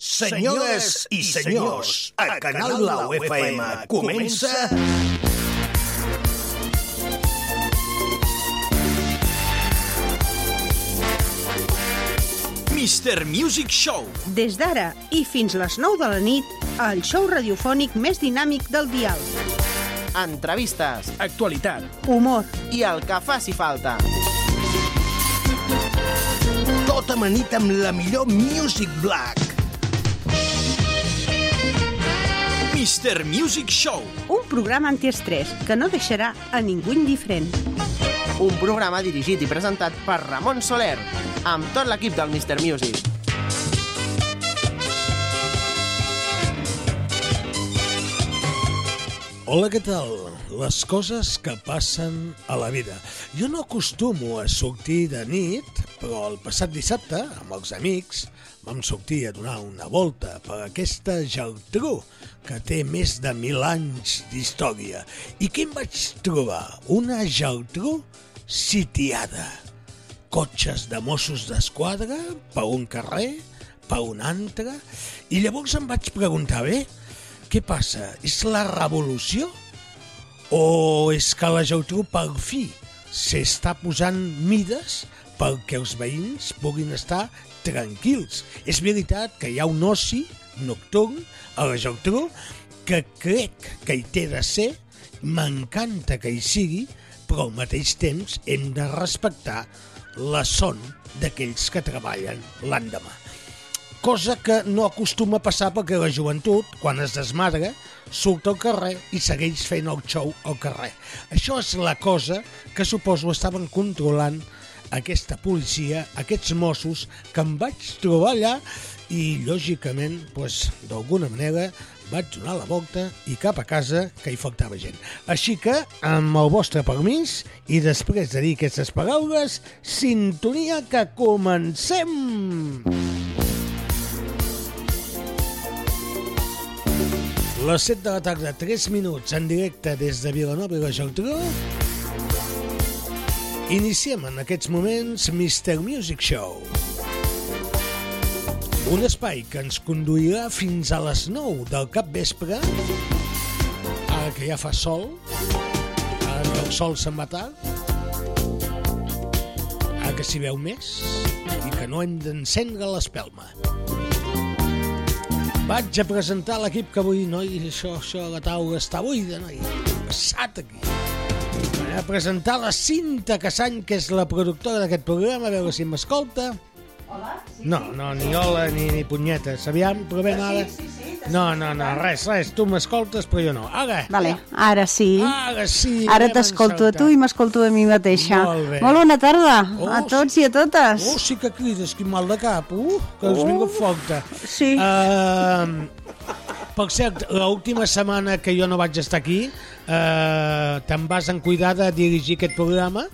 Senyores i senyors, a Canal Blau FM comença... Mr. Music Show. Des d'ara i fins les 9 de la nit, el show radiofònic més dinàmic del dial. entrevistes Actualitat. Humor, i el que faci falta. Tot amanit Tota amb la millor Music Black. Mr. Music Show. un programa antiestrès que no deixarà a ningú indiferent. Un programa dirigit i presentat per Ramon Soler, amb tot l'equip del Mr. Music. Hola, què tal? Les coses que passen a la vida. Jo no acostumo a sortir de nit, però el passat dissabte, amb els amics, vam sortir a donar una volta per aquesta Geltrú, que té més de mil anys d'història. I què em vaig trobar? Una Geltrú sitiada. Cotxes de Mossos d'Esquadra per un carrer, per un altre... I llavors em vaig preguntar, bé, què passa? És la revolució? O és que la Geltrú per fi s'està posant mides perquè els veïns puguin estar tranquils? És veritat que hi ha un oci nocturn a la Geltrú que crec que hi té de ser, m'encanta que hi sigui, però al mateix temps hem de respectar la son d'aquells que treballen l'endemà cosa que no acostuma a passar perquè la joventut, quan es desmadra, surt al carrer i segueix fent el show al carrer. Això és la cosa que suposo estaven controlant aquesta policia, aquests Mossos, que em vaig trobar allà i, lògicament, doncs, d'alguna manera, vaig donar la volta i cap a casa que hi faltava gent. Així que, amb el vostre permís i després de dir aquestes paraules, sintonia que comencem! Les 7 de la tarda, 3 minuts, en directe des de Vilanova i la Geltrú. Iniciem en aquests moments Mr. Music Show. Un espai que ens conduirà fins a les 9 del cap vespre, ara que ja fa sol, ara que el sol se'n va tard, ara que s'hi veu més i que no hem d'encendre l'espelma. Vaig a presentar l'equip que avui, noi, això, això, la taula està buida, noi. Passat aquí. Vaig a presentar la Cinta Cassany, que és la productora d'aquest programa, a veure si m'escolta. No, no, ni hola ni, ni punyetes. Aviam, provem ara. No, no, no, res, res. Tu m'escoltes, però jo no. Ara, Vale, ara sí. ara sí. Ara anem t'escolto a tu encertant. i m'escolto a mi mateixa. Molt bé. Molt bona tarda Oh, a sí. tots i a totes. Oh, sí que crides, quin mal de cap, uh, que us vingut forta. Oh, sí. Uh, per cert, l'última setmana que jo no vaig estar aquí, uh, te'n vas en cuidar de dirigir aquest programa.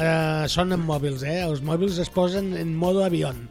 Uh, són en mòbils, eh? Els mòbils es posen en modo avion.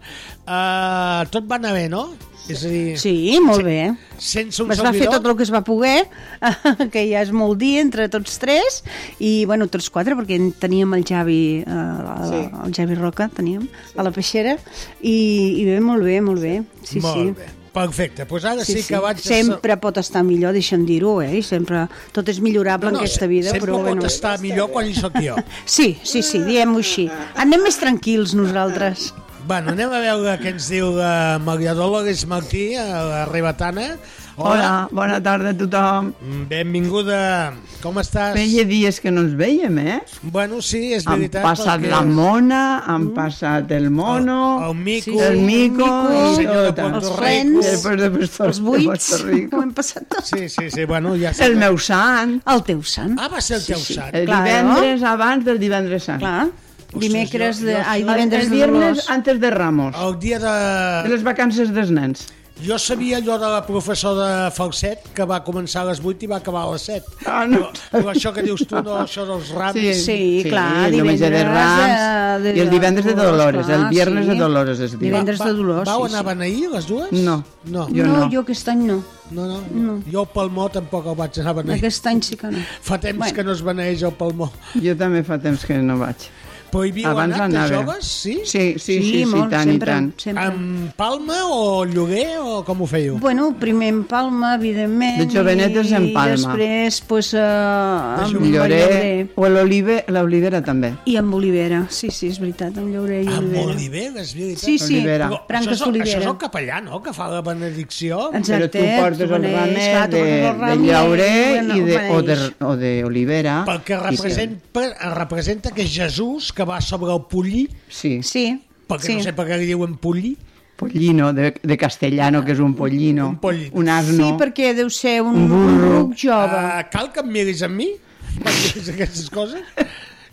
Uh, tot va anar bé, no? És a dir, Sí, molt bé. sense un Es va fer servidor... tot el que es va poder, que ja és molt dir entre tots tres, i bueno, tots quatre, perquè en teníem el Javi, eh, la- la- el Javi Roca, teníem, a la peixera, i, i bé, molt bé, molt bé. Sí, Molt sí. bé. Perfecte, doncs ara sí, que vaig... Sempre pot estar millor, deixa'm dir-ho, eh? i Sempre, tot és millorable en aquesta vida, sempre però pot bueno... estar millor quan hi soc jo. Sí, sí, sí, diem-ho així. Anem més tranquils nosaltres. Bueno, anem a veure què ens diu eh, la Maria Dolores Martí, a la Rebatana. Hola, bona tarda a tothom. Mm, Benvinguda. Com estàs? Feia dies que no ens vèiem, eh? Bueno, sí, és Han veritat. passat perquè la mona, han passat el mono, El Mico. Mm. el Mico, el i senyor de tot. Puerto Els Rico. frens. Després de Puerto- Els de buits, Puerto Rico. ho hem passat tots. Sí, sí, sí, bueno, ja El sé. meu sant, El teu sant. Ah, va ser el teu sí, sant. eh? el Claro. divendres abans del divendres sant. Clar. Dimecres de... jo- Ai, El, divendres el de Dolors. viernes antes de Ramos, El dia de de... les vacances dels nens. Jo sabia allò de la professora de falset que va començar a les 8 i va acabar a les 7. Ah, no. Però, però això que dius tu, no, això dels rams... Sí, clar, el diumenge de divendres, Rams eh, de- i el divendres de Dolors, Dolores, el clar, viernes sí. de Dolores es diu. Divendres- de Dolors, Vau sí, anar a sí. beneir, les dues? No. No, Jo no, no. jo aquest any no. no, no. no. Jo el palmó tampoc el vaig anar a beneir. Aquest any sí que no. Fa temps bueno. Bueno. que no es beneeix el palmó. Jo també fa temps que no vaig. Prohibiu Abans anar de anava. joves, sí? Sí, sí, sí, sí, sí molt, tant i sempre, tant. Sempre. Amb palma o lloguer o... o com ho fèieu? Bueno, primer en Palma, evidentment. De jovenetes en Palma. I després, pues, eh, amb El llorer, o l'olive- l'olivera també. I amb Olivera, sí, sí, és veritat, amb Llorer i Amb Olivera. Olivera, és veritat. Sí, sí, Olivera. Però Branques això, és, el- això és d'olivera. el capellà, no?, que fa la benedicció. Però tu portes el ramer clar, tu de, portes el de ramer, llaurer bueno, i de, o de, beneix. o de olivera. Perquè i que- representa, representa que és Jesús que va sobre el pollí, Sí, Sí, perquè sí. no sé per què li diuen pollí. pollino, de, de castellano, que és un pollino. Un pollino. Un asno. Sí, perquè deu ser un, Ah, Un un burro. ruc jove. Uh, cal que em miris amb mi? Perquè aquestes coses?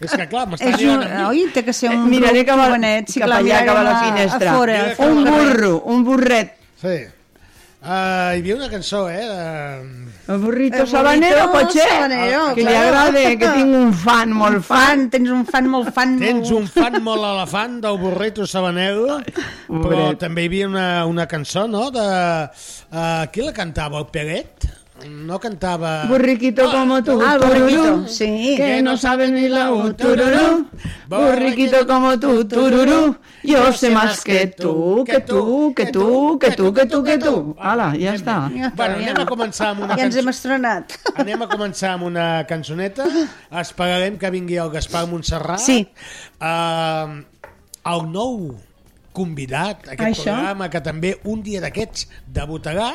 És que clar, m'està És un, mirant a mi. oi, té que ser un Eh, Miraré ruc cap, a, jovenet. Sí, cap clar, allà, mirarem cap a la a- finestra. Eh, A fora. Mira un cap a la burro, un burret. Sí. Uh, hi havia una cançó, eh? De... El burrito El sabanero, burrito potser? sabanero, que li claro. agrada, que tinc un fan, molt fan. Fan, tens un fan molt fan. Tens molt- un fan molt elefant del burrito sabanero, però pobret. també hi havia una, una cançó, no?, de... Uh, qui la cantava? El Peret? No cantava... Burriquito como tú, Ah, el tururú, burriquito, sí. que no sabe ni la U, tururú. Burriquito como tú, tururú, yo sé más que tú, que tú, que tú, que tú, que tú, que tú. Ala, ja està. Ja està, Bueno, ja. anem a començar amb una Ja ens hem cançó. estrenat. Anem a començar amb una cançoneta. Esperarem que vingui el Gaspar Montserrat. Sí. Uh, el nou convidat a aquest Això. programa, que també un dia d'aquests debutarà.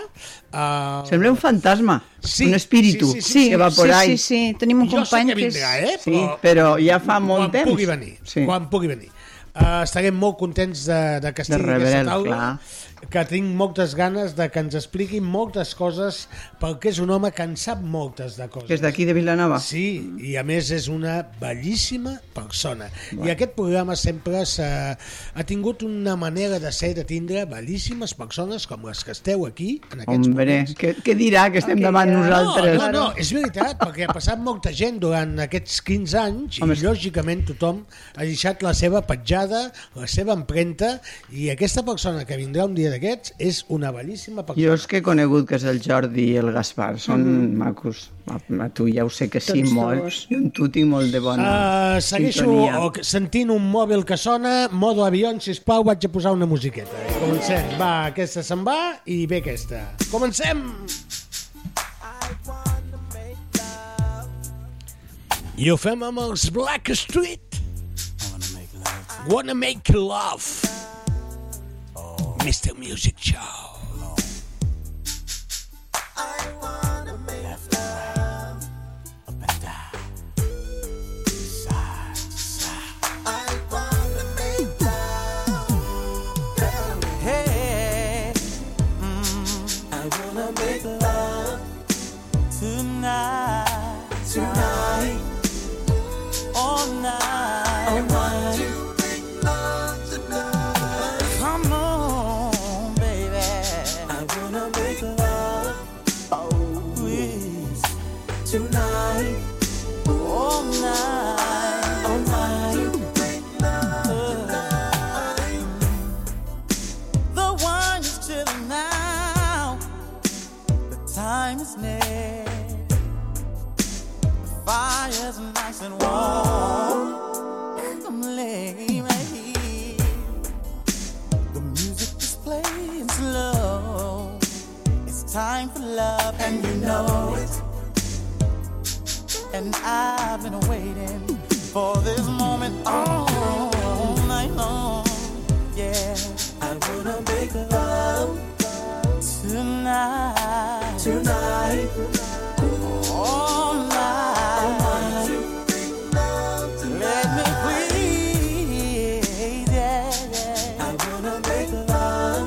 Uh, Sembla un fantasma, Sí, un espíritu sí, sí, sí, que va por sí, ahí. sí, sí, tenim un jo sé company que vindrà, que és... eh? Sí, però ja fa molt quan temps. Pugui venir, Sí. Quan pugui venir. Uh, estarem molt contents de, de que estigui De rebre'l, aquesta taula, clar. que tinc moltes ganes de que ens expliqui moltes coses, perquè és un home que en sap moltes de coses. Que és d'aquí de Vilanova. Sí, i a més és una bellíssima persona. I aquest programa sempre s'ha- ha tingut una manera de ser, de tindre bellíssimes persones com les que esteu aquí en aquests Hombre, moments. què, què dirà Ah, que estem davant nosaltres? No, no, no, és veritat, perquè ha passat molta gent durant aquests 15 anys i Home, és- lògicament tothom ha deixat la seva petjada, la seva empremta i aquesta persona que vindrà un dia d'aquests és una bellíssima persona. Jo és que he conegut que és el Jordi i el Gaspar, són Mm-hmm. macos. A, a tu ja ho sé que sí, Tots molt. dos. Jo amb tu tinc molt de bona Uh, segueixo sintonia. o, sentint un mòbil que sona, modo avion, sisplau, vaig a posar una musiqueta. Comencem. Va, aquesta se'n va i ve aquesta. Comencem! I ho fem amb els Black Street. Wanna make love. Mr. Music Show. Hey, mm, I wanna make love tonight, tonight, all night. I want to make love tonight. Come on, baby. I wanna make love, oh, please, tonight, all night, all night. the one who's chilling now. The time is near. The fire's nice and warm. Come lay me here. The music is playing slow. It's time for love, and you know it. And I've been waiting for this moment all night long. Yeah, I wanna make love tonight, tonight, all night. Let me please, yeah, yeah. I wanna make love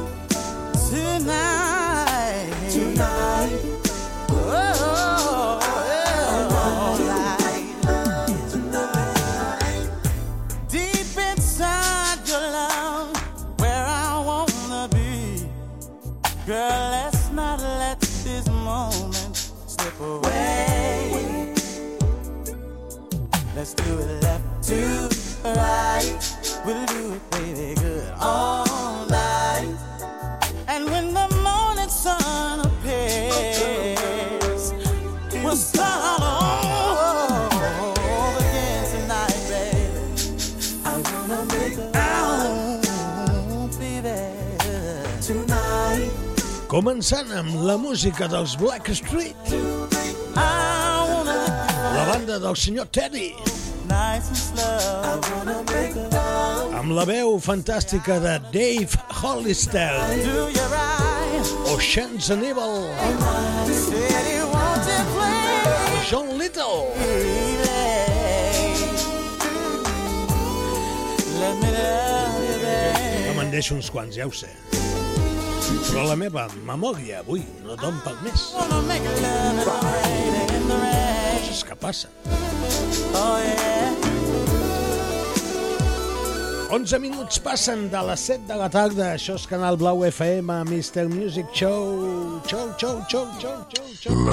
tonight, tonight. Oh, yeah. Deep inside your love, where I wanna be. Girl, let's not let this moment slip away. Let's do it left to right. We'll do it, baby, good all night. And when the morning sun appears, we'll start all over again tonight, baby. I wanna make it out, baby. Tonight. Començant amb la música dels Black Street, I wanna la banda del senyor Teddy, nice and slow. amb la veu fantàstica de Dave Hollister, Do your eyes, Ocean's Evil, said you want to play, John Little, baby. Let me love you, baby. que me'n deixo uns quants, ja ho sé. Però la meva memòria avui no d'on pel més. Wanna make love right in the rain. Coses que passen. Oh yeah, 11 minuts passen de les 7 de la tarda. Això és Canal Blau FM, Mr. Music Show. Show, show, show, show, show, show.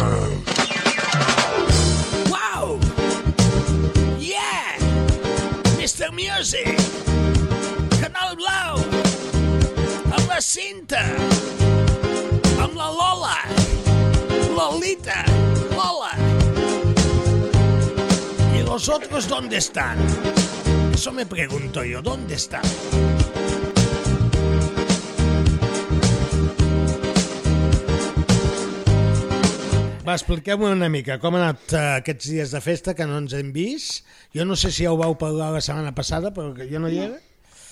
Wow! Yeah! Mr. Music! Canal Blau! Amb la Cinta! Amb la Lola! Lolita! Lola! ¿Y los otros dónde están? Eso me pregunto yo, ¿dónde están? Va, expliqueu-me una mica com han anat eh, aquests dies de festa que no ens hem vist. Jo no sé si ja ho vau parlar la setmana passada, però que jo no hi era.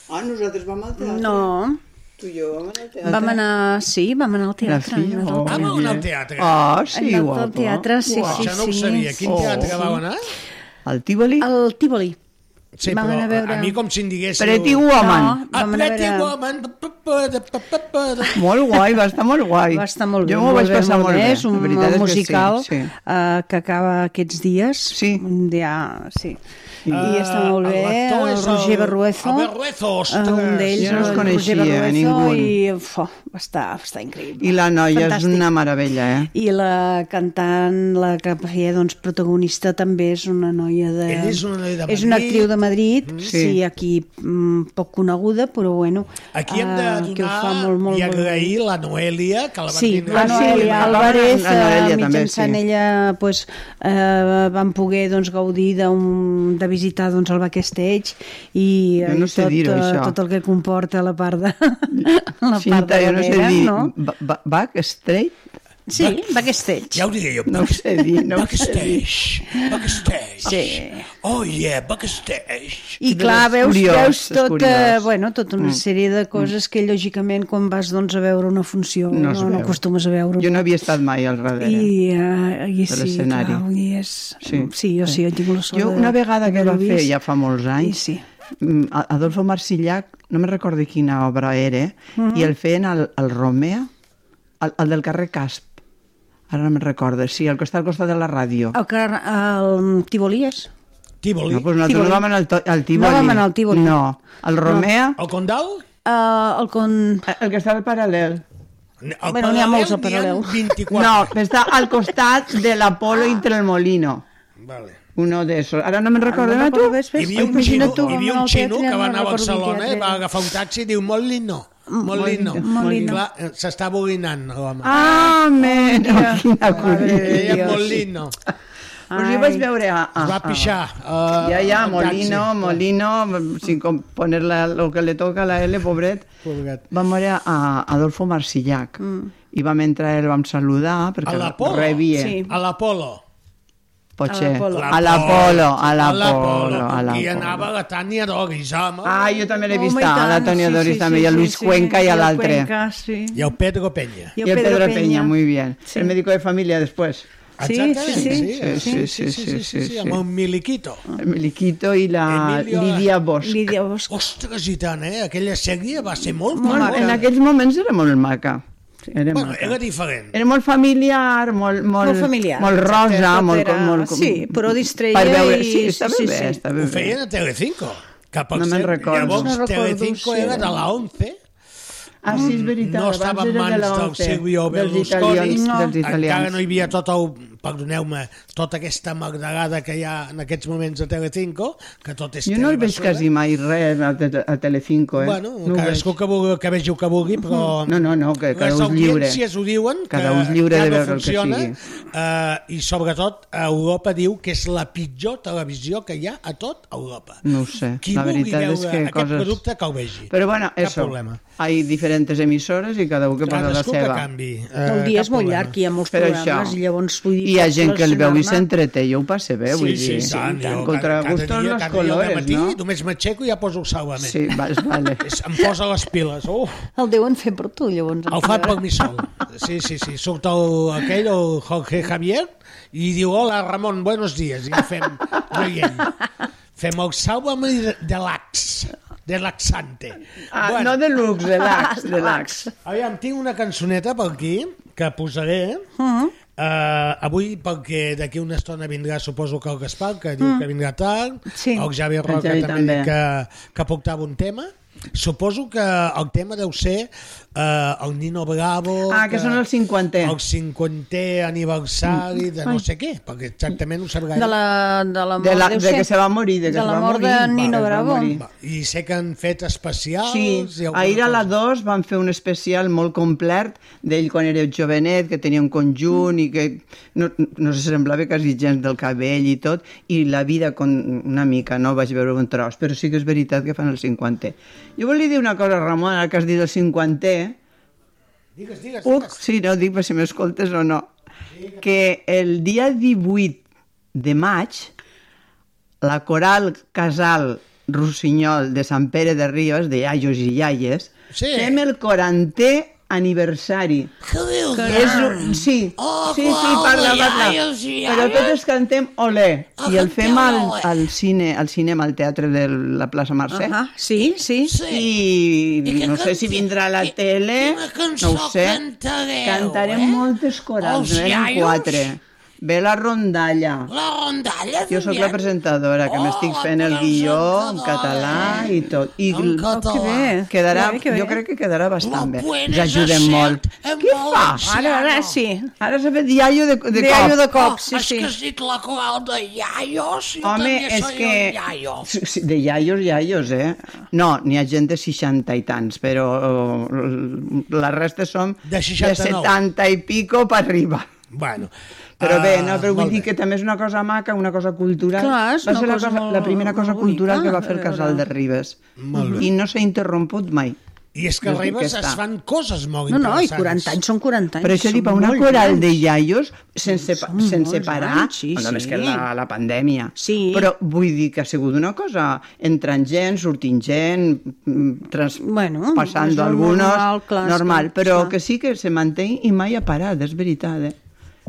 Ah, nosaltres vam al teatre. No, Tu i jo vam anar al teatre. vam anar... Sí, vam anar al La teatre. filla, Vam anar Ah, vau anar al eh? teatre. Ah, al- hem sí, anat guapa. al teatre, sí, Uah. sí, Això no ho sí. sabia. Quin teatre Oh. vau anar? El Tívoli, Al Tívoli. Sí, Vam però anar a veure- a mi com si en diguéssiu... Pretty No, Woman. A vam anar a Ah, Pretty veure... Woman. pa, pa, pa, pa, pa, pa. Molt guai, va estar molt guai. Va estar molt bé, Jo m'ho molt vaig bé, passar molt bé. És un la veritat és que musical Sí, sí. eh, que acaba aquests dies. Sí. Ja, sí. I està molt bé. l'actor El Eh, és Roger el- Berruezo. el Berruezo, ostres. eh, Un d'ells, Jo no els el coneixia, eh, Roger Berruezo, ningú. I uf, va estar, va estar increïble. I la noia Fantàstic. és una meravella, eh? I la cantant, la que feia doncs, protagonista, també és una noia de... Ella és una noia de És una Madrid. Mm-hmm. actriu de Madrid, sí, Sí. aquí mm, poc coneguda, però bueno... Aquí hem de eh, donar que ho fa molt, molt, i molt bé. agrair la Noelia, que la van Sí, tindre la Ah, sí, aquí. Noelia la Álvarez, Noelia, la Noelia eh, també, mitjançant sí. ella pues, eh, van poder doncs, gaudir d'un- de visitar doncs, el backstage i, Jo no i sé tot, dir-ho, eh, això. tot el que comporta la part de la part Cinta, de jo no sé darrere, dir... no? ba- ba- Back, straight? Sí, backstage. Ja ho diré jo. No ho sé dir, no ho sé dir. Backstage, backstage. Sí. Oh yeah, backstage. I Però clar, és veus, curiós, veus és tot, eh, curiós. Mm. bueno, tota una sèrie de coses que lògicament quan vas doncs, a veure una funció No no, es no, no veu. acostumes a veure. Jo no havia estat mai al darrere. I, uh, i sí, De clar, l'escenari. vull dir, és... sí. Sí. sí, jo sí, jo tinc la sort Jo una vegada que va d'haver-ho fer, vist. ja fa molts anys, Sí, sí. mm, A- Adolfo Marsillac, no me'n recordo quina obra era, Mm-hmm. i el feien al, al Romea, al, al del carrer Casp. Ara no me'n recordo. Sí, al costat, al costat de la ràdio. El, car el Tívoli és? Tívoli. No, doncs nosaltres Tívoli. no vam anar al, to- al Tívoli. No vam anar al Tívoli. No, al Romea, El Condal? Eh, Uh, el con... a- el que està al paral·lel. El Bueno, n'hi ha molts al n'hi ha paral·lel. 24. No, que està al costat de l'Apolo i Trelmolino. Vale. Uno de esos. Ara no me'n recordo. no No tu? recordo, ves, Hi ves. havia Ai, un imagina xino, tu, hi havia vam un al xino teatre, que va no anar a recordo quin Barcelona i teatre va era. agafar un taxi i diu Molino. Molino. Molino. Clar, eh, S'està borinant l'home. Ah, men, oh, quina Madre. curiosa. Deia Dios. Molino. Pues jo vaig veure a, a, Es va a, pixar. Uh, Ya, ya, Molino, Molino, sin com- poner la- lo que le toca la L, pobret. Pobret. Vam veure a Adolfo Marsillac. I vam entrar, el vam saludar, perquè Mm. A l'Apolo. rebia. Sí. A l'Apolo. Potser. l'Apolo. A l'Apolo, a l'Apolo, a Aquí l'Apolo. anava la Tània Doris, home. Ah, jo també l'he Home, vist, i a la tant, Tònia Oh, sí, Doris sí, també, sí, i a sí, Luis sí, Cuenca i i a el l'altre. Cuenca, sí. I el Pedro Peña. I el Pedro Peña, muy bien. Sí. El médico de familia después. Sí, Exactament, sí, sí, sí, sí, sí, sí, sí. amb un miliquito. El Miliquito i la Emilio- Lídia Bosch. Lídia Bosch. Ostres, i tant, eh? Aquella sèrie va ser molt Molt- maca. en aquells moments era molt maca. Era Bueno, maca. era diferent. Era molt familiar, molt, molt, Molt familiar, molt exacte, rosa, tot molt, era- molt... com- sí, però distreia per veure, i- Sí, estava sí, bé, sí. estava Ho bé. feien a Telecinco. Que per No me'n cert, recordo. Llavors, No recordo, Telecinco sí. era de la 11, Ah, sí, és veritat. no estava en mans del Silvio Berlusconi, Dels italians. No. Dels encara italians. no hi havia tot el, perdoneu-me, tota aquesta magdagada que hi ha en aquests moments a Telecinco, que tot és Jo no el veig telebasura. quasi mai res a, te- a Telecinco, eh? eh? Bueno, ho no cadascú veig. que, vulgui, que vegi el que vulgui, però... No, no, no, que cada les ús lliure. audiències ho diuen, Cada ús que lliure ja de no veure el que funciona, sigui. eh, i sobretot Europa diu que és la pitjor televisió que hi ha a tot Europa. No ho sé, Qui la vulgui veritat veure és que aquest coses- producte que ho vegi. Però bueno, Cap eso. problema. Hay diferents emissores i cada un que posa la Cadascú que seva. canvi. Eh, El dia cap és molt problema. llarg i hi ha molts Per programes això. i llavors vull dir... Hi ha pots gent que el veu i relacionar-me. s'entreté, jo ho passe bé, vull dir. i tant, jo Contra cada gustos dia- los cada dia al colores, matí, no? Només m'aixeco i ja poso el salvament. Sí, vas, vale. És- Em posa les piles. Uf, El deuen fer per tu, llavors. el fa per mi sol. Sí, sí, sí. Surt el, aquell, el Jorge Javier, i diu, hola, Ramon, buenos días. I fem, rient. Fem el salvament de- de lax, de laxante. Ah, no de lux, relax, relax. Aviam, tinc una cançoneta per aquí que posaré uh Mm, -huh. Eh, avui perquè d'aquí una estona vindrà, suposo que el Gaspar, que diu que vindrà tard, Mm. Sí, el Xavi el Roca Xavi també, també. també. Que, que portava un tema. Suposo que el tema deu ser uh, el Nino Bravo... Ah, que són els 50. El 50è aniversari de no sé què, perquè exactament ho sap gaire. Mm. De la, de la mort, De, la, deu de ser. que se va morir, de que de es la va mort morir. de va, Nino es va Bravo. morir. I sé que han fet especials... Sí, i alguna ahir a la cosa. 2 van fer un especial molt complet d'ell quan era jovenet, que tenia un conjunt i que no, no se semblava quasi gens del cabell i tot, i la vida con una mica, no vaig veure un tros, però sí que és veritat que fan el 50è. Jo volia dir una cosa, Ramon, ara que has dit el 50è, Digues, digues, Uc, digues. sí, no, dic per si m'escoltes o no, que el dia 18 de maig la Coral Casal Rossinyol de Sant Pere de Ríos, de Iaios i Iaies, Sí. fem el 40è aniversari. Què dius? Que és un... Sí, Oh, sí, sí, Coral parla, de parla. iaios i Però totes cantem olé. I el fem al, canteu olé. al cine, al cinema, al teatre de la plaça Mercè. Ah, sí, sí. I, I que no sé canti- si vindrà a la i- tele, quina cançó no ho sé. cantareu, Cantarem eh? moltes corals, Els no eren iaios? quatre. Ve la rondalla. La rondalla, Jo sóc la Julián? presentadora, que Oh, m'estic fent el guió en presentadora, català eh? i tot. I En l- català. Que bé. Quedarà, Que bé, que bé. jo crec que quedarà bastant bé. No puedes Us ajudem hacer molt. en Què fas? valencià. Ara, ara sí. Ara s'ha fet iaio de, de De allo cop. Oh, de cop, Oh, sí, és sí. que has dit la coral de iaios, jo Home, també és soy que... un iaio. Sí, sí, De iaios, iaios, eh? No, n'hi ha gent de 60 i tants, però eh, la resta som De 69. de 70 i pico per arriba. Bueno, Però bé, ah, no, però vull molt dir bé. que també és una cosa maca, una cosa cultural. Clar, és va una ser la, cosa molt- la primera cosa molt bonica, cultural que va fer el a veure. Casal de Ribes. I no s'ha interromput mai. I és que Jo a crec Ribes que es està. fan coses molt No, no, i interessants. 40 anys són 40 anys. Però això són dic, per una molt coral grans. de iaios, sense, pa- Són sense molts parar, anys, sí, només sí. que la, la pandèmia. Sí. Però vull dir que ha sigut una cosa entrant gent, sortint gent, mm, trans, Bueno, passant és molt d'alguns, normal, clar, és normal, que- però clar. que sí que se manté i mai ha parat, és veritat, eh?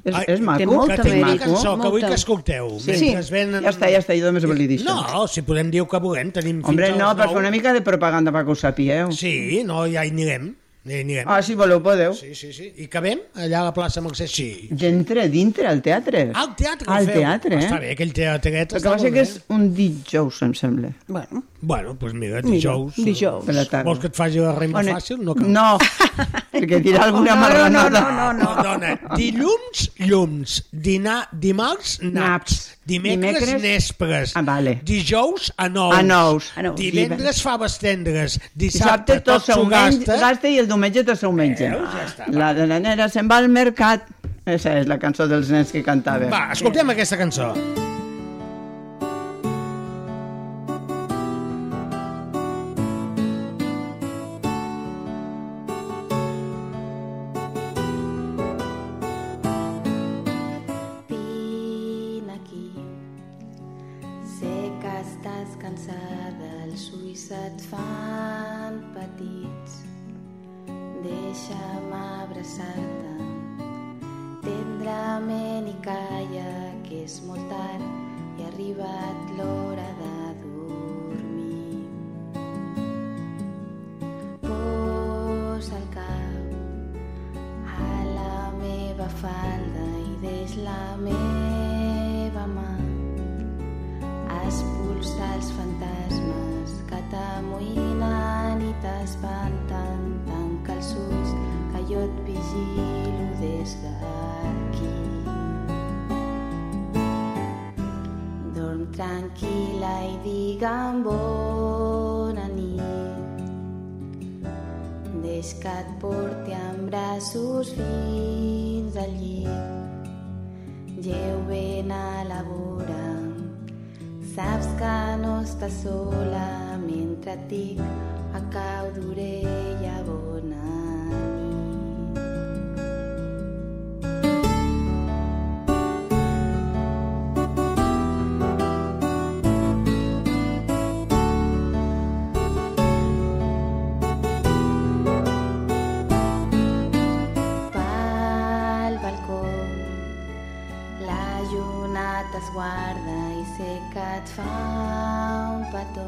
És, Ai, és maco, té molta que tinc una mèrit, cançó que vull molta. que escolteu. Sí. Mentre es venen... Ja està, ja està, jo només volia dir això. No, si podem dir el que vulguem, tenim fins Hombre, a les no, per nou. fer una mica de propaganda perquè ho sapigueu. Sí, no, ja hi anirem. Ja hi anirem. Ah, si voleu, podeu. Sí, sí, sí. I cabem allà a la plaça Mercè? Sí. D'entre, dintre, al teatre. Al teatre que Al feu. teatre, eh? Està bé, aquell teatret El que està molt passa que bé. és un dijous, em sembla. Bueno, Bueno, doncs mira, dijous. dijous. Per la tarda. Vols que et faci la rima On- fàcil? No cal. No, perquè dirà alguna No, no, marranada. no, no, no. Perdona, dilluns, llums, dinar, dimarts, naps, Naps. dimecres, Dimecres, nespres, ah, vale. dijous, a nous, A nous. A nous. divendres, faves tendres, dissabte, Dissabte tot tot s'ho seu gasta, gasta i el diumenge tot seu menja. Veus? Ja està, La de la nena se'n va al mercat. Esa és la cançó dels nens que cantàvem. Va, escoltem aquesta cançó. Vine aquí. Sé que estàs cansada, els ulls et fan petits. Deixa'm abraçar-te tendrament i calla que és molt tard i ha arribat l'hora de dormir. Posa el cap a la meva falda i deix la meva mà expulsa els fantasmes que t'amoïnen i t'espanten tanca els ulls que jo et vigilo des d'aquí dorm tranquil·la i digue'm bona nit Deix que et porti amb braços fins al llit. Lleu ben a la vora, saps que no estàs sola mentre et dic a cau d'orella bona guarda i sé que et fa un petó.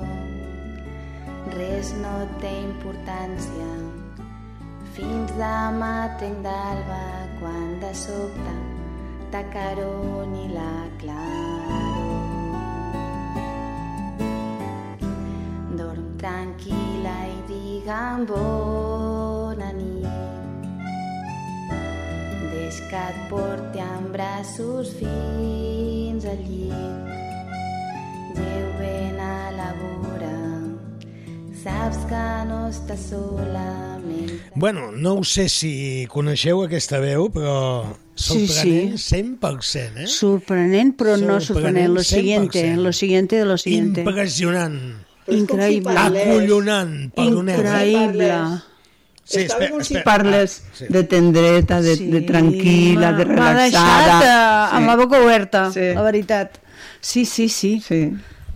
Res no té importància. Fins demà tenc d'alba quan de sobte t'acaroni la claror. Dorm tranquil·la i digue'm bona nit deix que et porti en braços fins al llit. Lleu ben a la vora, saps que no estàs sola mentre... Bueno, no ho sé si coneixeu aquesta veu, però Sí, sorprenent 100%, eh? Sorprenent, pero no sorprenent. Lo siguiente, 100%. lo siguiente de lo siguiente. Impressionant. Però és com si Increïble. parlés. Acollonant, perdoneu. Increïble. Sí, Està espera, com si espera. Parles Sí. de tendreta, de, de tranquil·la, de M'ha deixat eh, relaxada. amb la boca oberta, Sí. la veritat. Sí, sí, sí. Sí.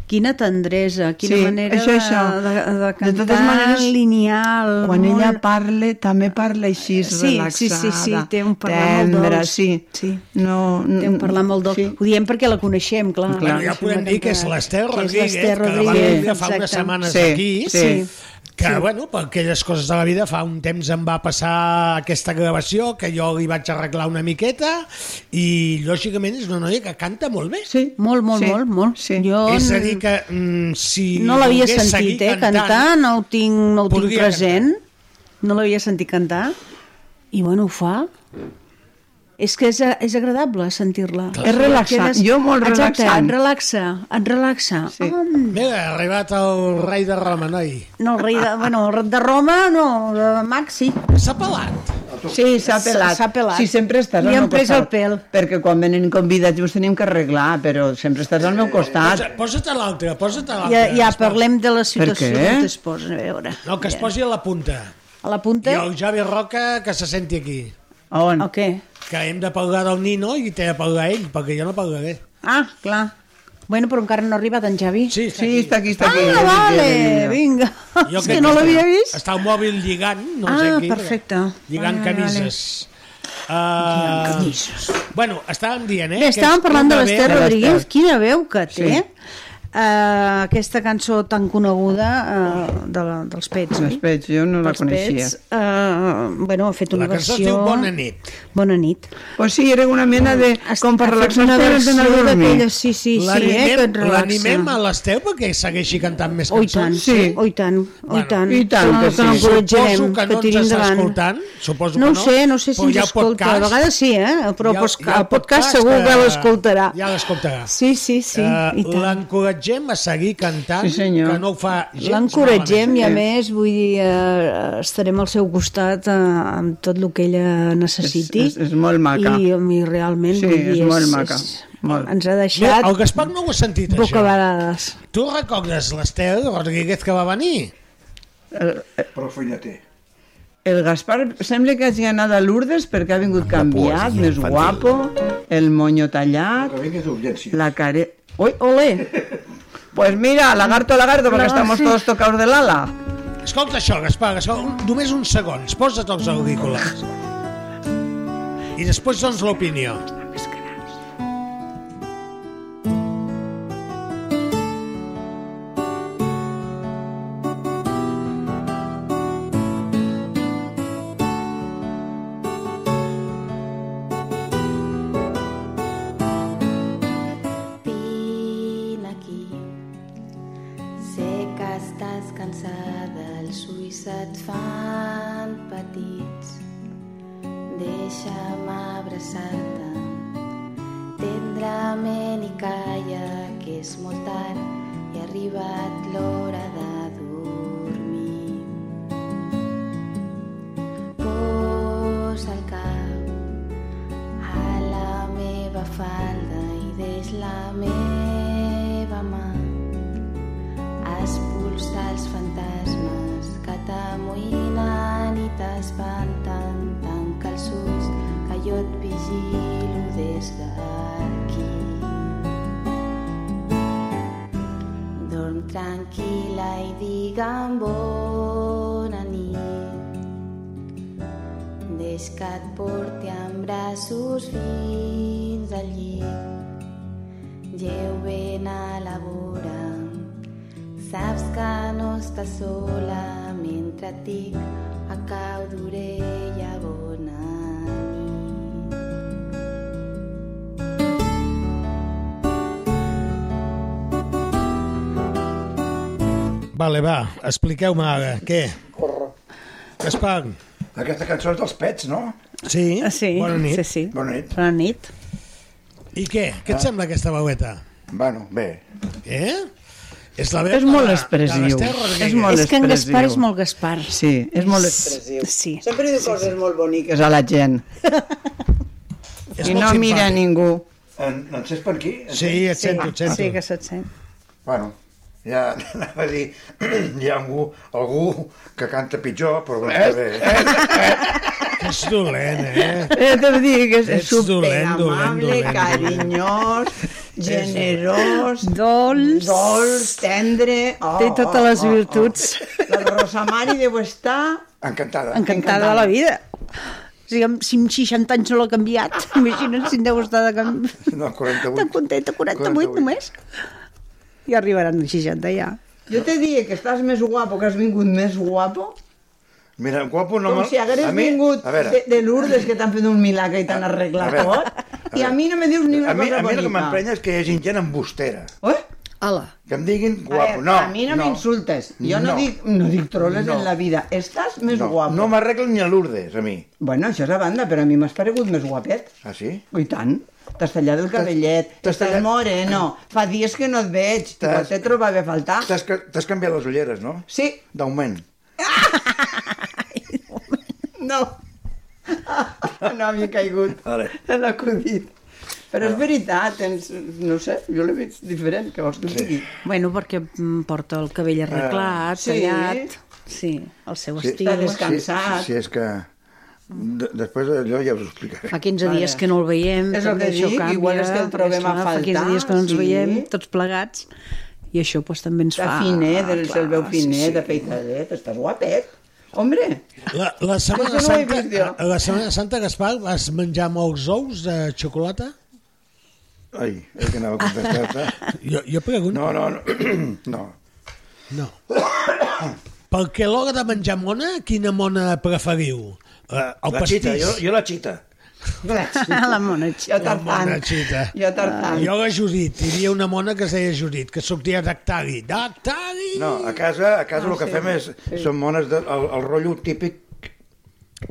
Quina tendresa, quina Sí, manera això, això. De, de, de De cantar totes maneres, lineal. Quan molt... ella parla, també parla Sí, així, sí, relaxada. sí, sí, té un parlar molt tendre, dolç. Sí. Sí. No, Té un parlar molt dolç. Sí. Ho diem perquè la coneixem, clar. Clar. La Bueno, ja coneixem, podem la dir que és cantant. l'Ester Que és Rodríguez, que l'Ester la vam Rodríguez, tindre fa unes exacte. setmanes Sí, aquí, sí. que, bueno, per aquelles coses de la vida, fa un temps em va passar aquesta gravació, que jo li vaig arreglar una miqueta, i lògicament és una noia que canta molt bé. Sí. Molt, molt, sí. molt, molt. Sí. Jo És a dir que mm, si... no l'havia volgués sentit, seguir eh, cantar, no ho tinc, no ho tinc Podria present. No l'havia sentit cantar. I bueno, ho fa. És que és, és agradable sentir-la. És relaxant. Jo molt Exacte, relaxant. et relaxa, et relaxa. Sí. Sí. Mira, ha arribat el rei de Roma, noi. No, el rei de, bueno, el de Roma, no, de Max, sí. Ah, S'ha pelat. Sí, s'ha pelat. S'ha pelat. Sí, sempre estàs Li al han meu pres el costat. pèl. Perquè quan venen convidats us tenim que arreglar, però sempre estàs al meu costat. Posa- Posa't a l'altre, posa't a l'altre. Ah. Ja, ja Es pot- parlem de la situació què? on es posen, a veure. No, que es posi a la punta. A la I punta? el Javi Roca que se senti aquí. A on? O què? Que hem de parlar del Nino i té de parlar ell, perquè jo no parlaré. Ah, clar. Bueno, però encara no ha arribat en Javi. Sí, està Sí, aquí. està aquí, està Ah, aquí. vale, vinga. Jo És crec que no l'havia està- vist. Està el mòbil lligant, no Ah, sé qui. perfecte. Lligant Vale, vale. camises. Uh, camises. Bueno, estàvem dient, eh? Bé, que estàvem és parlant de una l'Ester veu- de Rodríguez, l'Ester. quina veu que té. Sí. Uh, aquesta cançó tan coneguda uh, de la, dels Pets, oi? Els pets, jo no la Dels coneixia. Pets, uh, bueno, ha fet una La cançó es versió... diu Bona nit. Bona nit. Pues sí, era una mena de... Has- Com per ha fet relaxar una els versió pets a dormir. d'aquella- Sí, sí, sí, eh, que et L'animem relaxa. l'animem a l'Esteu perquè segueixi cantant més Oh, i cançons. tant, sí. Sí. oh, i tant, oh, i tant. i tant que sí. encoratjarem, Suposo que no ens tiri està endavant. escoltant, suposo que no. ho no, sé, no sé si però ens hi ha escolta. podcast. a vegades sí, eh? Hi ha- però el podcast, hi ha el podcast podcast segur que- que l'escoltarà. ja l'escoltarà. Sí, sí, sí, Eh, i tant. L'encoratgem a seguir cantant, Sí, senyor. que no ho fa gens L'encoratgem i a Sí. més, vull dir, eh, estarem al seu costat eh, amb tot el que ella necessiti. És- és- és molt maca. I, i realment, Sí, vull dir, és molt maca, molt. Ens ha malament. deixat No, el Gaspar no ho ha sentit, això. bocabadades. Tu recordes l'Estel Rodríguez que va venir? eh, El Gaspar sembla que hagi anat a Lourdes perquè ha vingut canviat, més guapo, el moño tallat... La care... Ui, ole! Pues mira, lagarto, lagarto, porque estamos todos tocados del ala. Escolta això, Gaspar, escolta, un- només uns segons. Posa't els auriculars. I després doncs l'opinió. Vine aquí. Sé que estàs cansada, els ulls et fan petits. Deixa'm abraçar-te tendrament i calla que és molt tard i ha arribat l'hora de dormir. Posa el cap a la meva falda i deix la meva mà expulsa els fantasmes que t'amoïnen i t'espanten tanca els ulls que jo et vigilo des d'aquí dorm tranquil·la i digue'm bona nit Deix que et porti en braços fins al llit. lleu ben a la vora. Saps que no estàs sola mentre et dic a cau d'orella bona nit. Vale, va, expliqueu-me ara, què? Corre. Gaspar, Aquesta cançó és dels pets, no? sí? Ah, Sí, Bona nit. sí, sí. Bona nit. Ah. Bona nit. I què? Què et sembla aquesta veueta? Bueno, bé. Eh? És, la veu És de molt la- expressiu. de l'Ester Rodríguez. És molt- és que en expressiu. Gaspar és molt Gaspar. Sí, és molt Expressiu. Sí. Sempre diu coses molt boniques. és a la gent. És I molt no mira simpàtic. ningú. En, en Cesc per aquí? En Sí, et sento, et sento. sí que se't sent. Bueno, ja anava a dir, hi ha algú, algú que canta pitjor, però bé, eh? bé. Que és dolent, eh? Eh, t'ho dic, és, és Ets dolent, dolent, superamable, dolent. carinyós, generós, Dolç. dolç, tendre... Oh, Té tota totes les virtuts. Oh, oh. La Rosa Mari deu estar... Encantada. Encantada de la vida. O sigui, amb- si amb 60 anys no l'ha canviat, imagina't si en deu estar de canvi... No, 48. tan contenta, 48, 48 només. I arribaran als 60 ja. Jo te diria que estàs més guapo, que has vingut més guapo, Mira, guapo no com me- si hagués a mi- vingut a veure, de, de Lourdes, que t'han fet un milagre i t'han a arreglat veure, tot, a i a veure. mi no me dius ni una a mi, cosa a mi el que bonica. m'emprenya és que hi hagi gent embustera. Oi? Hola. Que em diguin A guapo. veure, no, a mi no, m'insultes. Jo no, No. dic, no dic troles No. en la vida. Estàs més no, guapo. No m'arreglen ni a Lourdes, a mi. Bueno, això és a banda, però a mi m'has paregut més guapet. Oh, Ah, sí? I tant. T'has tallat el cabellet, t'has estàs tallat- moreno, fa dies que no et veig, T'has- igual te trobava a faltar. T'has ca- t'has canviat les ulleres, no? Sí, D'augment. no. No m'hi he caigut. Vale. Se l'ha acudit. Però és veritat, ens, no ho sé, jo l'he vist diferent, que vols que et digui. Bueno, perquè mm, porta el cabell arreglat, Sí. sí. tallat... Sí, el seu Sí. estil. Està descansat. Sí, sí, és que... De, després d'allò ja us ho explicaré. Fa 15 Mare. dies que no el veiem, És el també que això dic, canvia, igual és que el perquè, trobem a esclar, Fa 15 faltar, dies que no ens sí. veiem, tots plegats, i això doncs, també ens Està fa... Ah, finet, el clar, el veu sí, finet, sí. afeitadet, estàs guapet. Hombre, La, la, Setmana Això no ho he Santa, Ah, vist Ah, jo. la Setmana Santa, Gaspar, vas menjar molts ous de xocolata? Ai, és que anava a contestar-te. Jo, jo pregunto. No, no, no. no. No. Perquè a l'hora de menjar mona, quina mona preferiu? Eh, el La xita, pastís? jo, jo la xita. la mona jo xita. tartant. mona xita. Jo tartant. Jo la Judit, hi havia una mona que es deia Judit, que sortia d'Actari. D'Actari! No, a casa, a casa ah, el que sí, fem és... Sí. Són mones del el, el rotllo típic...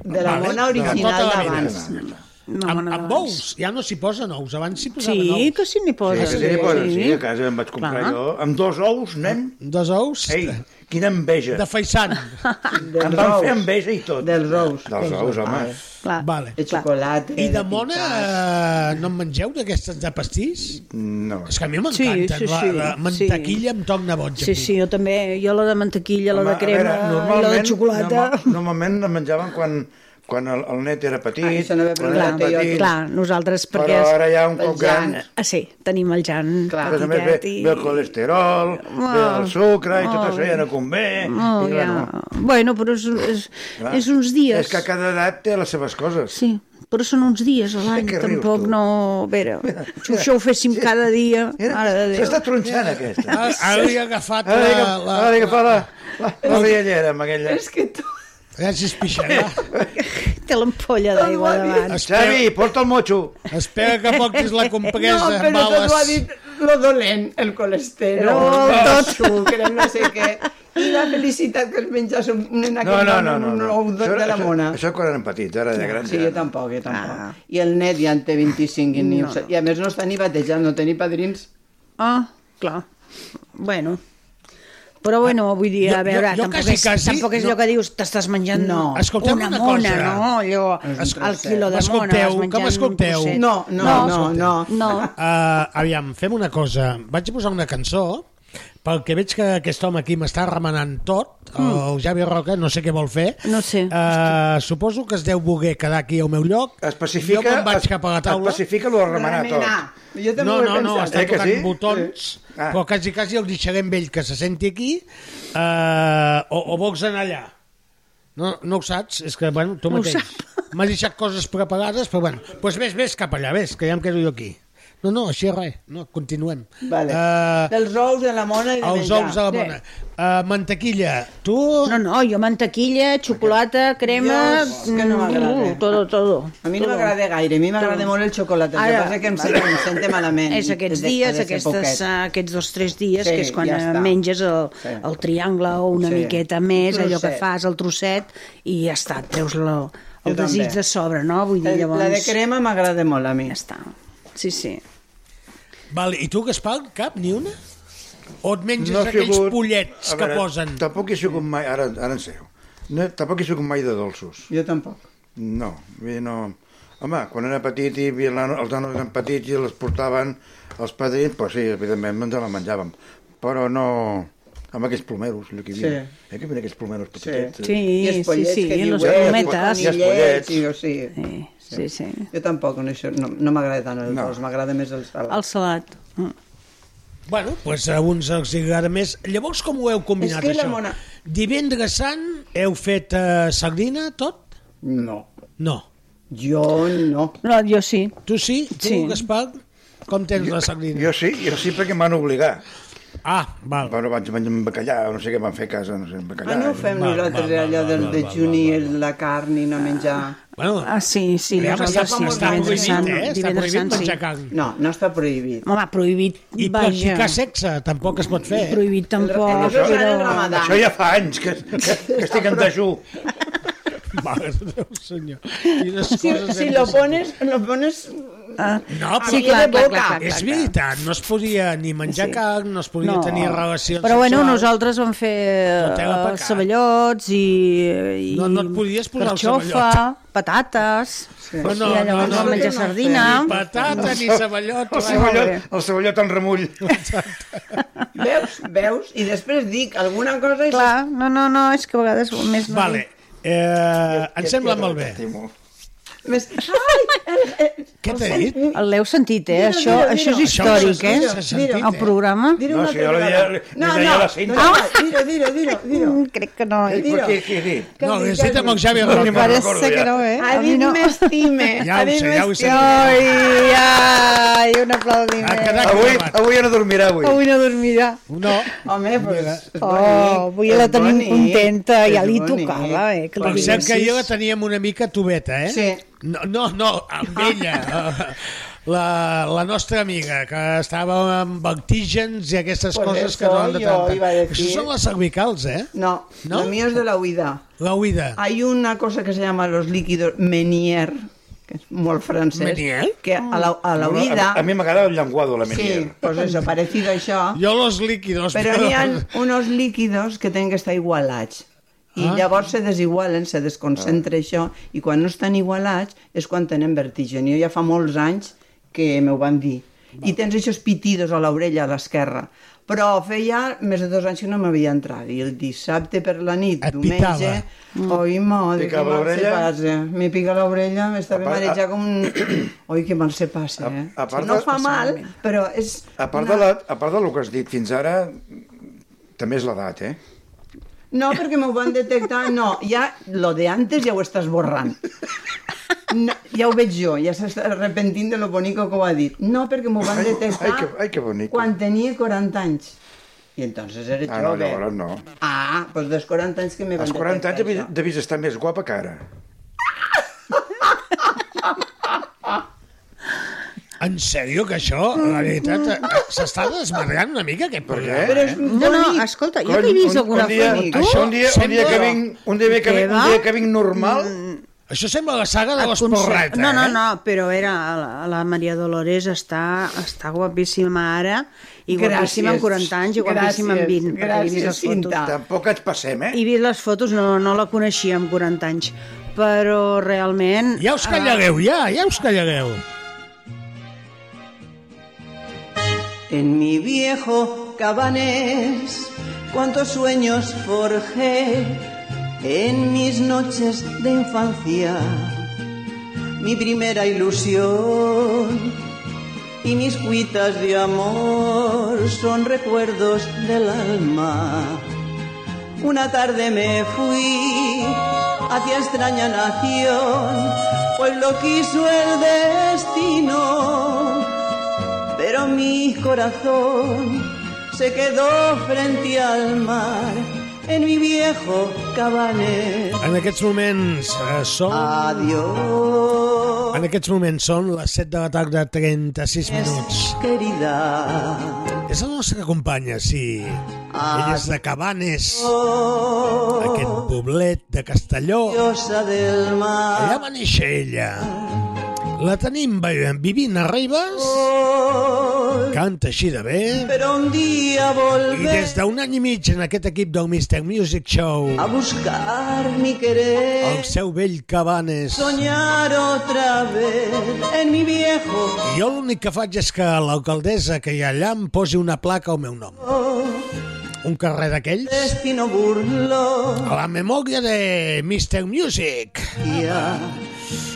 De la Vale. mona original Tota la vida. d'abans. No, amb, amb ous, ja no s'hi posen ous, abans s'hi posaven Sí, ous. que sí n'hi Sí, posa. sí, sí, sí, sí, a que... casa em vaig comprar Clar. Clar. jo. Amb dos ous, nen. Dos ous Ei, quina enveja. de faisant. Dels Em van ous. fer enveja i tot. Dels ous. Dels ous, home. Clar. vale. Doncs De xocolata. I de mona picat. eh, no en mengeu d'aquestes de pastís? No. És que a mi m'encanta, Sí, sí, la, sí, la sí. mantequilla amb toc de boig. Sí, aquí. sí, jo també. Jo la de mantequilla, la de crema, i la de xocolata. normal- normalment la menjaven quan, quan el, el net era petit. Ah, això no havia quan preguntat érem clar, jo. petits, clar, nosaltres Però perquè... ara ja un el cop gran... Jan. Ah, sí, tenim el Jan Clar. Però també ve, petitet i... ve el colesterol, Oh, ve el sucre i tot oh. això ja no convé. Oh, i ja. bueno, Bueno, però és, és, clar. és uns dies. És que cada edat té les seves coses. Sí, però són uns dies a l'any, que rius, tampoc tu. no... A veure, si això ho féssim cada dia, mare de Déu. S'està tronxant aquesta. Ara, Ah, ara he agafat Ara la... he la, agafat- ara he agafat la, la, la riallera amb aquella. És que tu... Gràcies, Pixarà. Té l'ampolla d'aigua Ai, davant. Xavi, porta el motxo. Espera que portis la compresa no, No, amb però tot ho ha ales. dit lo dolent, el Oh, colesterol, Però- el sucre, no sé què. I la felicitat que es menjas un, en No, aquest no, no. no, un no. ou de, Això- de la això- mona. Això quan eren petits, ara de grans. Sí, ja jo no. Ah. tampoc, jo tampoc. I el net ja en té 25 i, ni ho sap. i a més no està ni batejat, no té ni padrins. Ah, clar. Bueno. Però bueno, vull dir, a Jo- veure, jo- jo tampoc, quasi, és, quasi tampoc és no- allò que dius, t'estàs menjant No. Escolteu una, una mona, cosa. no? Allò, És un el quilo de mona, M'escolteu, vas que menjant m'escolteu. un trosset. No, no, no, no. No, Uh, aviam, fem una cosa. Vaig a posar una cançó, perquè veig que aquest home aquí m'està remenant tot, el Javi Roca, no sé què vol fer. Mm. No sé. Uh, suposo que es deu voler quedar aquí al meu lloc. Especifica, Jo me'n vaig es- cap a la taula. Especifica lo de remenar tot. Jo també No, ho he no, no, pensat. està Eh que tocant sí? botons, Ah. però quasi, quasi el deixarem vell que se senti aquí uh, o, o vols anar allà. No, no ho saps? És que, bueno, tu No ho mateix. sap. M'has deixat coses preparades, però bueno. Doncs pues vés, vés cap allà, vés, que ja em quedo jo aquí. No, no, així res. No, continuem. Eh, Vale. Uh, Dels ous de la mona i de Els menjar. ous de la mona. Uh, mantequilla, tu... No, no, jo mantequilla, xocolata, crema... que no m'agrada. mm, Todo, todo. A mi no m'agrada gaire, a mi m'agrada molt el xocolata, el que Ara- passa que em sent, em sento malament. És aquests Ha de- ha dies, de ser aquestes, eh, poquet. aquests dos tres dies, Sí, que és quan ja eh, està. menges el, el triangle o una Sí. miqueta més, allò que Trosset. fas, el trosset, i ja està, et treus la, el Jo desig també. Eh, de sobre, no? Vull dir, La- llavors... La de crema m'agrada molt a mi. Ja està. Sí, sí. Vale, I tu, Gaspar, cap, ni una? O et menges No he aquells sigut- pollets A que veure, posen? Tampoc he sigut mai, ara, ara en sèrio, no, tampoc he sigut mai de dolços. Jo tampoc. No, vull dir, no... Home, quan era petit i hi havia la- els nanos eren petits i les portaven els padrins, doncs sí, evidentment ens la menjàvem. Però no amb aquells plomeros, allò que hi havia. Sí. Eh, que hi havia aquells plomeros petitets. Sí, I els pollets sí, sí, que i diuen, les palometes. I els pollets, i, o sigui, Sí, sí. Jo tampoc, no, això, no, no m'agrada tant el No. dolç, m'agrada més el salat. El salat. Mm. Bueno, doncs pues a uns els agrada més. Llavors, com ho heu combinat, És que la això? mona- Divendres Sant heu fet eh, sardina, tot? No. No. Jo no. No, jo sí. Tu sí? Tu, Sí. Gaspar? Com tens la sardina? Jo sí, jo sí perquè m'han obligat. Ah, val. Però vaig menjar amb bacallà, no sé què van fer a casa, no sé, amb bacallà. Ah, no ho fem nosaltres, allò del dejuni, el- la carn i no menjar... Bueno, ah, sí, Ah. sí, Ja nosaltres fa sí, molts està anys, divendres eh? sant. Està Divendres prohibit sant, sí. menjar carn. No, no està prohibit. Home, prohibit, I practicar sexe tampoc es pot fer. eh? Prohibit tampoc, El- el- però... això era el Ramadà. Això ja fa anys que, que, que estic en dejú. Mare de Déu, senyor. Quines Si, coses si hem lo de- pones, lo pones... Ah, No, però sí, clar, clar, clar, clar, és clar. veritat, no es podia ni menjar Sí. sí. carn, no es podia No. no. tenir relacions Però bueno, sexuals. nosaltres vam fer No té la eh, pecat. ceballots i, i No, no et podies posar el carxofa, ceballot. patates, sí. No, no, i llavors no, no, vam menjar no. sardina. Ni patata, ni ceballot. El ceballot, el ceballot en remull. Veus, veus, i després dic alguna cosa... I... Clar, no, no, no, és que a vegades més no. Vale, eh, em sembla molt bé. Més... Ai, Què t'he dit? L'heu sentit, eh? Mira, això, mira, això és mira. històric, Això s'ha eh? sentit, el eh? programa. Dir-ho No, una si altra jo la vegada. deia- No, Ah, la deia no, la Cinta. no, no, dir-ho, dir-ho, dir-ho, dir-ho. Ah. Mm, Crec que no, eh? Però Què, què he dit? No, dic l'he dit amb el Xavi No, ni Roca. me'n recordo, Parece que ja. no, eh? Ha A mi dit no. m'estime. Ja ho sé, ja ho sé. Ai, ai, un Ha aplaudiment. quedat Avui, gravat. avui ja no dormirà, avui. Avui no dormirà. No, Home, pues, és Oh, avui la és tenim bonic, contenta, ja és li bonic. tocava, eh? Que li Pensem que diguessis. jo la teníem una mica tubeta, eh? Sí. No, no, no amb ella. La, la nostra amiga, que estava amb antígens i aquestes Por coses que eso no han de yo iba a tractar. decir- Això són les cervicals, eh? No, ¿No? lo mío es de la huida. La huida. Hay una cosa que se llama los líquidos Menier, que es muy francés. Menier? Que a la, a la Bueno, huida... A, a mi m'agrada el llenguado, la menier. sí, pues eso, parecido a això. Jo los líquidos... Però hi ha uns líquidos que tenen que estar igualats. I Ah. llavors se desigualen, se desconcentra això, i quan no estan igualats és quan tenen vertigen. Jo ja fa molts anys que m'ho van dir. I tens aquests pitidos a l'orella a l'esquerra. Però feia més de dos anys que no m'havia entrat. I el dissabte per la nit, Et diumenge... pitava. Oi, madre, que Picava mal se l'orella? passa. Me pica l'orella, m'està A part- marejat com... un- Oi, que mal se passa, eh? a part no de- fa mal, però és... A part, de la, a part del que has dit fins ara, també és l'edat, eh? No, perquè m'ho van detectar, no, ja lo de antes ja ho estàs borrant. No, ja ho veig jo, ja s'està arrepentint de lo bonico que ho ha dit. No, perquè m'ho van detectar Ai, que, ai, que bonic. quan tenia 40 anys. I entonces era Ah, no, jove. llavors no. Ah, doncs dels 40 anys que me van Als 40 anys devies, detectar devies estar més guapa que ara. En sèrio, que això, la veritat, eh, s'està desmadrant una mica aquest Per programa. eh? què? Però és No, no, bonic. escolta, jo t'he vist alguna un dia, foto, tu? Això un dia, un dia que Sembla- vinc, un dia que vinc, un Eva? dia que vinc normal, Això sembla la saga de les Conce- porretes, No, no, eh? no, però era la, la Maria Dolores està, està guapíssima ara i guapíssima Gràcies. amb 40 anys i guapíssima Gràcies. amb 20, perquè he vist Gràcies, les fotos. Cinta. tampoc ens passem, eh? He vist les fotos, no, no la coneixia amb 40 anys, però realment... Ja eh, us callareu, ja, ja us callareu. En mi viejo cabanés, cuántos sueños forjé en mis noches de infancia, mi primera ilusión y mis cuitas de amor son recuerdos del alma. Una tarde me fui hacia extraña nación, pues lo quiso el destino pero mi corazón se quedó frente al mar en mi viejo cabanet. En aquests moments eh, són... Adiós. En aquests moments són les 7 de la tarda, 36 minuts. Querida. És la nostra companya, sí. Ella és de Cabanes, aquest poblet de Castelló. Diosa del mar. Allà va néixer ella. La tenim veient, vivint a Ribes. Canta així de bé. Pero un día I volveré des d'un any i mig en aquest equip del Mr. Music Show, a buscar mi querer. el seu vell Cabanes. Soñar otra vez en mi viejo Jo l'únic que faig és que l'alcaldessa que hi ha allà em posi una placa al meu nom. Un carrer d'aquells destino burló. a la memòria de Mr. Music.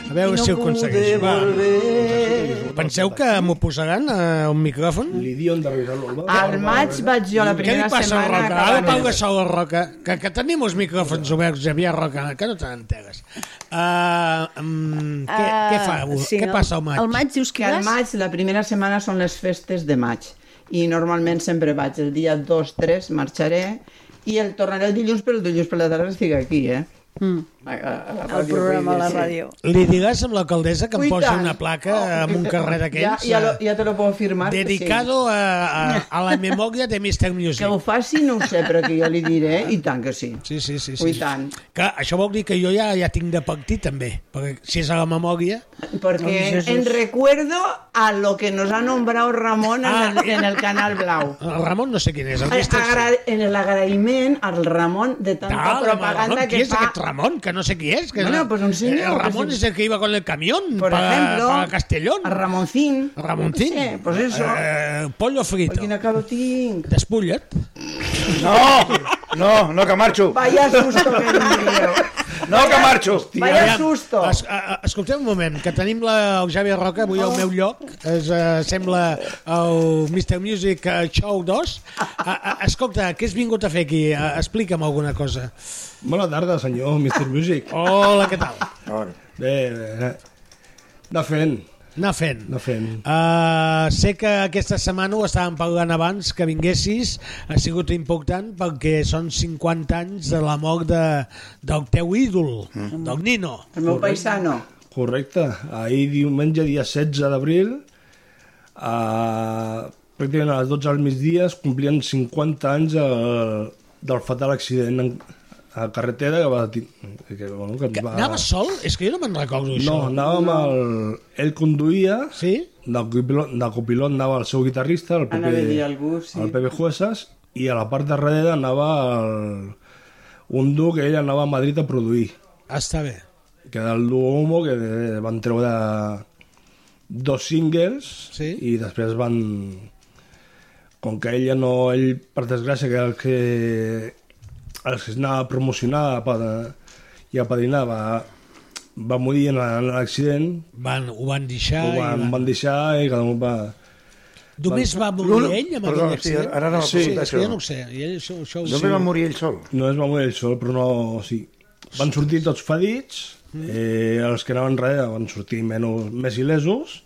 A veure no si ho pude aconsegueix. Va. volver. Penseu que m'ho posaran Eh, a un micròfon? L'idion de Al maig vaig jo la primera Què li passa setmana al Roca? a Ara Cabanes. Pau Gasol, al Roca, que, que tenim els micròfons oberts, Javier Roca, que no te n'entegues. Uh, um, què, Ah, què, fa? sí, què el- passa al maig? dius que que al vas? maig, la primera setmana són les festes de maig i normalment sempre vaig el dia 2-3 marxaré i el tornaré el dilluns, però el dilluns per la tarda estic aquí, eh? Mm. A, a, a la El programa a la ràdio. Li digues amb l'alcaldessa que em Ui, posi tant. una placa en un carrer d'aquells Oh. Ja, ja, lo, eh, ja te lo puedo firmar. que dedicado sí. a, a, a la memòria de Mr. Music. Que ho faci, no ho sé, però que jo li diré, eh? i tant que sí. Sí, sí, sí. Ui, sí. tant. Que això vol dir que jo ja ja tinc de partir, també. Perquè si és a la memòria... doncs Porque en recuerdo a lo que nos ha nombrado Ramón en, el, en el Canal Blau. Ah. El Ramon no sé quin és. El Eh, Mr. agra- en el agraïment al Ramon de tanta Ah, propaganda Ramon, que qui és fa... aquest Ramon? Que no sé qui és. Que Bueno, no... pues un senyor, Eh, Ramon pues un- és el que iba con el camión Por para, ejemplo, para Castellón. A Ramoncín. Ramontín. Sí, pues eso. Eh, pollo frito. Quina cara tinc. Despulla't. No, no, no que marxo. Vaya susto que em dieu. No que marxo. Hòstia, Vaya Aviam, susto. Es, a, a, escolteu un moment, que tenim la, el Javier Roca avui al meu lloc. Es, uh, sembla el Mr. Music eh, Show 2. Uh, uh, escolta, què has vingut a fer aquí? Uh, explica'm alguna cosa. Bona tarda, senyor Mr. Music. Hola, què tal? Bé, eh, bé. Anar fent. Anar fent. Anar fent. Uh, sé que aquesta setmana ho estàvem parlant abans que vinguessis, ha sigut important perquè són 50 anys de la mort de, del teu ídol, mm. del Nino. El meu paisano. Correcte. Ahir diumenge, dia 16 d'abril, a... pràcticament a les 12 del migdia es complien 50 anys el... del fatal accident en... a carretera que va... ti- Que, bueno, que, que va... Anava sol? És que jo no me'n recordo No, això. anàvem no. el... Ell conduïa, sí? de copilot, de copilot anava el seu guitarrista, el Pepe, Anava a dir algú, sí. el Pepe Juesas, i a la part de darrere anava el... un duo que ell anava a Madrid a produir. Està bé. Que era el duo Homo, que eh, van treure dos singles sí? i després van... Com que ell ja no... Ell, per desgràcia, que era el que... El que anava a promocionar per, i a padrinar va, va morir en en l'accident Van, ho van deixar. ho van, i van... van deixar i cada un va... Només va morir ell amb Perdó, aquell sí, accident? ara no sí, sí, és que això. jo no ho sé. I ell, això, això ho Només sé. va morir ell sol. No es va morir ell sol, però no... O sigui, van sortir tots fadits, Mm. eh, els que anaven darrere van sortir menys, més il·lesos.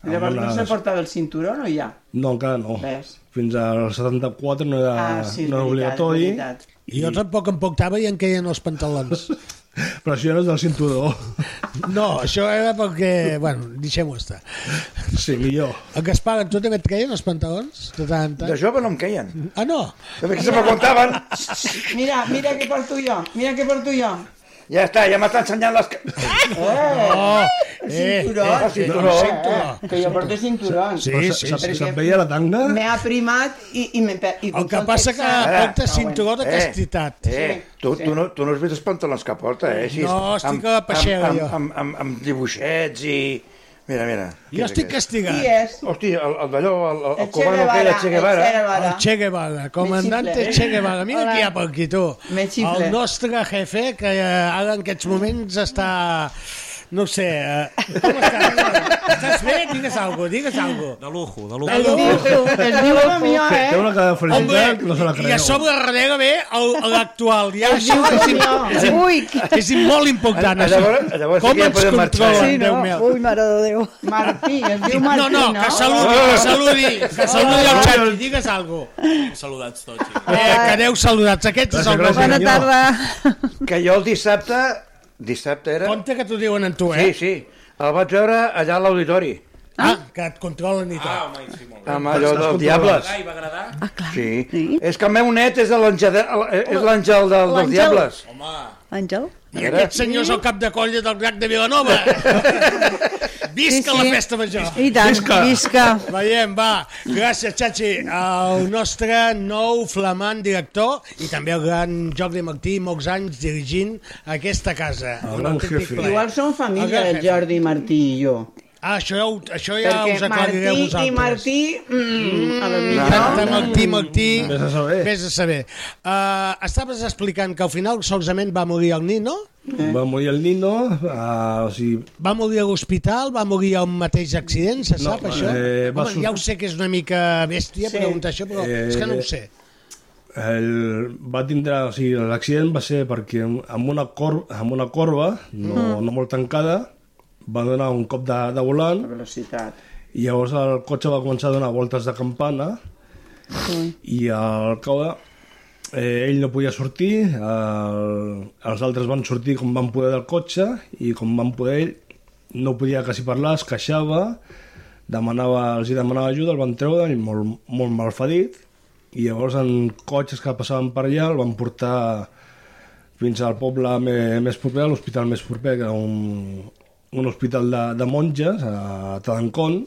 Llavors Amb no unes- se portava el cinturón o ja? No, encara no. Ves. Fins al 74 no era, Ah, sí, és no era veritat, obligatori. és veritat. I jo tampoc em portava i em queien els pantalons. Però això no és del cinturó. No, això era perquè... Bueno, deixem-ho estar. Sí, millor. El Gaspar, tu també et queien els pantalons? De tant en tant? De jove no em queien. Ah, no? De que se me contaven. Mira, mira què porto jo, mira què porto jo. Eh, Ja està, ja m'està ensenyant les... ca- No, El eh, cinturón. eh, el cinturó, Eh, cinturó. eh, que jo porto cinturón. Sí, Però se- sí, se- sí. Se't veia la tanga? M'he aprimat i, i m'he... i El com que sol passa que texà. porta Ah, bueno. cinturó de Eh, castitat. Eh, tu, tu, no, tu no has vist els pantalons que porta, eh? Així, No, estic a la peixera, amb, jo. amb, amb, amb, amb dibuixets i... Mira, mira. Jo estic castigat. Qui és? Hosti, el, el d'allò, el, el, el El Che cubano que era Guevara, Che el Guevara. Che Guevara. El Che Guevara, comandante xifle. Che Guevara. Mira Hola. qui hi ha per aquí, tu. Me xifle. El nostre jefe, que eh, ara en aquests moments està... No ho sé... Eh, com estàs? Estàs bé? digues algo, digues algo. De lujo, de De lujo. Que es diu el Mió, eh? Té una cara de felicitat Hombre, que no se la creu. I a sobre renega bé el- l'actual. Ja, Es diu això és, el Mió. és, Ui. és, és molt important, A- a això. llavors- a llavors sí Com que ja ens podem marxar. controlen, Sí, no? Déu meu. Ui, mare de Déu. Martí, es diu No, Martí, no, no? Eh. que saludi, que saludi, que saludi Ah, el xat, digues algo. Saludats tots. Eh, que aneu saludats, aquests és el Gràcies, gràcies, Bona Que jo el dissabte, dissabte era... Compte que t'ho diuen en tu, eh? Sí, sí. El vaig veure allà a l'auditori, Ah, que et controlen i tot. Ah, home, sí, molt amb allò dels Diables. va agradar? Ah, clar. Sí. És que el meu net és de l'Àngel és l'Àngel del, dels L'Àngel. Diables. Àngel? I aquest senyor és el cap de colla del Drac de Vilanova. Visca Sí, la sí. festa major. I tant, Visca. visca. Veiem, va. Gràcies, Chachi. El nostre nou flamant director i també el gran Jordi Martí, molts anys dirigint aquesta casa. Un autèntic plaer. Igual som El família, gran el jefe. Jordi, Martí i jo. Ah, això, ja ho- això ja Perquè us aclariré Martí vosaltres. i Martí... Mm, a la Martí, millor... Martí, Martí... Vés a saber. Vés a saber. Uh, estaves explicant que al final solament va morir el Nino? Va morir el Nino, eh, o sigui, Va morir a l'hospital, va morir a un mateix accident, se No, sap, això? eh, va Home, sor- Eh, ja ho sé que és una mica bèstia Sí. preguntar això, però és que no ho sé. el, va tindre, o sigui, l'accident va ser perquè amb una, cor, amb una corba no, Mm. no molt tancada va donar un cop de, de volant velocitat. i llavors el cotxe va començar a donar voltes de campana i al cau de, eh, ell no podia sortir el, els altres van sortir com van poder del cotxe i com van poder ell no podia quasi parlar, es queixava demanava, els hi demanava ajuda el van treure i molt, molt malfadit i llavors en cotxes que passaven per allà el van portar fins al poble més, més proper, a l'hospital més proper, que era un, un hospital de, de monges, a Tadancón,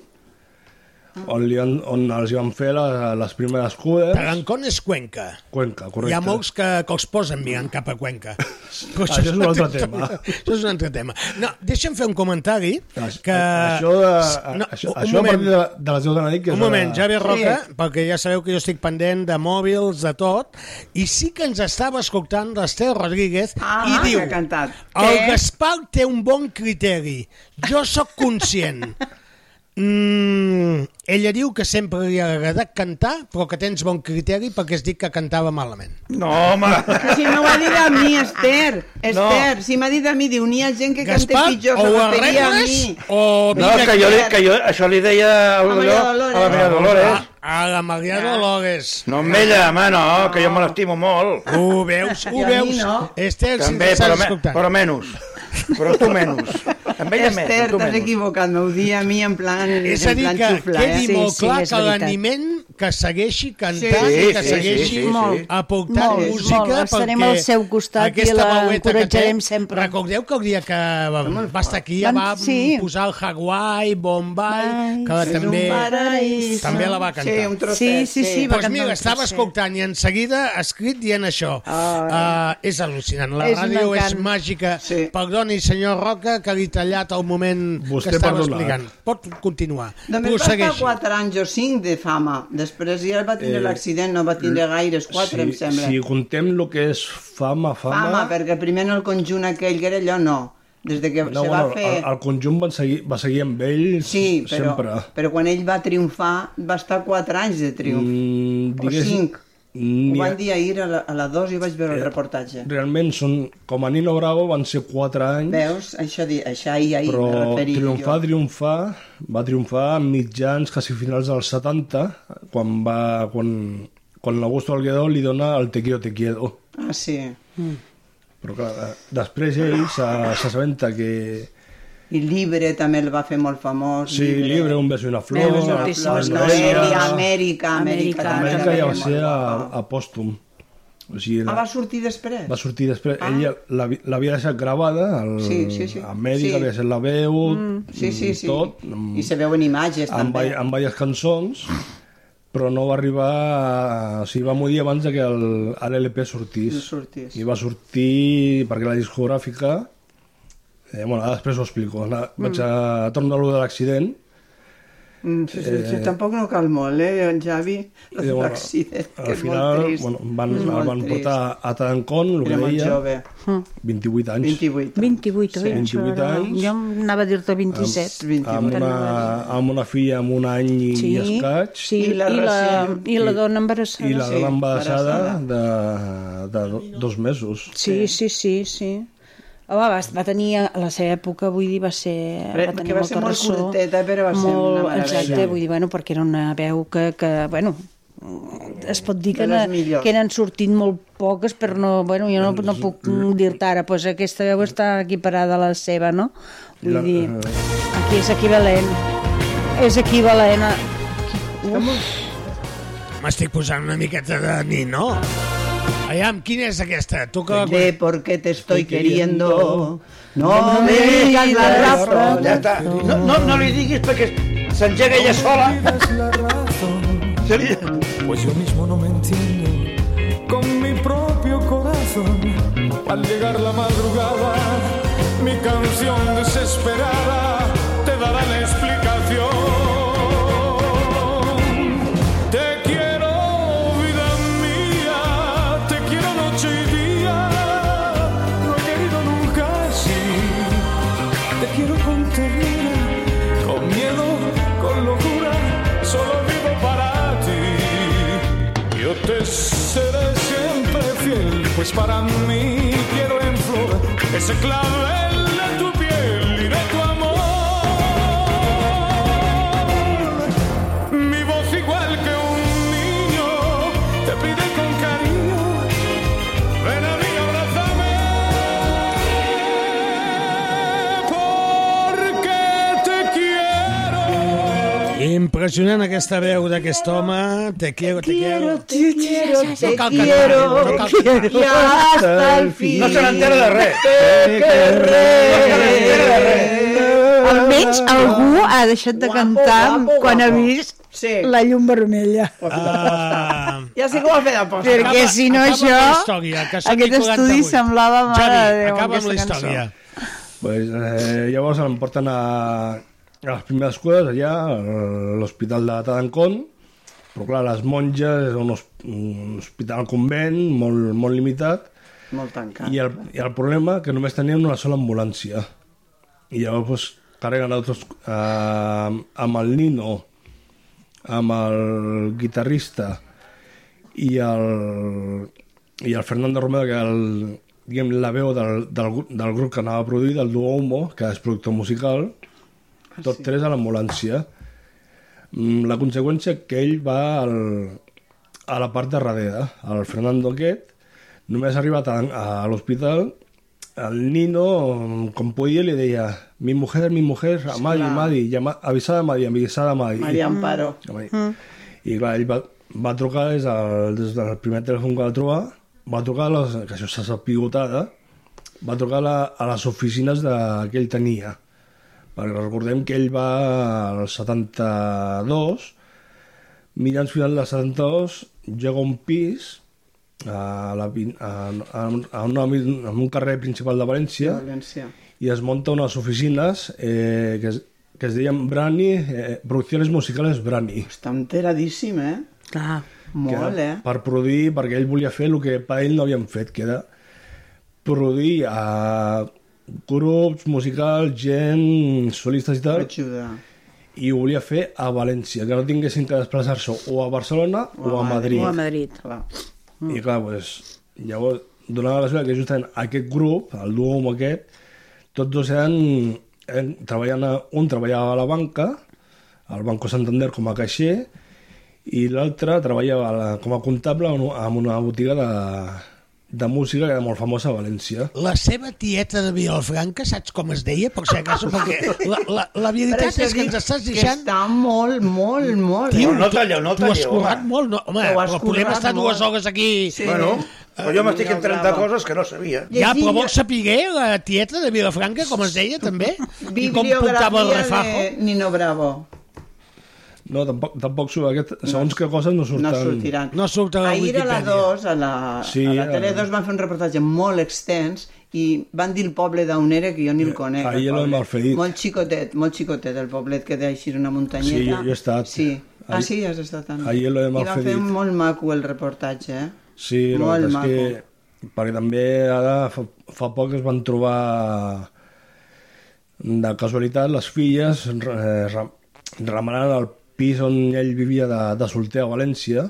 on, li han, on els hi van fer la, les primeres cues. Tadancón és Cuenca. Cuenca, correcte. Ah, Hi ha molts que, que els posen mirant cap a Cuenca. Però Això és un altre tema. Això és un altre tema. No, deixa'm fer un comentari que... Això, de, no, això, un això a moment. partir de, de les 10 de la nit... Que és Un moment, hora- Javi Roca, sí. perquè ja sabeu que jo estic pendent de mòbils, de tot, i sí que ens estava escoltant l'Esther Rodríguez ah, i que diu ha cantat. el Què? Gaspar té un bon criteri, jo sóc conscient. Mm, ella diu que sempre li ha agradat cantar, però que tens bon criteri perquè es diu que cantava malament. No, home! Però si m'ho ha dit a mi, Esther. Esther, si m'ha dit a mi, diu, n'hi ha gent que canta Gaspar, pitjor, o se ho referia a arregles mi. o... No, que jo, li- que jo, això li deia a la Maria Dolores. Dolores. A la Ah. Maria Dolores. A la Maria Dolores. No amb ella, home, no, que jo me l'estimo molt. Ah. Ho veus, ho I a mi veus? no. Esther, si També, ens però, estàs me, escoltant. però menys. Però tu menys. Amb ella més, Esther, però tu t'has menys. equivocat, m'ho dia a mi en plan, És a en dir, plan que xuflar. quedi eh? molt clar que l'animent que segueixi cantant Sí, sí, i que sí, segueixi sí, sí, sí. Molt, aportant molt, música molt. Estarem perquè al seu costat i aquesta la veueta que encoratjarem té, sempre. Recordeu que el dia que va, va estar aquí ja Vam- va sí. posar el Hawaii, Bombay, que és un també, paraíso. també la va cantar. Sí, un trosset, Sí, sí, sí, sí. va Doncs cantar un mira, estava trosset. escoltant i en seguida ha escrit dient això. Ah, és al·lucinant. La És un ràdio és encant. màgica. Perdoni, senyor Roca, que li he tallat el moment Vostè que estava perdonat. explicant. Pot continuar. Només va estar Prossegueixi. 4 anys o 5 de fama. Després ja va tindre Eh, l'accident, no va tindre gaires, 4 si, em sembla. Si contem el que és fama, fama... Fama, perquè primer en el conjunt aquell que era allò, no. Des de que no, se va bueno, fer... el, el conjunt va seguir, va seguir amb ell Sí, però, sempre. però quan ell va triomfar, va estar 4 anys de triomf. Mm, o 5. Ho n'hi ha- van dir ahir a la, a la 2 i vaig veure Eh, el reportatge. Realment, són, com a Nino Bravo van ser 4 anys, Veus? Això, di, això ahir, ahir doncs? però me referia triomfar, jo. triomfar, va triomfar a mitjans, quasi finals dels 70, quan va... Quan, quan l'Augusto Alguedo li dona el Te quiero, te quiero. Ah, sí. Mm. Però clar, eh, després ell se- s'assabenta que... I Libre també el va fer molt famós. Sí, Libre, un beso i una flor... Veus, una flor, Noelia, Amèrica, Amèrica. Amèrica, també Amèrica ja va molt ser a, a pòstum. O sigui, Ah, va sortir després? va sortir després. Ah. Ella l'havi- l'havia deixat gravada, el, Sí, sí, sí. Amèrica, Sí. havia deixat la veu, Mm, sí, sí, sí. tot. I se veuen imatges, amb, també. vai- amb diverses cançons, però no va arribar... A, o sigui, va morir abans de que el- a l'LP sortís. No sortís. I va sortir perquè la discogràfica... Eh, bueno, ara després ho explico. La, mm. Vaig a tornar a lo de l'accident Mm, sí, sí, sí, Eh, tampoc no cal molt, eh, en Javi, I, bueno, l'accident, que és al molt final trist. bueno, van, És el molt van trist. portar a Trancón, el que Era molt deia, jove. 28 anys. 28. 28, Sí. oi? 28 Això era- anys. Jo anava a dir-te 27. Amb una, amb una filla amb un any i, Sí, i escaig. sí, i la, i la, i la dona embarassada. I la dona embarassada de, de do- dos mesos. Sí, sí, sí, sí. Home, va, va tenir, a la seva època, vull dir, va ser... Però- va tenir que va molta ser molt ressò, curteta, però va ser una meravella. Exacte, Sí. vull dir, bueno, perquè era una veu que, que bueno, es pot dir que, De les na, millors. que n'han sortit molt poques, però no, bueno, jo no, no puc dir-te ara, doncs aquesta veu està equiparada a la seva, no? Vull La- dir, aquí és equivalent, és equivalent a... Uf, M'estic posant una miqueta de nino. Aviam, quina és aquesta? Toca... De por qué te estoy queriendo, No no me me digas la digas la razón. razón. No, no, no li diguis perquè s'engega ella sola. Seria... Pues yo mismo no me entiendo con mi propio corazón. Al llegar la madrugada, mi canción desesperada te dará la explicación. Te quiero, vida mía, te quiero noche y día. No he querido nunca así. Te quiero con ternura con miedo, con locura, solo vivo para ti. Yo te seré siempre fiel, pues para mí quiero en flor ese clavel de tu piel y de tu amor. Mi voz igual que un niño te pide con cariño, ven a mí, abrázame, porque te quiero. Impressionant aquesta veu d'aquest home. Te quiero, te quiero. Te quiero, te cal cantar, quiero, no cal te quiero, y hasta el fin. No se n'entera de res. Te querré. Almenys algú ha deixat de cantar quan ha vist Sí. la llum vermella. Ah, Ja sé que ho ha fet a posta. Perquè si no acaba això, la història, que són aquest i estudi 48. semblava mare Javi, de Déu. acaba amb aquesta la cançó. història. Pues, eh, llavors em porten a, a les primeres cures allà, a l'hospital de Tadancón, però clar, les monges, és un, hos- un hospital convent, molt, molt limitat, Molt tancat. i el, i el problema que només tenien una sola ambulància. I llavors pues, carreguen altres, eh, amb el Nino, amb el guitarrista i el, i el Fernando Romero, que era el, diguem, la veu del, del, gru- del grup que anava a produir, del duo Homo, que és productor musical, Ah, tots tres a l'ambulància. Mm, La conseqüència que ell va al, a la part de darrere, el Fernando aquest, només ha arribat a, a l'hospital, el Nino, com podia, li deia mi mujer, mi mujer, a Madi, Esclar. Madi, llama- avisada Madi, avisada Madi. Maria Amparo. Madi. Mm. I clar, ell va, va trucar des del, des del primer telèfon que va trobar, va trucar, a les, que això s'ha sapigotada, va trucar a, la, a les oficines de, que ell tenia. Perquè recordem que ell va al 72, mitjans final del 72, lloga un pis a, la, vin- a, a, un- a, una, a un carrer principal de València, València. i es monta unes oficines eh, que, es, que es deien Brani, eh, produccions musicales Brani. Està enteradíssim, eh? Clar. Molt, eh? Per produir, perquè ell volia fer el que per ell no havien fet, que era produir a grups musicals, gent, solistes i tal. Ajuda. I ho volia fer a València, que no tinguessin que desplaçar-se o a Barcelona o, a Madrid. O a Madrid. Mm. I clar, doncs, llavors, donava la sort que justament aquest grup, el duo amb aquest, tots dos eren, eren treballant a, un treballava a la banca, al Banco Santander com a caixer, i l'altre treballava a la, com a comptable en, un- en una botiga de, de música que era molt famosa a València. La seva tieta de Vilafranca, saps com es deia? Per si acaso, perquè la, la, la Per veritat això és que dic ens estàs que deixant... està molt, molt, molt. Tio, eh? tu- Tu has currat molt, no? Home, Ho has però podem currat estar dues molt. hores aquí... Sí. Bueno, però jo m'estic Eh, entrant de coses que no sabia. Ja, però vols saber la tieta de Vilafranca, com es deia, també? I com portava el Bibliografia refajo? de Nino Bravo. No, tampoc, tampoc surt. Aquest, segons que cosa no surten. No sortiran. No surt a la Ahir a la Wikipedia. 2, a la, Sí, a la a- Tele 2, van fer un reportatge molt extens i van dir el poble d'Aunera, que jo ni el conec. ahir el l'hem poble. malferit. Molt xicotet, molt xicotet, el poblet que té així una muntanyeta. Sí, jo- jo he estat. Sí. Ah, Ahir- sí, has estat també. ahir l'hem I va fer malferit. molt maco el reportatge, eh? Sí, la Molt veritat maco. és que... Perquè també ara fa, fa poc es van trobar de casualitat les filles eh, ram- remenant al pis on ell vivia de, de solter a València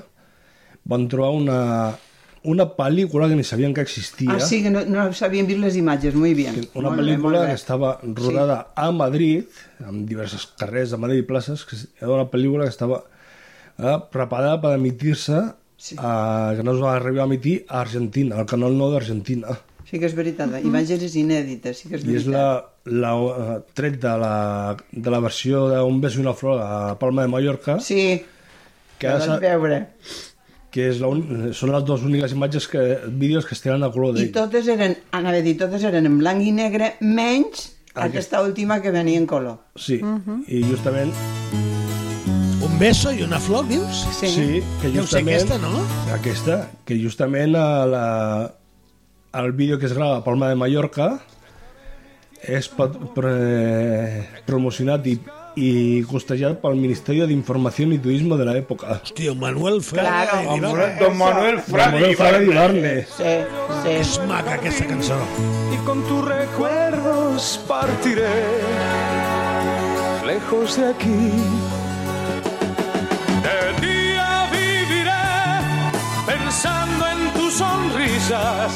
van trobar una, una pel·lícula que ni sabien que existia Ah, sí, que no, no s'havien vist les imatges, molt bé. eh? una molt bé, pel·lícula molt bé. que estava rodada a Madrid, amb diversos carrers de Madrid i places, que era una pel·lícula que estava eh, preparada per emitir-se sí. a, que no es va arribar a emitir a Argentina, al Canal 9 d'Argentina. Sí que és veritat, imatges inèdites, sí que és I és veritat. la, la eh, tret de la, de la versió d'Un beso i una flor a Palma de Mallorca. Sí, Doncs que, la ara vaig s'ha- veure. que és la un... són les dues úniques imatges que vídeos que es tenen a color I d'ell. totes eren, anava a dir, totes eren en blanc i negre, menys Aquest- aquesta última que venia en color. Sí, Mhm. i justament Un beso i una flor, dius? Sí, que justament... Deu ser aquesta, no? Aquesta, que justament a la, el vídeo que es grava a Palma de Mallorca és pat- pre, promocionat i, i costejat pel Ministeri d'Informació i Turisme de l'època. Hòstia, Manuel Fraga Claro. i Dibarne. Don Manuel Fraga Don Manuel Fraga i Dibarne. Sí, sí. És maca aquesta cançó. y con tus recuerdos partiré lejos de aquí. De día viviré pensando en tus sonrisas,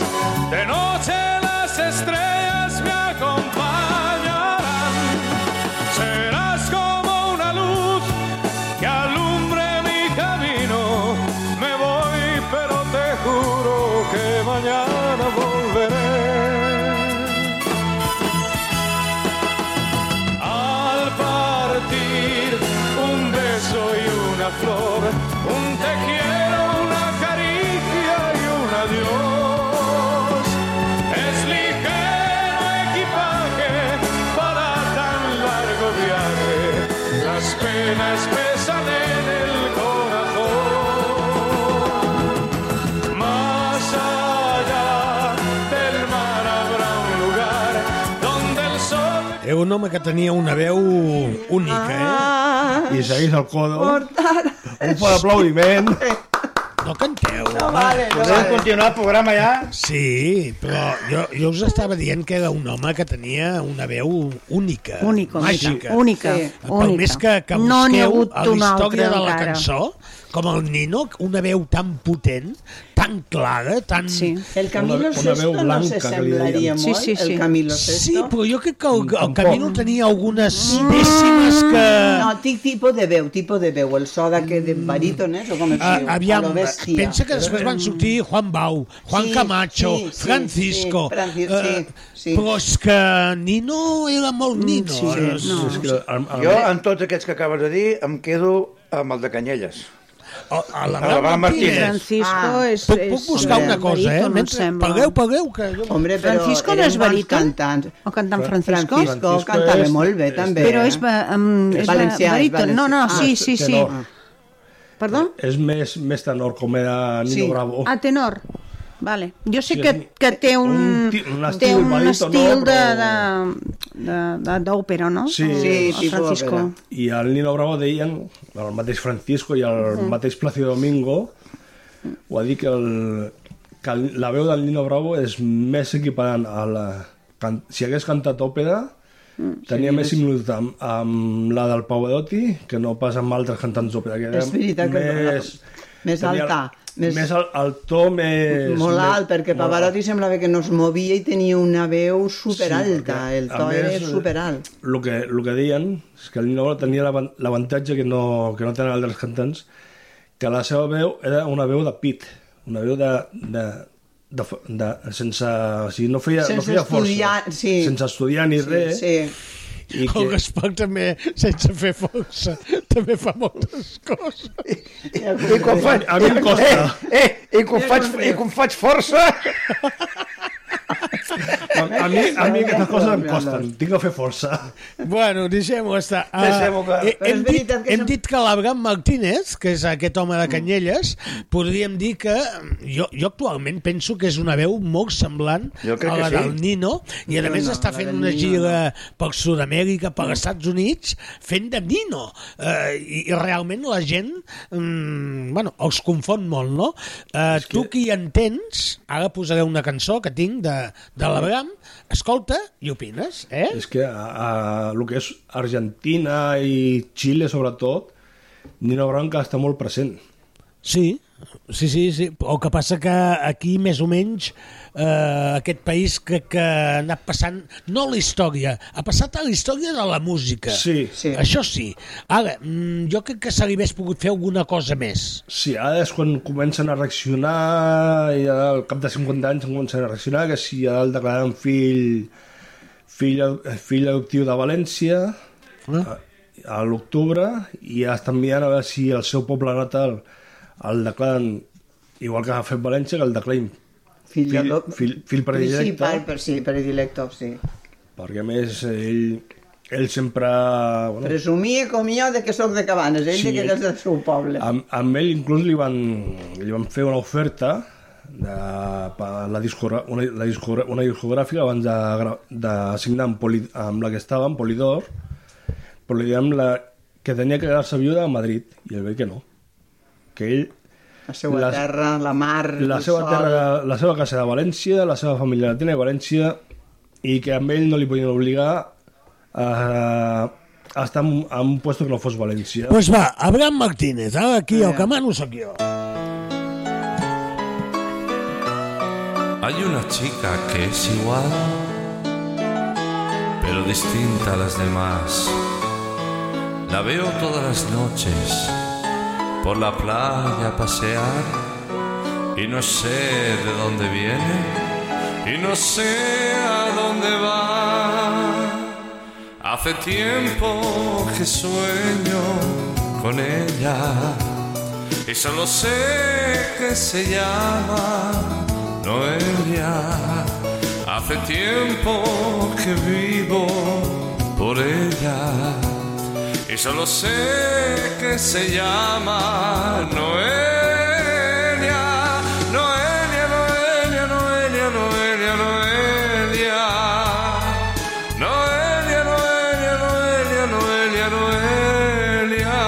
de noche las estrellas me acompañarán. Serás como una luz que alumbre mi camino. Me voy, pero te juro que mañana volveré. Al partir un beso y una flor, un te quiero, una caricia y un adiós. Es ligero equipaje para tan largo viaje, las penas pesan en el corazón. Más allá del mar habrá un lugar donde el sol Era un home que tenia una veu única, eh? I segueix el codo. Portar... Un fort aplaudiment. No canteu. No vale, no Podem vale. continuar el programa ja? Sí, però jo, jo us estava dient que era un home que tenia una veu única. Única, màgica. única, Sí. única, Pel única. més que, que No n'hi ha busqueu hagut a la un altre història de la encara. cançó, com el Nino, una veu tan potent, tan clara, tan... Sí. El Camilo Sesto no se semblaria molt, el Camilo Sesto. Sí, però jo crec que el, el Tampoc. Camilo tenia algunes dècimes que... No, tinc tipus de veu, tipus de veu, el so d'aquest de barítones, o com es Ah, diu, aviam, a lo bèstia. pensa que després van sortir Juan Bau, Juan Sí, Camacho, sí, sí, Francisco... sí, Francis- eh, sí, Mm, sí. Però és que Nino era molt Nino. eh, És que el, el, Jo, en tots aquests que acabes de dir, em quedo amb el de Canyelles. Oh, O, a la Barbara Martínez. Francisco Ah. és... Puc- és- puc buscar és una cosa, baríton, eh? em Mentre- sembla. pagueu, pagueu, que... Hombre, però Francisco no eren és bons baríton? Cantants. O cantant Francisco? Francisco Francisco cantava és- molt bé, també. eh? Però eh? és, ba, um, És és valencià, valencià, és baríton. No, no, valencià. sí, Ah, sí, sí. Tenor. Perdó? Ah, és més, més tenor, com era Nino Bravo. A tenor. Vale. Jo sé Sí, que, és un- que Ah, té un, un ti- un té estil un baríton, estil no, de, de, però- de, de, d'òpera, no? El- el Francisco. I el Nino Bravo deien, el mateix Francisco i el Mhm. mateix Plácido Domingo, ho ha dit que, el, que el, la veu del Nino Bravo és més equiparant a la... Can, si hagués cantat òpera, Mm. tenia sí, més és- similitud amb, amb la del Pavarotti que no pas amb altres cantants d'òpera. que era És veritat que no, més, més tenia alta, Més, més- més el, el to més... molt més- alt, perquè molt Pavarotti semblava que no es movia i tenia una veu superalta, perquè, el a to era més, eh, superalt. el que, el que deien és que el Nino Bravo tenia l'avan- l'avantatge que, no, que no tenen altres cantants, que la seva veu era una veu de pit, una veu de... de, de, fo- de sense... O sigui, no feia, Sense no feia força. estudiar, sí. Sense estudiar ni Sí, res. sí. I El que, Gaspar també, sense fer força, també fa moltes coses. I quan faig... A mi em Eh, costa. eh, Eh, eh, i, quan faig, I quan faig força... A, a mi, a mi aquestes coses em costen, tinc que fer força. Bueno, deixem-ho estar. Ah, Deixem-ho clar. he- Però és hem, dit, veritat que hem som- dit que l'Abraham Martínez, que és aquest home Mm. de Canyelles, podríem dir que mm, jo, jo actualment penso que és una veu molt semblant Jo crec a la que sí. del Nino, i a No, més no, està la fent del una Nino gira per eh, Sud-amèrica, per Estats Units, fent de Nino. Eh, i, I realment la gent mm, bueno, els confon molt, no? Eh, tu que hi entens, ara posaré una cançó que tinc de, de l'Abraham, escolta i opines, eh? És que a, a, el que és Argentina i Xile, sobretot, Nino Branca està molt present. Sí, sí, sí, sí. El que passa que aquí, més o menys, eh, aquest país que, que ha anat passant, no la història, ha passat a la història de la música. Sí. Sí. Això sí. Ara, mm, jo crec que se li hagués pogut fer alguna cosa més. Sí, ara és quan comencen a reaccionar, i ara, al cap de 50 anys comencen a reaccionar, que si ara el declaren fill, fill, fill adoptiu de València, a, a l'octubre, i ja estan mirant a veure si el seu poble natal el declaren, igual que ha fet València, que el declarin Fill, fill, adop- fill, fill Sí, predilecte, per, per, sí, predilecto, sí. perquè a més ell, ell sempre... Bueno, Presumia com jo de que sóc de Cabanes, ell Sí, sí, de que ell- és del seu poble. Amb, amb ell inclús li van, li van fer una oferta de, per la, discogra, una, la discogra, una discogràfica abans de, gra- de signar amb, Poli, amb la que estava, amb Polidor, però li diem la, que tenia que quedar-se viuda a Madrid, i ell ve que no. Que ell... La seva terra, la mar, la el sol. seva terra, la seva casa de València, la seva família la tenia a València, i que amb ell no li podien obligar a, a estar en, un- en un lloc que no fos València. Doncs pues va, Abraham Martínez, ara aquí el que mano sóc jo. Hay una chica que es igual, pero distinta a las demás. La veo todas las noches por la playa a pasear y no sé de dónde viene y no sé a dónde va. Hace tiempo que sueño con ella y solo sé que se llama Noelia. Hace tiempo que vivo por ella y solo sé que se llama Noelia. Noelia, Noelia, Noelia, Noelia, Noelia. Noelia, Noelia, Noelia, Noelia, Noelia.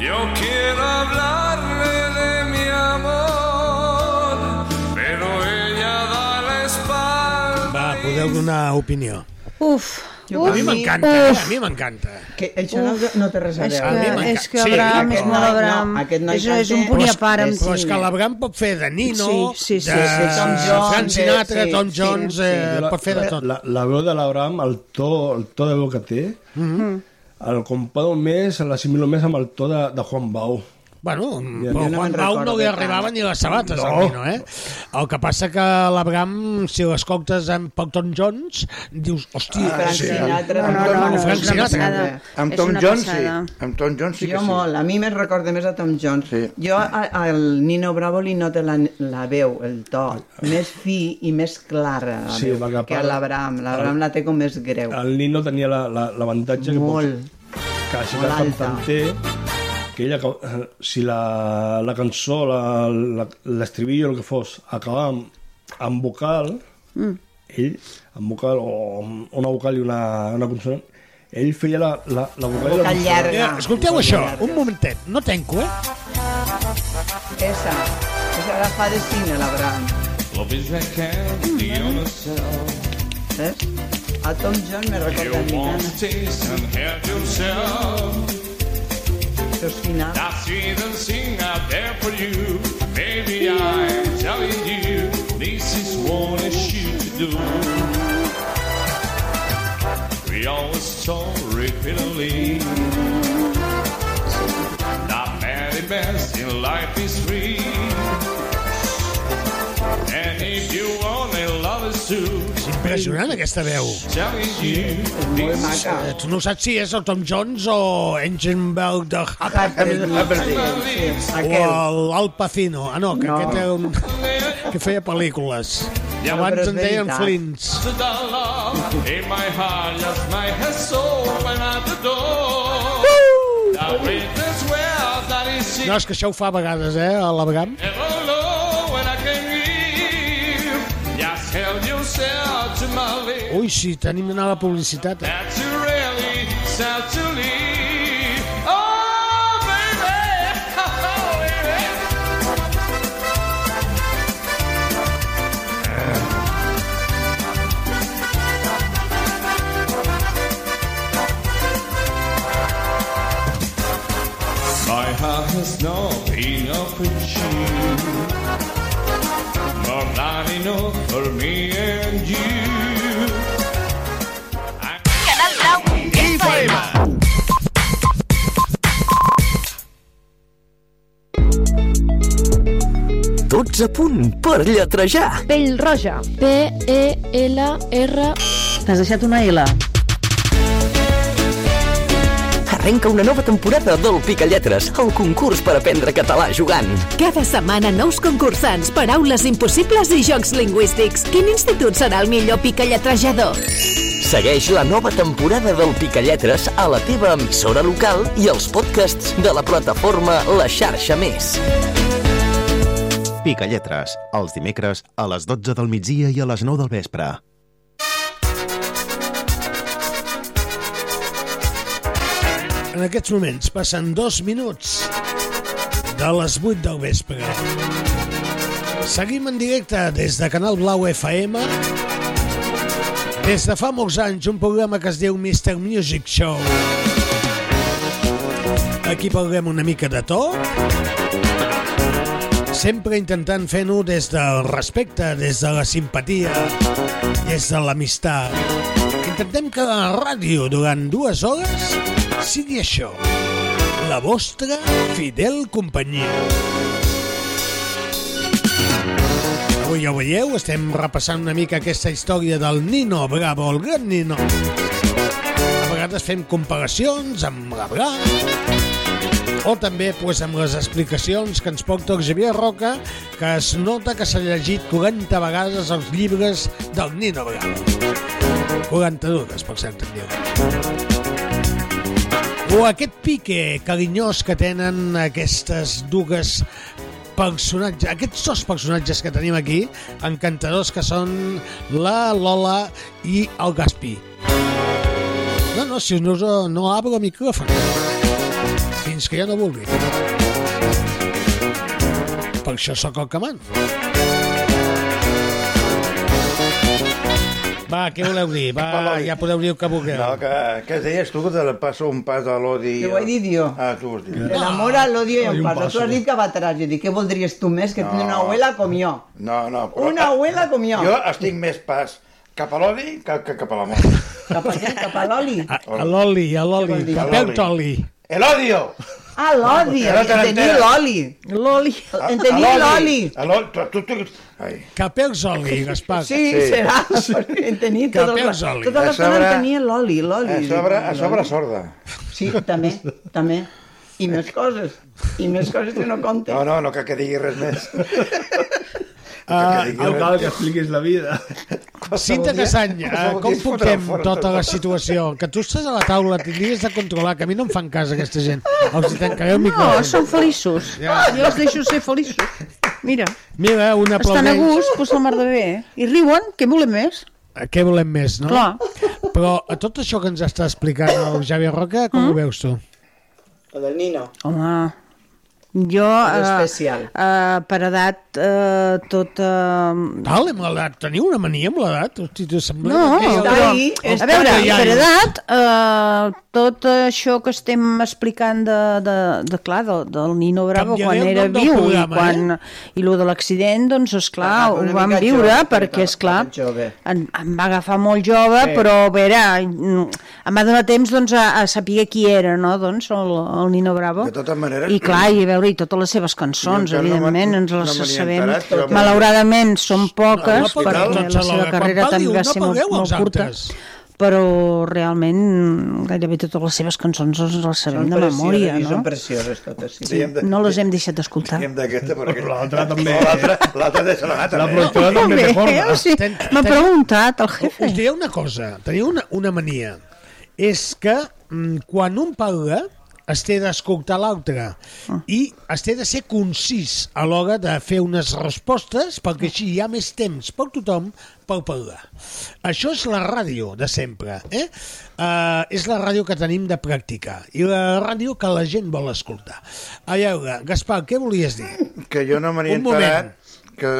Yo quiero hablarle de mi amor, pero ella da la espalda. Va, Ah, podeu donar opinió. Uf, a mi uf, m'encanta, eh? uf. a mi m'encanta. Que això no, no té res a és veure. que, és que Abraham sí, és molt Abraham. No, aquest noi és, és un canta- punt i a Però- part amb Però és que l'Abraham pot fer de Nino, Sí, sí, sí, de, sí, sí. Tom Jones, eh, Frank Sinatra, sí, Tom sí, Jones, eh, la, pot fer de tot. La, la veu de l'Abraham, el to, el to de veu que té, Mhm. mm -hmm. el comparo més, l'assimilo més amb el to de, de Juan Bau. Bueno, Ja, però jo no Juan me'n Pau no recordo li tant. arribaven ni les sabates no. No. al Nino, eh? El que passa que l'Abraham, si l'escoltes amb Pelton Jones, dius, hòstia... Ah, Frank Sinatra, No, no, amb Tom- no, no, Frank és una Sinatra. passada. Amb És Tom una Jones, sí. passada. Amb Tom Jones sí que jo sí. molt, a mi me recorda més a Tom Jones. Sí. Jo a- al Nino Bravo li noto la, la veu, el to, més fi i més clara la Sí, veu, va cap que a ara. l'Abraham. L'Abrram la té com més greu. El Nino tenia la- la- l'avantatge la, que Molt. que així Molt que el alta. cantanter que ella, acab- eh, si la, la cançó, la- la- l'estribillo, el que fos, acabava amb, amb vocal, Mm. ell, amb vocal, o amb una vocal i una, una consonant, ell feia la, la, la vocal, i la consonant. Eh, Escolteu això, un momentet, no tenco, eh? Esa, és agafar de cine, l'Abraham. Love is a candy on a shelf. Ves? A Tom Jones me You recorda a mi tant. won't taste and help yourself. Seus finals. I see them sing out there for you. Baby, I'm telling you, this is what I should do. We always told repeatedly that very best in life is free. And if you want a love is too, Impressionant, aquesta veu. telling you, this is Eh, Tu no saps si és el Tom Jones o Engenberg de Happy Happy Days, sí. o el Al Pacino. Ah, no, que No. aquest era un... que feia pel·lícules. Ja, però Abans és en deien veritat. Flints. To the love in my heart, just my head's open at the door. The witness well that is she. No, és que això ho fa a vegades, eh, a l'Abram. Hello, when I can give, just help yourself to my lips. Ui, sí, tenim d'anar a la publicitat. Eh? That you really sad to leave. Oh, baby, oh, My heart has not been open you More than enough for me and you Tots a punt per lletrejar. Pell roja. P-E-L-R... T'has deixat una L. Arrenca una nova temporada del Pica Lletres, el concurs per aprendre català jugant. Cada setmana nous concursants, paraules impossibles i jocs lingüístics. Quin institut serà el millor picalletrejador? Segueix la nova temporada del Pica Lletres a la teva emissora local i als podcasts de la plataforma La Xarxa Més. Pica Lletres, els dimecres a les 12 del migdia i a les 9 del vespre. En aquests moments passen dos minuts de les 8 del vespre. Seguim en directe des de Canal Blau FM. Des de fa molts anys, un programa que es diu Mr. Music Show. Aquí parlem una mica de tot. Sempre intentant fer-ho des del respecte, des de la simpatia, des de l'amistat. Intentem que la ràdio durant dues hores sigui això, la vostra fidel companyia. Avui ja ho veieu, estem repassant una mica aquesta història del Nino Bravo, el gran Nino. A vegades fem comparacions amb la Bravo, o també pues, amb les explicacions que ens porta el Xavier Roca, que es nota que s'ha llegit 40 vegades els llibres del Nino Bravo. 42, per cert, en diu. O aquest pique carinyós que tenen aquestes dues personatges, aquests dos personatges que tenim aquí, encantadors que són la Lola i el Gaspi. No, no, si no, us- no abro el micròfon. Fins que ja no vulgui. Per això sóc el camant. Va, què voleu dir? Va, ja podeu dir el que vulgueu. No, que, que deies tu que te la passo un pas a l'odi. Jo ho he dit jo. Ah, tu ho has dit. El amor al odio y Hay un un paso. Tú paso. has dicho que va atrás. Yo digo, ¿qué voldries tú més que No. tiene una abuela comió? No, no. Una abuela comió. Jo estic més pas cap a l'odi que, que cap a l'amor. Cap a, cap a l'oli. A l'oli, a l'oli. dir? Capeu l'oli. El odio! Ah, l'odi. Que no te Tenir n'enteres. l'oli. L'oli. En tenir l'oli. A l'oli. Tu, tu, tu... Ai. Capels oli, Gaspar. Sí, serà. En tenir tot el, Capels oli. tota A l'estona en sobre- tenir l'oli, l'oli. A sobre, a sobre l'oli. sorda. Sí, també, també. I més coses. I més coses que no compten. No, no, no cal que digui res més. Ah, digui no res. cal que expliquis la vida. Cinta Casany, eh, Qualsevol com dia es portem fotrà fora tota tot. la situació? Que tu estàs a la taula, t'hauries de controlar, que a mi no em fan cas aquesta gent. Els hi tancaré el No, micròfon. són feliços. Ja. Jo els deixo ser feliços. Mira, Mira, un estan a aplaudiment. gust, doncs la mar de bé. eh? I riuen, què volem més? Què volem més, no? Clar. Però a tot això que ens està explicant el Javier Roca, com mm? ho veus tu? Lo del Nino. Home, jo... eh, És especial. Uh, per edat, uh, tot... Uh... Tal, amb l'edat. Teniu una mania amb l'edat? Hosti, tu sembla... No, que- però, Els a veure, tataians. per edat, eh, tot això que estem explicant de, de, de clar, del, del Nino Bravo Canviaré quan el era nom del viu programa, eh? i quan... I lo de l'accident, doncs, esclar, Ah, però ho una vam mica viure jove, perquè, és clar, jove. em, em va agafar molt jove, Sí. però, a veure, mm, em va donar temps, doncs, a, a saber qui era, no?, doncs, el, el Nino Bravo. De totes maneres... I clar, i a veure, i totes les seves cançons, Jo encara no evidentment, m'ha- ens no les me n'he sabem. enterat, però- Malauradament, són poques, No, no perquè parleu tots la seva alhora. Quan carrera parliu, també va no ser molt, parleu els molt curta. altres. però realment gairebé totes les seves cançons les, les sabem Són de memòria, precioses i no? són precioses totes. Sí. Sí, no les hem deixat d'escoltar. Hem d'aquesta, però aquesta... L'altra també. L'altra, l'altra deixa la La també. productora No, també bé, té corda. o sigui, Ten- M'ha ten- preguntat el jefe. Us diré una cosa, teniu una, una mania. És que mm, quan un parla es té d'escoltar l'altre Ah. i es té de ser concís a l'hora de fer unes respostes perquè així hi ha més temps per tothom per parlar. Això és la ràdio de sempre, eh? Uh, és la ràdio que tenim de practicar i la ràdio que la gent vol escoltar. A veure, Gaspar, què volies dir? Que jo no me n'he Un moment. enterat que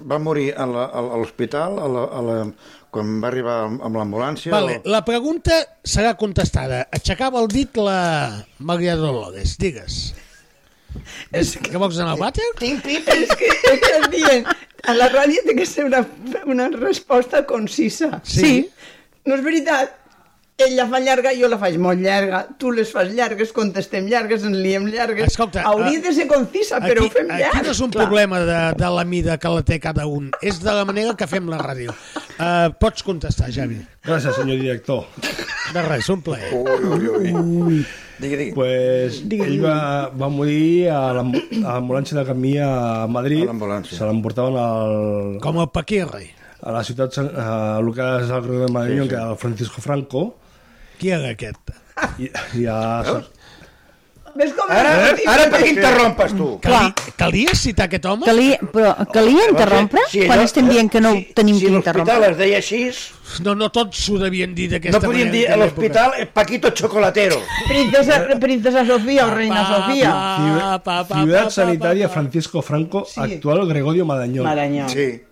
va morir a la- a l'hospital a la- a la- quan va arribar amb amb l'ambulància. Vale, o- la pregunta serà contestada. Aixecava el dit la Maria Dolores, digues. És que... vols anar al vàter? Tinc És que, és que es dient, a la ràdio té que ser una, una resposta concisa. Sí. sí. No és veritat. Ell la fa llarga, jo la faig molt llarga. Tu les fas llargues, contestem llargues, ens liem llargues. Escolta, Hauria eh, de ser concisa, però aquí, ho fem llarg. Aquí no és un clar. problema de, de la mida que la té cada un, és de la manera que fem la ràdio. Uh, pots contestar, Javi. Gràcies, senyor director. De res, un plaer. Ui, ui, ui. Digui, digui. Pues ell va, va morir a l'am- a l'ambulància de camí a Madrid. A l'ambulància. Se l'emportaven al... Com a Paquirri. A la ciutat, san- a lo que és el Rio de Madrid, Sí, sí. sí, sí. que era el Francisco Franco. Qui era aquest? I, i a... Ah. Ves com... Ara, Eh? Sí, ara per perquè- què interrompes, tu? Cali, calia citar aquest home? Calia, però calia interrompre Sí, quan no, estem dient que no tenim que L'hospital interrompre? es deia així, No, no tots ho devien dir d'aquesta no podíem dir manera. a l'hospital eh, Paquito Chocolatero. Princesa, Eh, princesa Sofia o reina Sofia. Ciu- Ciudad Sanitaria Francisco Franco, Sí. actual Gregorio Marañón. Marañón. Sí.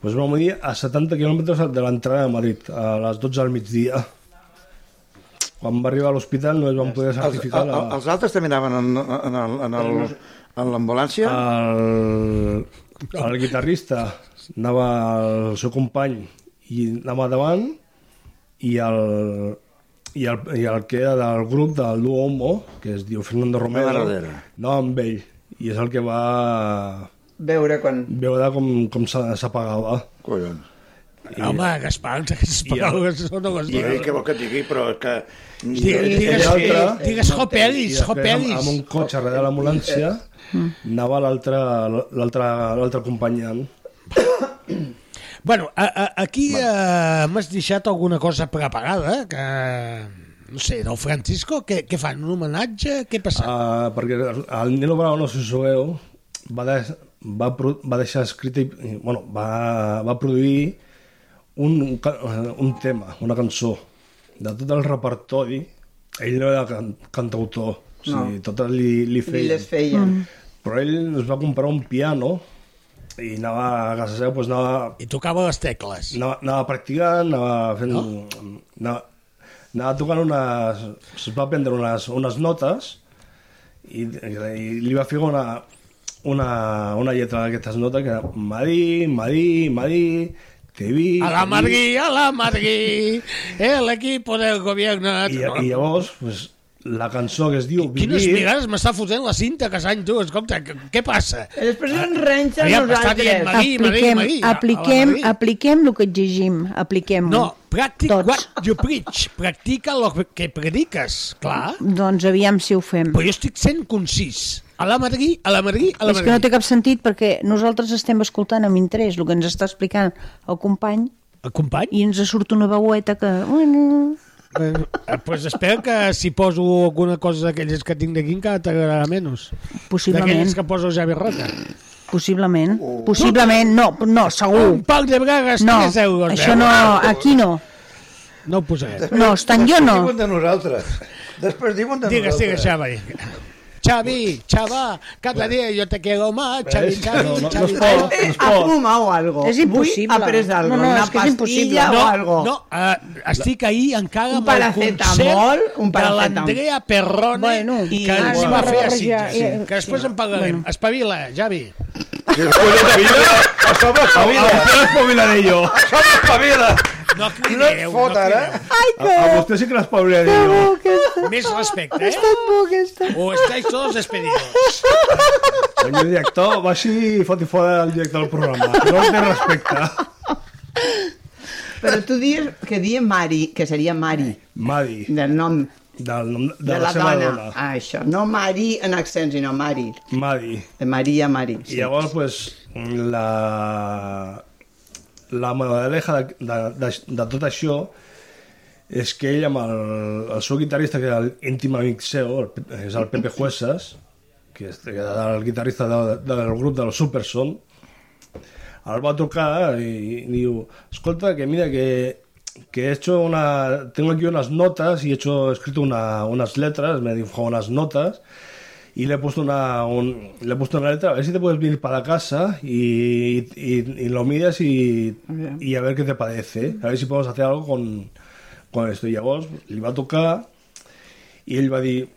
Pues va morir a 70 quilòmetres de l'entrada de Madrid, a les 12 del migdia. Quan va arribar a l'hospital no es van poder Els, certificar el, la... els altres també anaven en, en, el- en, el- en l'ambulància? El, el guitarrista anava el seu company i anava davant i el, i el, i el que era del grup del duo Homo, que es diu Fernando Romero, Anava darrere. no amb ell. I és el que va veure quan... veure com, com se- s'apagava. Collons. Home, Gaspar, aquestes I el- paraules no les Digui què vol que et digui, però és que... Digui- digues- I l'altre- digues Hopelis, I després Hopelis. Amb, amb un cotxe darrere de l'ambulància Mm. anava l'altre l'altre l'altre acompanyant. Bueno, a, a, aquí eh, m'has deixat alguna cosa preparada, eh, que no sé, del Francisco, què, què fan? Un homenatge? Què passa? Uh, perquè el Nilo Bravo, no sé si ho sabeu, va, de, va, pro- va deixar escrita i, i, bueno, va, va produir un, un, ca- eh, un tema, una cançó. De tot el repertori, ell no era can, cantautor, o sigui, No. no. totes li, li I feien. les feien. Mm. Però ell es va comprar un piano i anava a casa seva, doncs anava... I tocava les tecles. Anava, anava practicant, anava fent... No? Anava, anava tocant unes... Es va prendre unes, unes notes i, i li va ficar una, una, una lletra d'aquestes notes que era Madí, Madí, Madí, te vi... A la te vi". Madrid, a la Madrid, el equipo del gobierno... I, I llavors, pues, la cançó que es diu Quines Vivir- mirades m'està fotent la cinta, Casany, tu, escolta, què, què passa? Eh, Després ens renxa Aviam, està dient Madí, Madí, Madí. Apliquem, apliquem, apliquem el que exigim, apliquem-ho. No, practic doncs. what you preach, practica lo que prediques, clar. Doncs aviam si ho fem. Però jo estic sent concís. A la Madrid, a la Madrid, a la És Madrid. que no té cap sentit perquè nosaltres estem escoltant amb interès el que ens està explicant el company el company? i ens surt una veueta que... Bueno, Eh, pues espero que si poso alguna cosa d'aquelles que tinc d'aquí encara t'agradarà menys. Possiblement. D'aquelles que poso el Javi Roca. possiblement, Oh. possiblement, no, no, segur. Un pal de bragues, No, 3 euros. eh? això no, aquí no. No ho posaré. No, estan jo no. Diuen de nosaltres. Després diuen de Digues, digues, nosaltres. Xavi. Xavi, Xava, cada dia jo te quiero más, Xavi, Xavi, No, no, no Xavi. es pot, Eh, no es Ha fumat o algo. És impossible. Avui ha pres algo, No, no, una és que és impossible. pastilla o No, algo. no, eh, estic ahir encara Un amb el paracetamol, concert un de paracetamol. l'Andrea Perrone, bueno, i- que ens va Ah, sí, fer a barreja, Sitges. eh, Que després en parlarem. Espavila, Javi. A sobre espavila. A vostè espavilaré jo. A sobre espavila. No crideu, no fot, ara. Ai, que... A, a vostè sí que l'espavilaré jo. Més respecte, eh? Està bo aquesta. O estáis todos despedidos. Senyor director, baixi i foti fora el director del programa. No té respecte. Però tu dius que dia Mari, que seria Mari. Eh, Mari. Del nom del nom de, de, de la, la seva dona. dona. Ah, això. No Mari en accent, sinó Mari. Mari. De Maria Mari. I llavors, pues, la... Eh, La moraleja de, de, de, de tot això és que ell amb el, el seu guitarrista, que era l'íntim amic seu, el, és el Pepe Juesas, que és que era el guitarrista de, de, del grup del Superson, el va tocar i, diu, escolta, que mira que que he hecho una... Tengo aquí unas notas y he hecho, he escrito una, unas letras, me he dibujado unas notas y le he puesto una, un, le he puesto una letra, a ver si te puedes venir para casa y, y, y lo miras y, y a ver qué te parece, a ver si podemos hacer algo con, con esto. Y a vos le va a tocar y él va "Mm, a decir...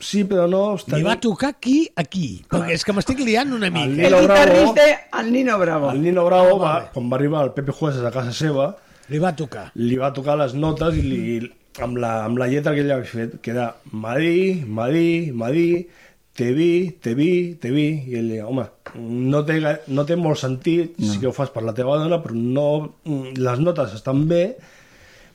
Sí, però no... Està... Li va tocar aquí, aquí. Perquè és que m'estic liant una mica. El guitarrista, el Nino Bravo. El Nino Bravo, va, quan va arribar el Pepe Jueces a casa seva, Ah, li va tocar. Li va tocar les notes i li, amb, la, amb la lletra que ell havia fet, que era Madí, Madí, Madí, te vi, te vi, te vi, i ell deia, home, no té, no té molt sentit, no. sí que ho fas per la teva dona, però no, mm, les notes estan bé,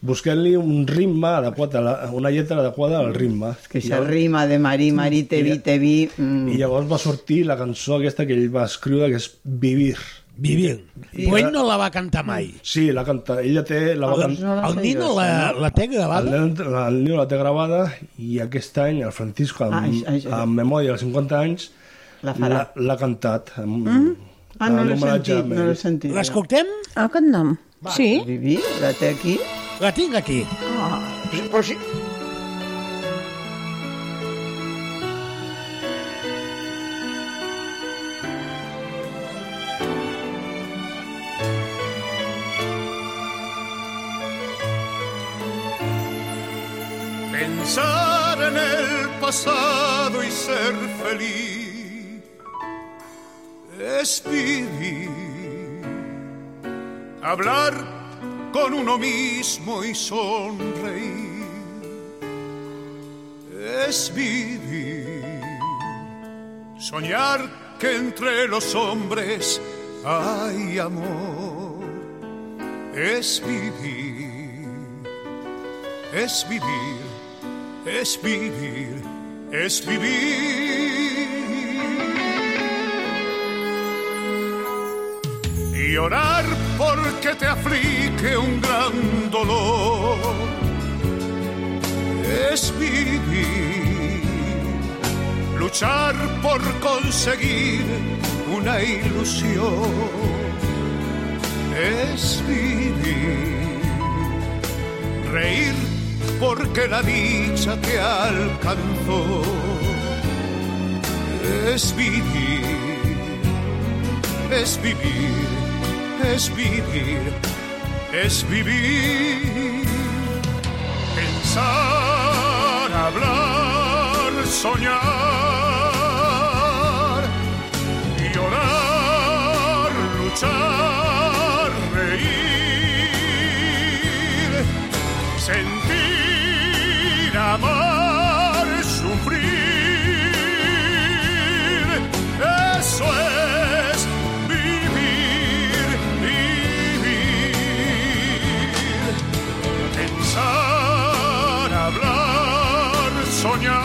busquem-li un ritme adequat, a la, una lletra adequada al ritme. És que això rima de Marí, Marí, te vi, te vi... Mm. I llavors va sortir la cançó aquesta que ell va escriure, que és Vivir. Vivir. I Però ell no la va cantar mai. Sí, la canta, ella té... La va el, Doncs cantar, el Nino la, la té gravada? El, el, el Nino la té gravada i aquest any el Francisco, amb, ai, ai, ai. amb memòria dels 50 anys, l'ha cantat. Amb, mm? Ah, no l'he sentit, no l'he sentit. L'escoltem? Ah, aquest nom. Va. Sí. Vivir, la té aquí. La tinc aquí. Ah. Però si... Pensar en el pasado y ser feliz es vivir. Hablar con uno mismo y sonreír es vivir. Soñar que entre los hombres hay amor es vivir. Es vivir, es vivir, es vivir. Y orar porque te aflige un gran dolor. Es vivir, luchar por conseguir una ilusión. Es vivir, reír porque la dicha te alcanzó. Es vivir, es vivir es vivir, es vivir. Pensar, hablar, soñar, llorar, luchar, reír, sentir, amar, sufrir. Eso es vivir, vivir. Pensar, hablar, soñar,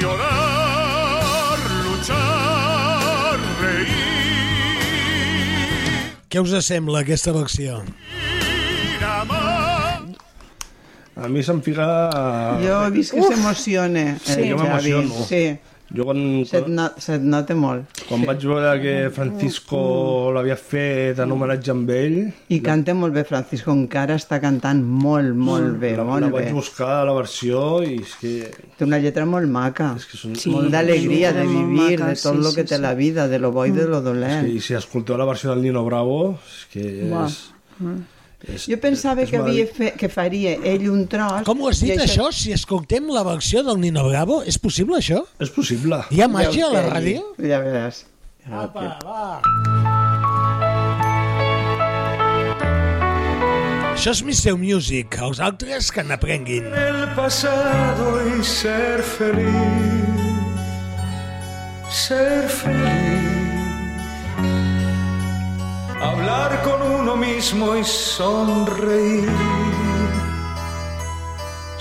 llorar, luchar, reír, Què us sembla aquesta versió? amar. A mi se'm fica... Jo he vist que Uf! s'emociona. el Ah, Sí, Xavi. jo m'emociono. Sí, Jo quan, se't, no, se't nota molt. quan sí. vaig veure que Francisco l'havia fet en homenatge amb ell, I canta molt bé, Francisco, encara està cantant molt, molt bé, Mm. la, molt la bé. vaig buscar la versió i és que... Té una lletra molt maca, Sí, molt d'alegria, de és molt vivir, maca, de tot sí, lo sí, que té sí. la vida, de lo bo i de Mm. lo dolent. és que, I si escolteu la versió del Nino Bravo, és que Buah. és... Mm. és Jo pensava és que, havia meravell- fe, que faria ell un tros... Com ho has dit, això? Si escoltem la versió del Nino Bravo, és possible, això? És possible. Ah, Hi ha màgia a la ràdio? Ja veràs. Apa, va. Això és Misseu Music, els altres que n'aprenguin. el pasado y ser feliz, ser feliz. hablar con uno mismo y sonreír,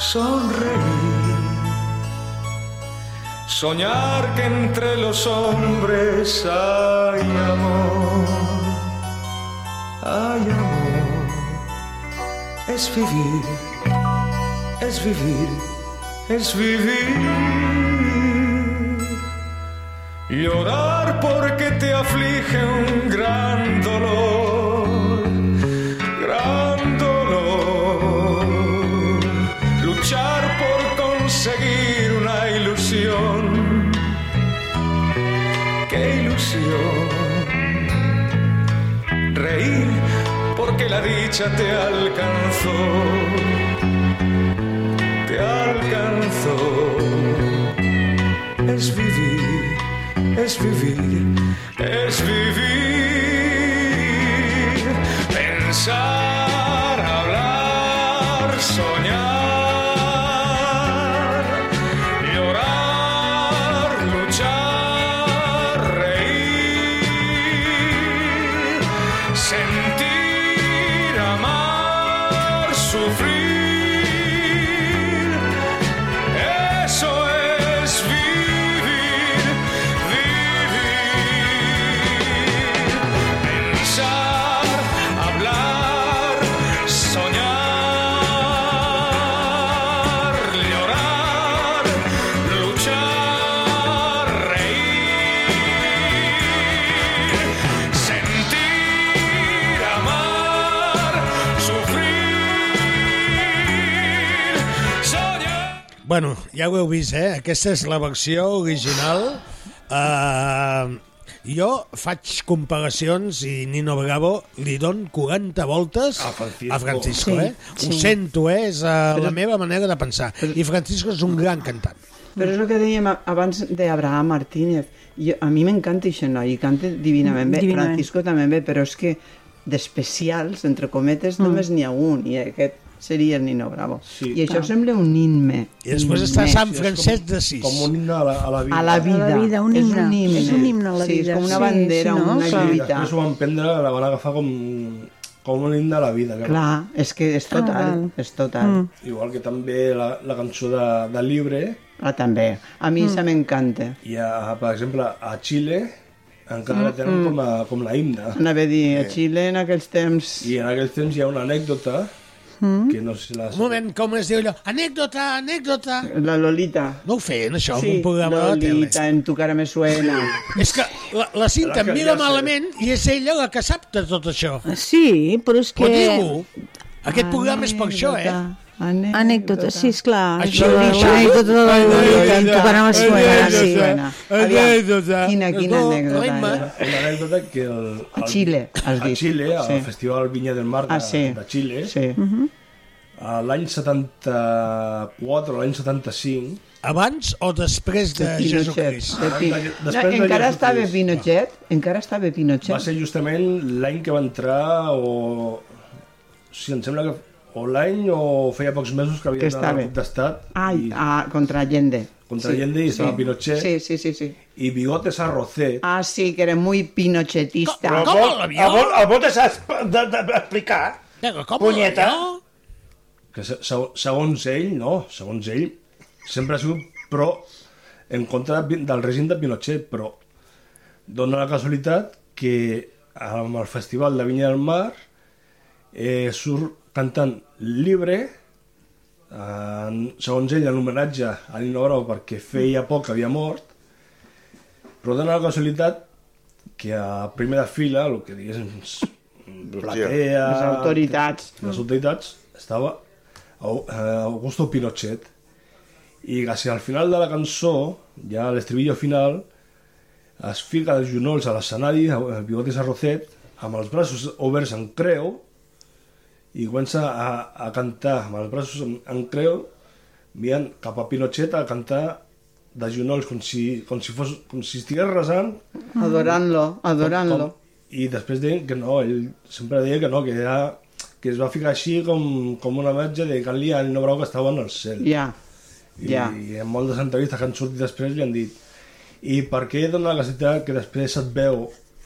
sonreír, soñar que entre los hombres hay amor, hay amor, es vivir, es vivir, es vivir. Llorar porque te aflige un gran dolor, gran dolor. Luchar por conseguir una ilusión, qué ilusión. Reír porque la dicha te alcanzó, te alcanzó. Es vivir es vivir, es vivir, pensar, hablar, soñar, llorar, luchar, reír, sentir, amar, sufrir, eso es vivir. Vivir, pensar, hablar, soñar, llorar, luchar, reír, sentir, amar, sufrir, soñar. Bueno, ja ho heu vist, eh? Aquesta és la versió original. Uh, jo faig comparacions i Nino Bravo li don 40 voltes a Francisco, a Francisco Sí, eh? sí. Ho sento, eh? És uh, Però- la meva manera de pensar. I Francisco és un gran cantant. Però és el que dèiem a- abans d'Abraham Martínez. Jo, a mi m'encanta això noi, i canta divinament bé, Divinament. Francisco també bé, però és que d'especials, entre cometes, només n'hi ha un, i aquest seria el Nino Bravo. Sí, I això clar. sembla un himne. I després està Sant Francesc de Sis. Com un himne a la, a la vida. A la vida. A la vida, un És himne. un himne. És un himne a la Sí, és vida, com una sí, bandera, sí, no? una Clar. I lluita. després ho van prendre, la van agafar com, com un himne a la vida. que- Clar, és que és total, Ah, és total. Mm. Igual que també la, la cançó de, de Libre, Ah, també. A mi Mm. mm. se m'encanta. i a, per exemple a Xile encara Mm, la tenen mm. com, a, com la himne. Anava a dir, a Xile en aquells temps... I en aquells temps hi ha una anècdota Mm. que no sé si la... Un moment, com es diu allò? Anècdota, anècdota. La Lolita. No ho feien, això, sí, algun programa de la tele? Lolita, en tu cara me suena. És que la, la Cinta Però em que mira ja sé. malament i és ella la que sap de tot això. Sí, però és que... Ho diu. Aquest programa és per això, eh? Ah, Anècdota. Anècdota, sí, esclar. Això és la- diu- L'anècdota de la Lolita, en tu paraules Anècdota. suena, sí. Anècdota. Quina, quina No, anècdota. ritme. era? Una anècdota que el, A Xile, has a dit. Xile, al Sí. Festival Vinya del Mar de, Ah, sí. de Xile, Sí. a Eh, l'any 74 o l'any 75... Abans o després De Pinochet. De Pi- No, encara estava Pinochet? Encara estava Pinochet? Va ser justament l'any que va entrar o... Sí, em sembla que o l'any o feia pocs mesos que havia Que entrat estava. el cop d'estat Ai, ah, contra Allende. Contra Allende i estava Pinochet. Sí, sí, sí, sí. i Bigotes Arrocet. Ah, sí, que era muy pinochetista. Però el vot, el vot, el vot s'ha exp- de- de- d'explicar. Punyeta. que se- se- segons ell, no, segons ell, sempre ha sigut pro en contra de Pin- del règim de Pinochet, però dona la casualitat que amb el festival de Vinya del Mar eh, surt cantant Libre, en, segons ell en homenatge a Nino Bravo perquè feia poc que havia mort, però dona la casualitat que a primera fila, el que diguéssim, platea... Les autoritats. Les autoritats estava Au- eh, Augusto Pinochet i quasi al final de la cançó, ja a l'estribillo final, es fica de junols a l'escenari, el bigotis a Rocet, amb els braços oberts en creu, i comença a, a cantar amb els braços en, en creu, mirant cap a Pinochet a cantar de junols, com si, com si, fos, com si estigués resant. Adorant-lo, adorant-lo. Com- I després deien que no, ell sempre deia que no, que era que es va ficar així com, com una imatge de Can Lian i no brau que estaven al cel. Ja, I, ja. I en moltes entrevistes que han sortit després li han dit i per què dona la casualitat que després et veu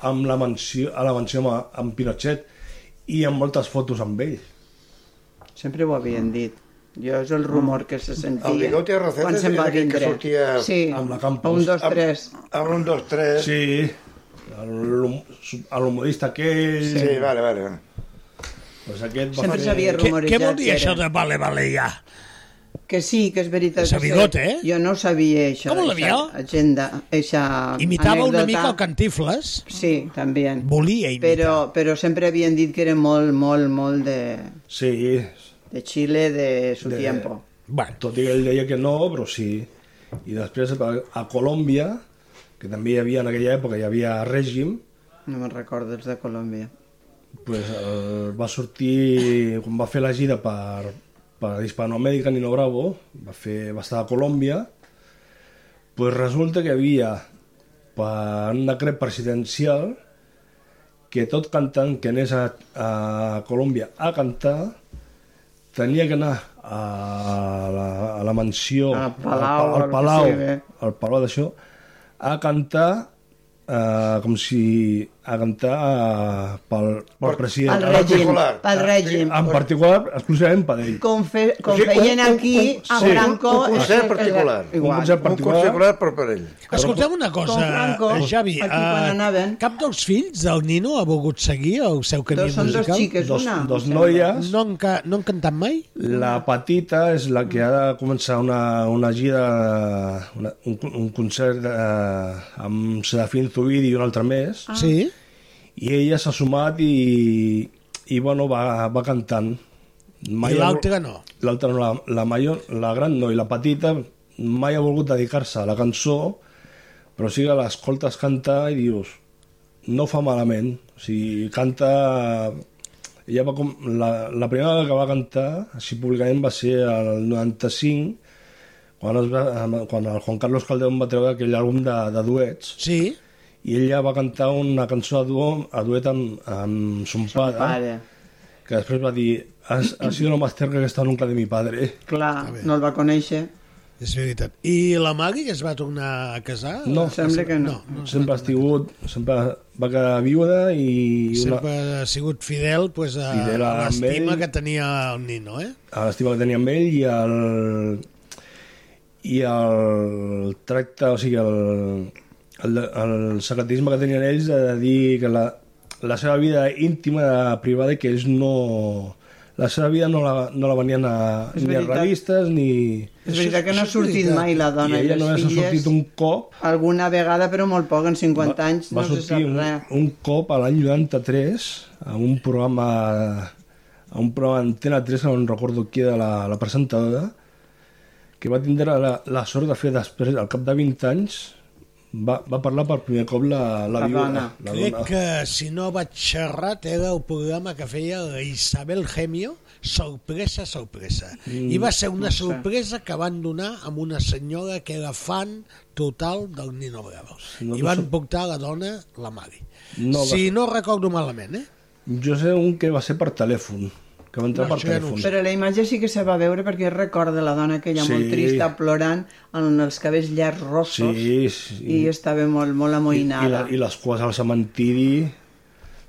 amb la mansió, a la mansió amb, amb Pinochet i amb moltes fotos amb ell. Sempre ho Mm. havien dit. Jo és el rumor que se sentia. El Bigoti Arrocete quan se'n era va aquell que vindre. sortia sí. amb la Campos. Un, dos, tres. Amb, amb un, dos, tres. Sí, el hum- a l'humorista aquell... Sí, vale, vale. vale. Pues aquest va Sempre fer- s'havia rumorejat. què vol dir que això era. de vale, vale, ja? Que sí, que és veritat. És a bigote, eh? Jo no ho sabia, això. Com ho eixa sabia? Agenda, eixa Imitava anècdota. una mica el Cantifles. Sí, també. Volia imitar. Però, però sempre havien dit que era molt, molt, molt de, Sí, de Xile, de su de... tiempo. Bueno. Tot i que ell deia que no, però sí. I després a, a Colòmbia, que també hi havia en aquella època, hi havia règim, No me'n recordo, els de Colòmbia. pues, el, va sortir, quan va fer la gira per, per Hispanoamèrica Nino Bravo, va, fer, va estar a Colòmbia, pues resulta que hi havia per un decret presidencial que tot cantant que anés a, a Colòmbia a cantar tenia que anar a la, a la mansió, al palau, al, al que palau, sigui, eh? al palau d'això, a cantar eh, com si a cantar eh, pel, pel Ah, president. Al en règim, particular. pel règim. En particular, exclusivament per ell. Com, fe, com O sigui, un- feien un- aquí un- a sí. Franco... Un- un concert eh, eh, particular. Igual. Un concert particular. per per ell. Escolteu una Com cosa, Franco, Javi. aquí quan eh, anaven. cap dels fills del Nino ha volgut seguir el seu camí Dos- són dos musical? xiques, Dos- una, dos em sembla. noies. No han, ca, no han cantat mai? La petita és la que ha de començar una, una gira, una, un, un concert eh, amb Serafín Zubiri i un altre més. Ah. Sí. I ella s'ha sumat i, i bueno, va, va cantant. I ha vol- l'altra no. L'altra no, la, la, major, la gran no, i la petita mai ha volgut dedicar-se a la cançó, però sí que l'escoltes cantar i dius, no fa malament. O sigui, canta... Ella va com... la, la primera vegada que va cantar, així públicament, va ser el 95, quan, es va, quan el Juan Carlos Calderón va treure aquell àlbum de, de duets. Sí. I ella va cantar una cançó a, duo, a duet amb, amb son, pare, pare. que després va dir has, has sido lo más cerca que está nunca de mi padre. Clar, no el va conèixer. És veritat. I la Magui que es va tornar a casar? No, no. sempre ha estigut, sempre va quedar viuda i una, Sempre ha sigut fidel, pues, a, Fidel a amb l'estima ell. que tenia el Nino, eh? a l'estima que tenia amb ell i el i el tracte, o sigui el, el, el secretisme que tenien ells de dir que la, la seva vida íntima era privada i que ells no la seva vida no la, no la venien a, És ni a veritat. revistes ni... És veritat que no ha sortit mai la dona I i ella les només ha filles. sortit un cop Alguna vegada, però molt poc, en 50 anys, va no se sortir sap un, res. un cop a l'any 93 a un programa a un programa d'Antena 3 que no en recordo qui era la, la presentadora que va tindre la, la sort de fer després, al cap de 20 anys va, va parlar per primer cop la, la, viuda, la Crec dona. que, si no vaig xerrat, era el programa que feia la Isabel Gemio, Sorpresa, sorpresa. Mm, I va ser una no sé. sorpresa que van donar amb una senyora que era fan total del Nino Bravo. No, I no van sé. portar la dona, la Mari. No, si no recordo malament, eh? Jo sé un que va ser per telèfon que va entrar No, per això ja no ho telèfon Però la imatge sí que se va veure perquè recorda la dona aquella Sí. molt trista, plorant, amb els cabells llargs rossos, sí, sí. i estava molt, molt I, i, amoïnada. la, i les cues al cementiri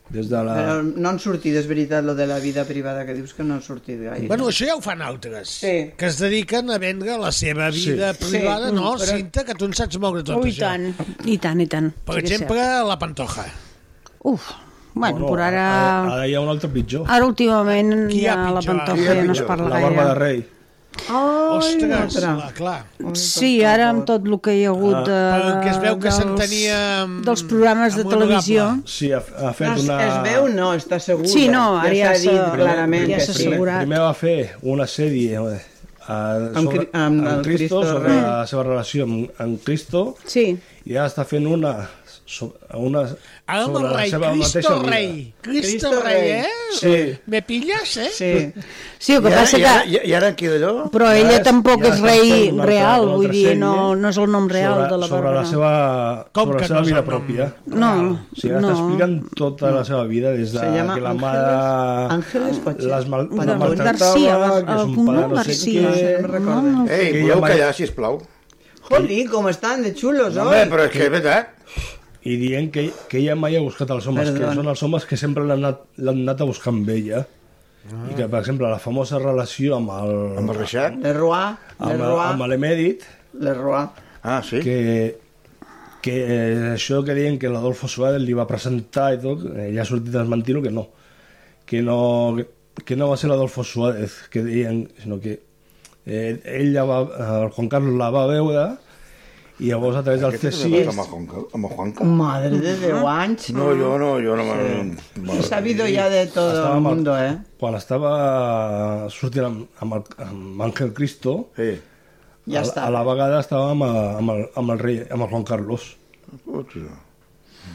des de la... Però no han sortit, és veritat, lo de la vida privada que dius que no han sortit gaire. Bueno, això ja ho fan altres, sí. que es dediquen a vendre la seva Sí. vida Sí, privada, no, però- Cinta, que tu en saps moure tot Ui, i això. tant, i tant, i tant. Per Sí que és exemple, la Pantoja. cert. Uf, bueno, No, però ara... ara, ara hi ha un altre pitjor Ara últimament Qui hi ha ja la pitjor? pantoja Qui hi ha ja no es pitjor? parla la gaire. barba de rei Oh, Ostres, la, clar. Sí, ara amb tot el que hi ha hagut de, Perquè es veu Ah, que dels- s'entenia amb- dels programes de amb honorable. televisió. Sí, ha, ha fet No, es- una... es veu, no, està segur. Sí, no, ara ja s'ha dit s'ha- clarament. ja que s'ha sí. assegurat. Primer va fer una sèrie eh, a- Amb sobre, Cri- amb el amb Cristo, Cristo sobre Rei. la seva relació amb, amb Cristo Sí. i ara està fent una sobre, una, Ara amb sobre el la rei, seva mateixa Cristo vida. rei. Cristo, Cristo rei, rei. eh? Sí. Me pillas, eh? Sí. Sí, el que passa que... I, i ara aquí d'allò? Però Ja ella és- tampoc ja és està rei fent una altra- real, una vull altra dir, sèrie no, no és el nom real eh? sobre, de la sobre Bàrbara. la seva, Com sobre que la seva no és vida el nom? pròpia. No, O sigui, ara no. t'expliquen tota la seva vida, des de Se llama que la Ángeles- mare... Ángeles Coche. Les mal, Bueno, la maltractava, García, el- que el és un pare cognom no sé García, no me'n què... recordo. No, no. Ei, Que ja podeu mai- callar, sisplau. Joli, com estan de xulos, No, oi? home, però és que és veritat. i dient que, que ella mai ha buscat els homes, Perdona. que són els homes que sempre l'han anat, l'han anat a buscar amb ella. Ah. I que, per exemple, la famosa relació amb el... Amb el Reixac? Le Roy, Le Amb, Roy, amb l'Emèdit. Le Roy. Ah, sí? Que, que eh, això que deien que l'Adolfo Suárez li va presentar i tot, ella ha sortit a desmentir-ho que no. Que no, que no va ser l'Adolfo Suárez que deien, sinó que eh, ell ja va, el Juan Carlos la va veure i llavors a través del Aquest és C6 Amb el Juanca. Amb el Juanca. Madre de 10 anys. No, jo no, jo no. Sí. He sabido ya de todo el mundo, eh? Quan estava sortint amb, amb, el, amb Ángel Cristo, sí. Ja a, la- estava. a la vegada estava amb, amb, el, amb el rei, amb el Juan Carlos. Hòstia.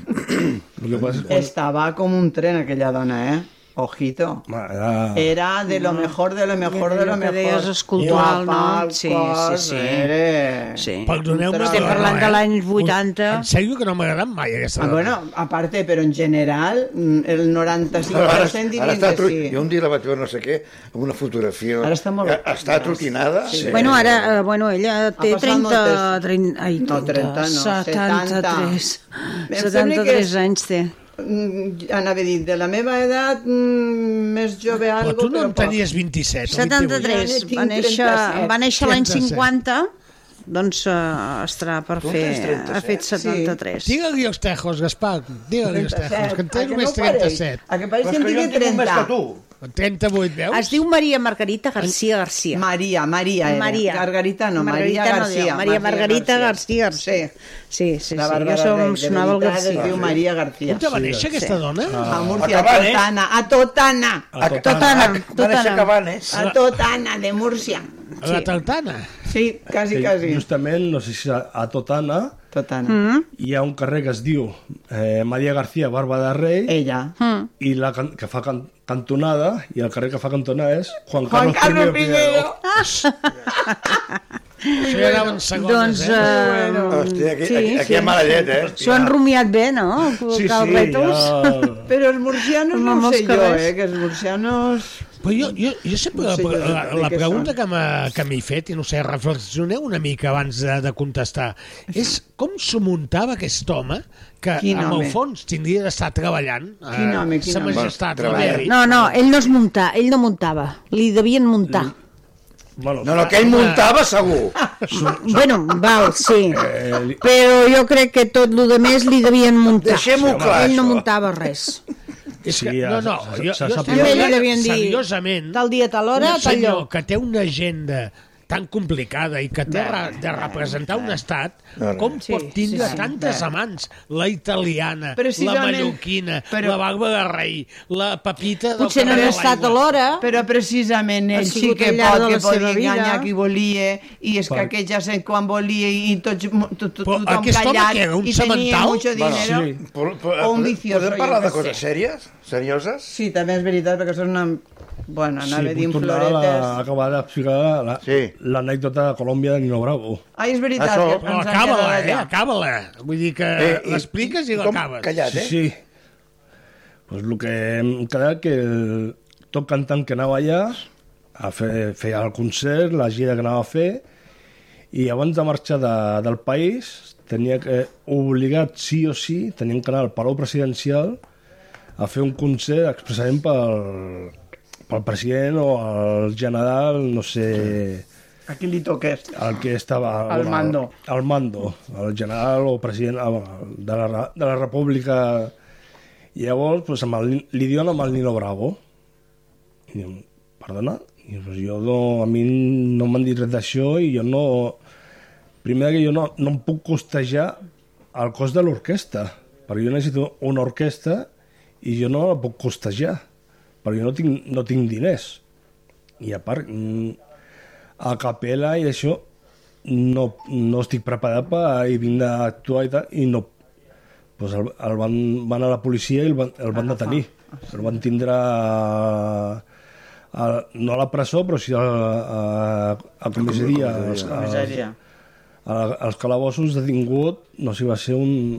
El que passa és quan... Estaba como un tren aquella dona, eh? Ojito. Era... Era de lo mejor, de lo mejor, de lo Mm. que mejor. deies escultural, Guapa, eh. no? Sí, cos, sí, sí. Era... Sí. Perdoneu-me, Estem però parlant no, eh? de l'any 80. En sèrio que no m'agraden mai aquesta Ah, bueno, aparte, però en general, mm, el 95% dirien que tru- sí. Jo un dia la vaig veure no sé què, amb una Eh, fotografia. Ara està molt... Està trotinada. Sí. Bueno, ara, eh, bueno, ella té passat 30... moltes- 30 ai, No, 30 no, 73. 70. Em sembla que 73 és- anys té. Mm, Anava dit, de la meva edat, mm, més jove algo... tu no però en poc. tenies 27 o 73. 28. Va néixer, va néixer l'any 37. 50, doncs uh, estarà per Tu en Doncs fer... tens 37? Ha fet 73. Sí. Digue-li els tejos, Gaspar. Digue-li els 37. tejos, que en té A que només no pareix? 37. A que pareix que en Però és tingui jo en tinc 30. més que tu. 38, veus? Es diu Maria Margarita García García. Maria, Maria era. Maria. Margarita no, Maria no García. diu, Maria Maria Margarita García García. Sí, sí, sí. La Jo Bàrbara som, Rey, de sonava el veritat, García. es diu Maria García. doncs. On va néixer aquesta dona? A Múrcia, a Acabant, eh? Totana, a Totana. A Totana. A Va néixer a eh? Cabanes. A Totana, de Múrcia. A la Tartana. Sí, quasi, que quasi. Justament, no sé si a, a Totana, Totana. Mm. hi ha un carrer que es diu eh, Maria García Barba de Rei ella Mm. i la can, que fa can, cantonada i el carrer que fa cantonada és Juan, Juan Carlos I. Primero. Això ja anaven segones, Doncs, eh? eh, Hòstia, aquí, aquí, aquí hi ha mala llet, eh? S'ho han rumiat bé, no? Sí, sí, Calretos. ja. Però els murcianos no, Amb ho els sé jo, cabells. eh, que els murcianos... Però jo, jo, jo sempre No no sé sé, jo de- la, la, de la què pregunta són. que m'ha- que m'he fet, i no sé, reflexioneu una mica abans de, de contestar, és com s'ho muntava aquest home que Quin amb home? el fons tindria d'estar treballant. eh, Quin home, quin sa home. majestat, Bueno, la treballa. Mary. No, no, ell no es munta, ell no muntava. Li devien muntar. Mm. Bueno, No, no, que ell muntava segur. Bueno, val, sí. Eh, Però jo crec que tot lo de més li devien muntar. Deixem-ho clar, Ell no això. muntava res. És Sí, que, no, ja se- no, se- jo, se jo sap estic ja. Ell li devien parlant dir, seriosament. Tal dia, tal hora, un tal senyor lloc. que té una agenda tan complicada i que té re- de representar un estat, no. com Sí, pot tindre sí, sí. tantes amants? La italiana, Però si la realment- mallorquina, però- la barba de rei, la pepita... del Potser no carrer de han estat a l'aigua. l'hora. Però precisament Ha ell sí sigut que al llarg pot, de que la podia seva vida. enganyar qui volia, i és que Per- aquella gent quan volia i tots, to, to, tothom aquest home callat, que era un i tenia semental? mucho dinero. Bueno, sí. Però- però- O un vicioso, Podem jo parlar què de coses sé. sèries? Serioses? Sí, també és veritat, perquè són una... Bueno, anava a Sí, pues dir puc tornar a la- floretes. acabar d'explicar la- l'anècdota la, sí. de Colòmbia de Nino Bravo. Ai, és veritat, Això- que Però ens hem acaba-la, quedat eh? allà. Acaba-la. Vull dir que Eh, i- l'expliques i i com eh? l'acabes. sí, Sí, Pues el que hem quedat que el, tot cantant que anava allà a fer, feia el concert, la gira que anava a fer i abans de marxar de, del país tenia que, obligat sí o sí, tenien que anar al Palau Presidencial a fer un concert expressament pel, pel president o el general, no sé... A qui li toques? El que estava... Al mando. Al mando, el general o president ah, bueno, de la, re- de la república. I llavors, pues, amb el, Ni- li diuen amb el Nino Bravo. I diuen, perdona? I dius, pues, jo no, a mi no m'han dit res d'això i jo no... Primer que jo no, no em puc costejar el cost de l'orquestra, perquè jo necessito una orquestra i jo no la puc costejar, perquè jo no tinc, no tinc diners. I a part, mm, a capella i això no, no estic preparat per i vinc d'actuar i tal, i no doncs el, el van, van a la policia i el van, el van detenir el van tindre a, a, no a la presó però sí a, a, a comissaria als, als, Misèria. a- als calabossos detingut, no sé, va ser un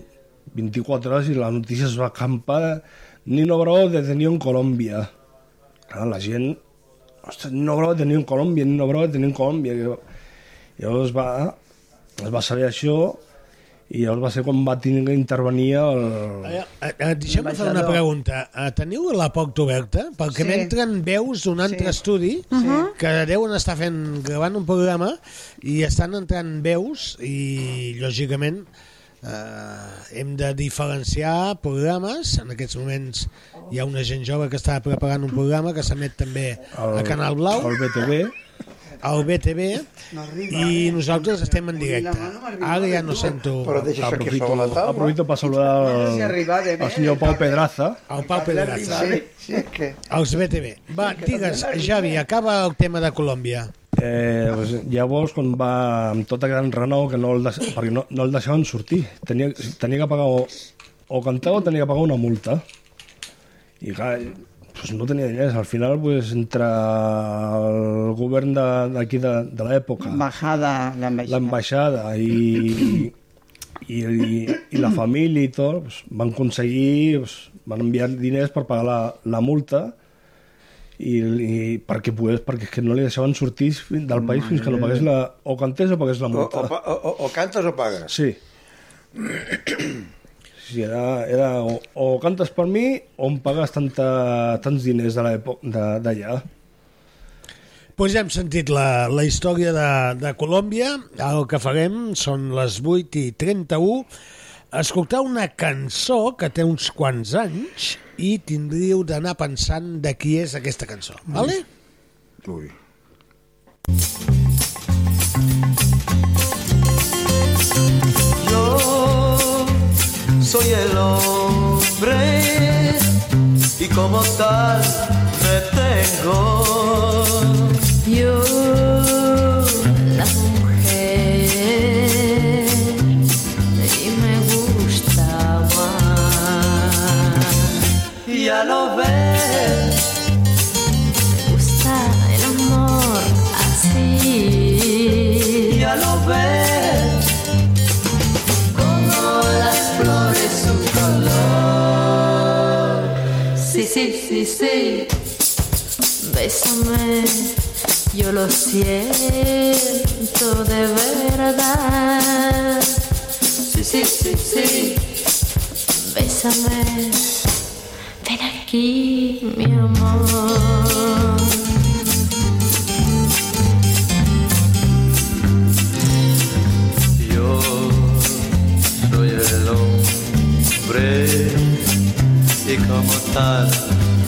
24 hores i la notícia es va acampar Nino Bravo detenido en Colòmbia. Clar, la gent... Ostres, Nino Bravo detenido en Colòmbia, Nino Bravo detenido en Colòmbia. I Llavors va, es va saber això I llavors va ser quan va tenir que intervenir el... Eh, eh, Deixa'm fer una pregunta. Eh, Teniu la porta oberta? Perquè Sí. sí. m'entren veus d'un altre estudi que deuen estar fent, gravant un programa i estan entrant veus i, lògicament, eh, hem de diferenciar programes. En aquests moments hi ha una gent jove que està preparant un programa que s'emet també a Canal Blau. El BTV. Al BTV eh? i nosaltres estem en directe. Ara ja no sento... aprofito, aprofito per saludar sé si el, arribar de el senyor Pau Pedraza. El Pau Pedraza. Sí, és que... Els BTV. Va, digues, Javi, acaba el tema de Colòmbia. Eh, doncs, llavors, quan va amb tota gran renou, que no el, deix... perquè no, no el deixaven sortir, tenia, tenia que pagar o, o cantar o tenia que pagar una multa. I clar, doncs no tenia diners. Al final, doncs, entre el govern de- d'aquí de, de, de l'època... L'ambaixada. L'ambaixada i, i, i, i la família i tot, doncs, van aconseguir... Doncs, van enviar diners per pagar la, la multa i, i perquè pogués, perquè és que no li deixaven sortir fi- del país fins que no pagués la... o cantés o pagués la O, o, multa. pa- o, o, o cantes o pagues. Sí. Sí, era, era o, o cantes per mi o em pagues tanta, tants diners de l'èpo- de- d'allà. Doncs ja hem sentit la, la història de, de Colòmbia. El que farem són les 8 i 31. Escoltar una cançó que té uns quants anys i tindríeu d'anar pensant de qui és aquesta cançó. Vale? Ui. Yo soy el hombre y como tal me tengo. Yo, la mujer, y me gusta más. Ya lo ves, Me gusta el amor así. ya lo ves, Como las flores su color. Sí, sí, sí, sí. Bésame, yo lo siento de verdad. Sí, sí, sí, sí. Bésame, ven aquí, mi amor. yo soy el hombre y como tal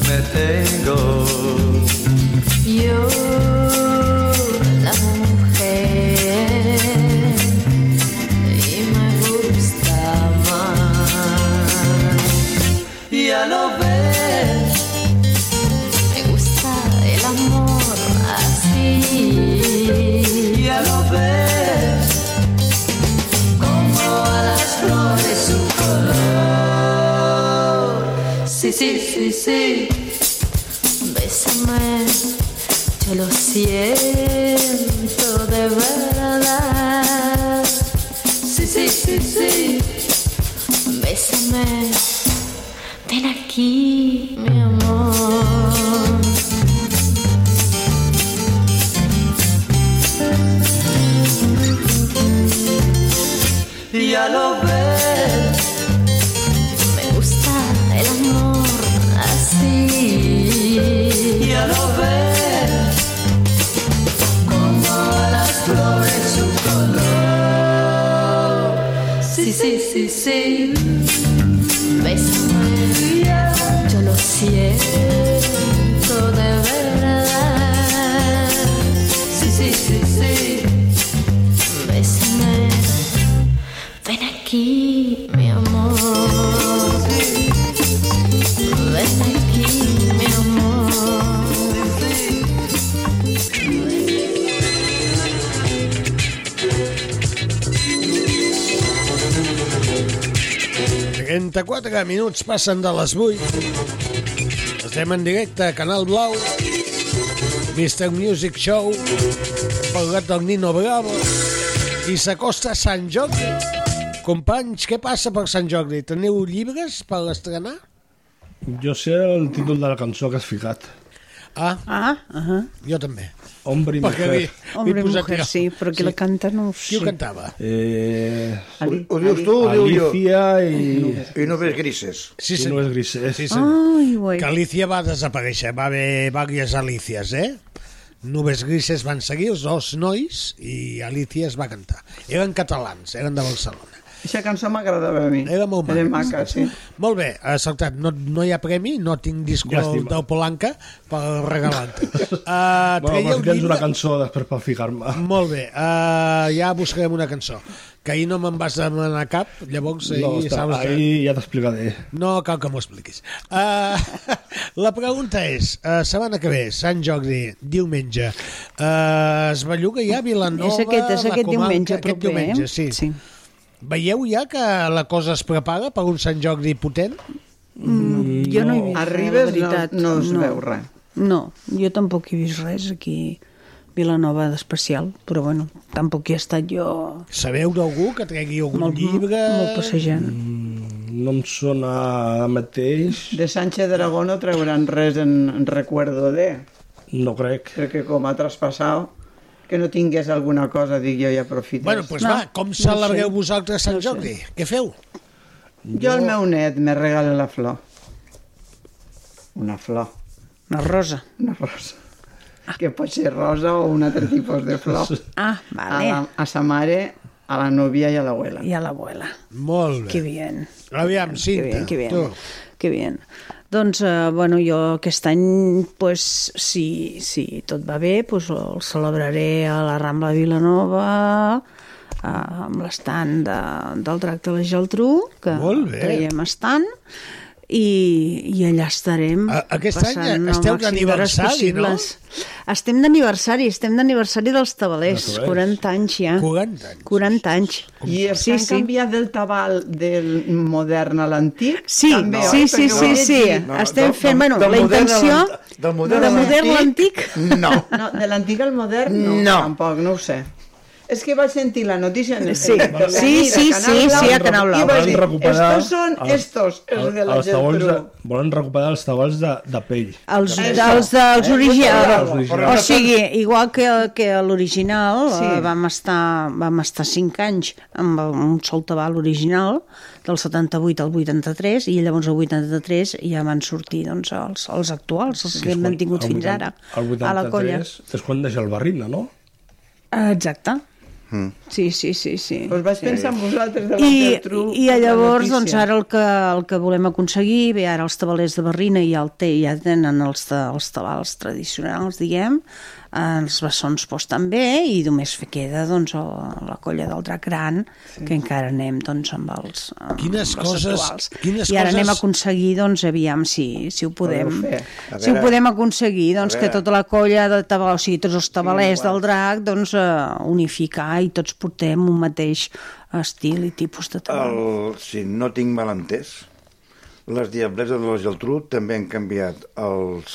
me tengo. Yo, la mujer, y me gusta más. Ya lo ves, Me gusta el amor así. ya lo ves, Como a las flores su color. Sí, sí, sí, sí. Bésame, yo lo siento de verdad. Sí, sí, sí, sí. Bésame, ven aquí, mi amor. ya lo ves, Me gusta el amor así. ya lo ves, Como a las flores su color. Sí, sí, sí, sí. Bésame, yo lo siento de verdad. Sí, sí, sí, sí. Bésame, ven aquí, mi amor. Ven aquí, mi amor. Sí. 34 minuts passen de les 8. Estem en directe a Canal Blau. Mr. Music Show. Parlat del Nino Bravo. I s'acosta a Sant Jordi. Companys, què passa per Sant Jordi? Teniu llibres per estrenar? Jo sé el títol de la cançó que has ficat. Ah. Ah, uh -huh. Jo també. Hombre i Perquè mujer. li- Hombre, li he posat mujer, jo. sí, però qui sí. la canta no ho sé. Qui ho cantava? Eh... Ho, ho dius tu, ho diu jo. Alicia i... I no ves grises. Sí, I no és grises. Sí, Ai, senyor. güey. Que Alicia va desaparèixer, va haver diverses Alícies, eh? Nubes grises van seguir els dos nois i Alicia es va cantar. Eren catalans, eren de Barcelona. Aquesta cançó m'agradava a mi. Era molt maca. Era maca, sí. Molt bé, ha saltat. No, no hi ha premi, no tinc disco Llàstima. del Polanca per regalar-te. Uh, Bueno, però si tens una llibre... cançó després per ficar-me. Molt bé, uh, ja buscarem una cançó. Que ahir no me'n vas demanar cap, llavors ahir... No, està, saps que- ahir ja t'explicaré. No cal que m'ho expliquis. Uh, la pregunta és, uh, setmana que ve, Sant Jordi, diumenge, uh, es belluga ja Vilanova... És aquest- és la aquest Comarca, diumenge Aquest proper, eh? diumenge, sí. sí. Veieu ja que la cosa es prepara per un Sant Jordi potent? Mm, jo no hi he vist res, Arribes, la veritat. no- no es veu res. No, jo tampoc he vist res aquí a Vilanova d'especial, però bueno, tampoc hi he estat jo Sabeu d'algú que tregui algun molt, llibre? molt passejant. No em sona ara mateix, De Sánchez Dragón no trauran res en, en recuerdo de... no crec. Crec que com ha traspassat, que no tingués alguna cosa, dic jo, i aprofites. Bueno, doncs pues va, com celebreu vosaltres Sant Jordi? Què feu? Jo al meu net me regala la flor. Una flor. Una rosa. Una rosa. Que pot ser rosa o un altre tipus de flor. Ah, A, vale. la, a sa mare, a la novia i a l'abuela. I a l'abuela. Molt bé. Que bien. Aviam, Que Cinta. bien, que bien. tu. Que bien. Doncs, eh, bueno, jo aquest any, pues, si, si tot va bé, pues, el celebraré a la Rambla Vilanova, eh, amb l'estant de, del Drac de la Geltrú, que Molt bé. traiem estant, i, i allà estarem A- aquest any passant el esteu màxim d'hores d'aniversari, no? possibles. Estem d'aniversari, estem d'aniversari dels tabalers, Dels tabalers. 40 anys ja. 40 anys. 40 anys. I es sí, han sí. canviat del tabal del modern a l'antic? Sí, també, sí, oi? sí, Perquè ho sí, he sí. llegit. No, Estem del- fent, bueno, del la modern a intenció l'ant- del modern de a l'antic, modern a l'antic. No. no de l'antic al modern, no, no, tampoc, no ho sé. És que vaig sentir la notícia en el Sí. de la Sí, nit, sí, a Canal sí, Blau, sí, a Canal Blau. I vaig Van dir, recuperar estos són els- estos, els de la Els tabols de, Geltrú. volen recuperar els tabols de, de pell. Els, Això. dels, dels Eh? originals. Els O originals. sigui, igual que, que a l'original, Sí. sí. vam, estar, vam estar 5 anys amb el- un sol tabal original, del 78 al 83, i llavors al 83 ja van sortir doncs, els, els actuals, els que hem mantingut El fins ara, 80 el a la colla. 83 És quan deixa el barrina, no? Ah, Exacte. Mm. Sí, sí, sí, sí. Us Doncs vaig pensar en vosaltres de la I, Geltrú. i de la llavors, notícia. doncs, ara el que, el que volem aconseguir, bé, ara els tabalers de Barrina i el té ja tenen els, ta- els tabals tradicionals, diguem, eh, els bessons pues, també, i només fe- queda doncs, el, la colla del drac gran, sí. que encara anem doncs, amb els, amb Quines els coses- actuals. quines I ara anem a coses- aconseguir, doncs, aviam si, si ho podem, Podeu fer. A si ho veure. podem aconseguir, doncs, A que veure. tota la colla de tabal, o sigui, tots els tabalers del drac, doncs, eh, unificar i tots portem un mateix estil i tipus de tabal. El, si no tinc mal entès, les diableses de la Geltrú també han canviat els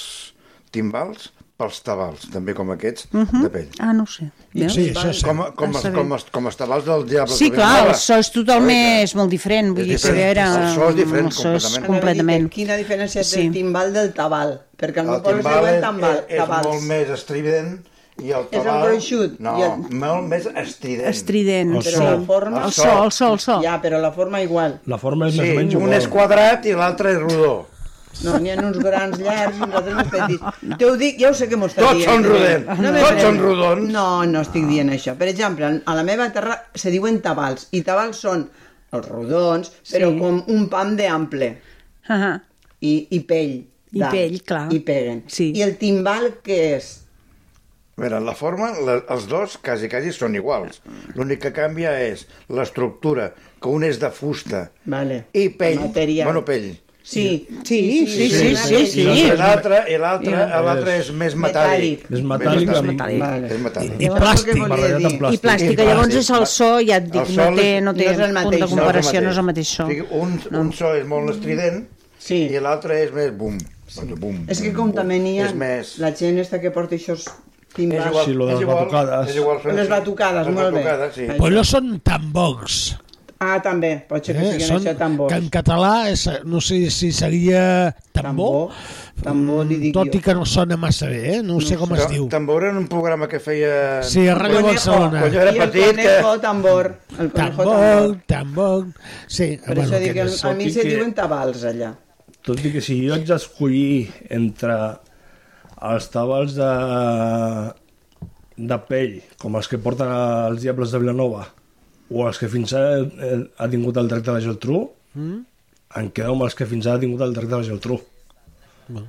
timbals pels tabals, també com aquests, uh Mhm. -huh. de pell. Ah, no ho sé. Veus? Com, com, Ah, els, està bé. com, els, com els tabals del diable. Sí, de clar, Vilanova. el so és totalment és molt diferent. Vull dir que diferent. era... El so és diferent el so és completament. completament. Quina diferència sí. Sí. del timbal del tabal? Perquè al meu El poble es timbal diuen és, tambal, és, és tabals. molt més estrident i el És el tabal... gruixut, No, i el... el- molt més estrident. Estrident, Però la forma... El so. el so, el so. Ja, però la forma igual. La forma és Sí, més o menys un igual. és quadrat i l'altre és rodó. No, n'hi ha uns grans llargs i nosaltres més petits. Te ho dic, ja ho sé que m'ho estàs Tots dient. eh? són rodons. me Tots premis. són rodons. No, no estic dient això. Per exemple, a la meva terra se diuen tabals, i tabals són els rodons, però com un pam d'ample. Uh -huh. I, I pell. I d'am. pell, clar. I peguen. Sí. I el timbal, què és? A veure, la forma, la, els dos quasi, quasi són iguals. L'únic que canvia és l'estructura, que un és de fusta Vale. i pell. Material. Bueno, pell. Sí, sí, sí, sí, sí, sí. I L'altre i I l'altre l'altre l'altre és més metàl·lic. És metàl·lic, Més sí. És metàl·lic. I plàstic. barrejat amb I plàstic, que llavors és el so, ja et dic, El no sol té, és- no té punt de comparació, no és el mateix so. O sigui, un, un so és molt estrident sí. i l'altre és més bum. Bum, bum, És que com bum. també n'hi ha És més... la gent esta que porta això timbals. És igual, Sí, lo de és les igual, batucades. és igual, són- les batucades, les molt batucades, bé. sí. Però no són tan bocs. Ah, també, pot ser que Eh, siguin són- això tambors. que en català és, no sé si seria tambor, tambor, tambor li dic tot i que no sona massa bé, eh? no, no sé com es diu. Tambor en un programa que feia... Sí, a Ràdio Conejo. Barcelona. Quan jo era I el petit... Conejo, tambor. El conejo Tambor, tambor... Sí, Per bueno, això dic, que- a mi se que- diuen tabals allà. Tot i que si jo haig d'escollir entre els tabals de, de pell, com els que porten els Diables de Vilanova, o els que fins ara eh, ha tingut el tracte de la Geltrú, Mm? em quedo amb els que fins ara ha tingut el tracte de la Geltrú. No,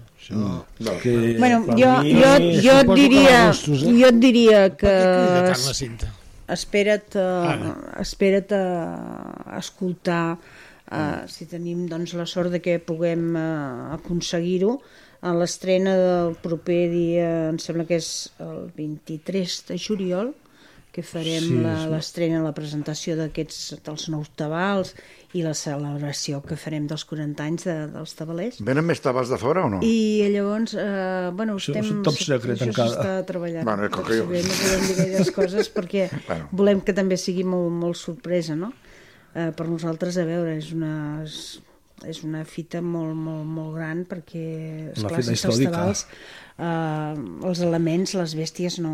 que, Bueno, per jo, mi jo, és- jo, et diria, jo et diria que... tant la cinta? Espera't, Ara. a, espera't a, a escoltar a, si tenim doncs, la sort de que puguem eh, aconseguir-ho a l'estrena del proper dia, em sembla que és el 23 de juliol, que farem Sí, sí, és la- l'estrena, la presentació d'aquests dels nous tabals i la celebració que farem dels 40 anys de, dels tabalers. Venen més tabals de fora o no? I llavors, eh, bueno, Això- estem... això top secret això encara. s'està treballant. Bueno, com que jo- Bé, no podem dir gaires coses perquè Bueno. bueno. volem que també sigui molt, molt sorpresa, no? Eh, per nosaltres, a veure, és una, és, és una fita molt, molt, molt gran perquè, esclar, fita sense els històrica. tabals, eh, els elements, les bèsties, no,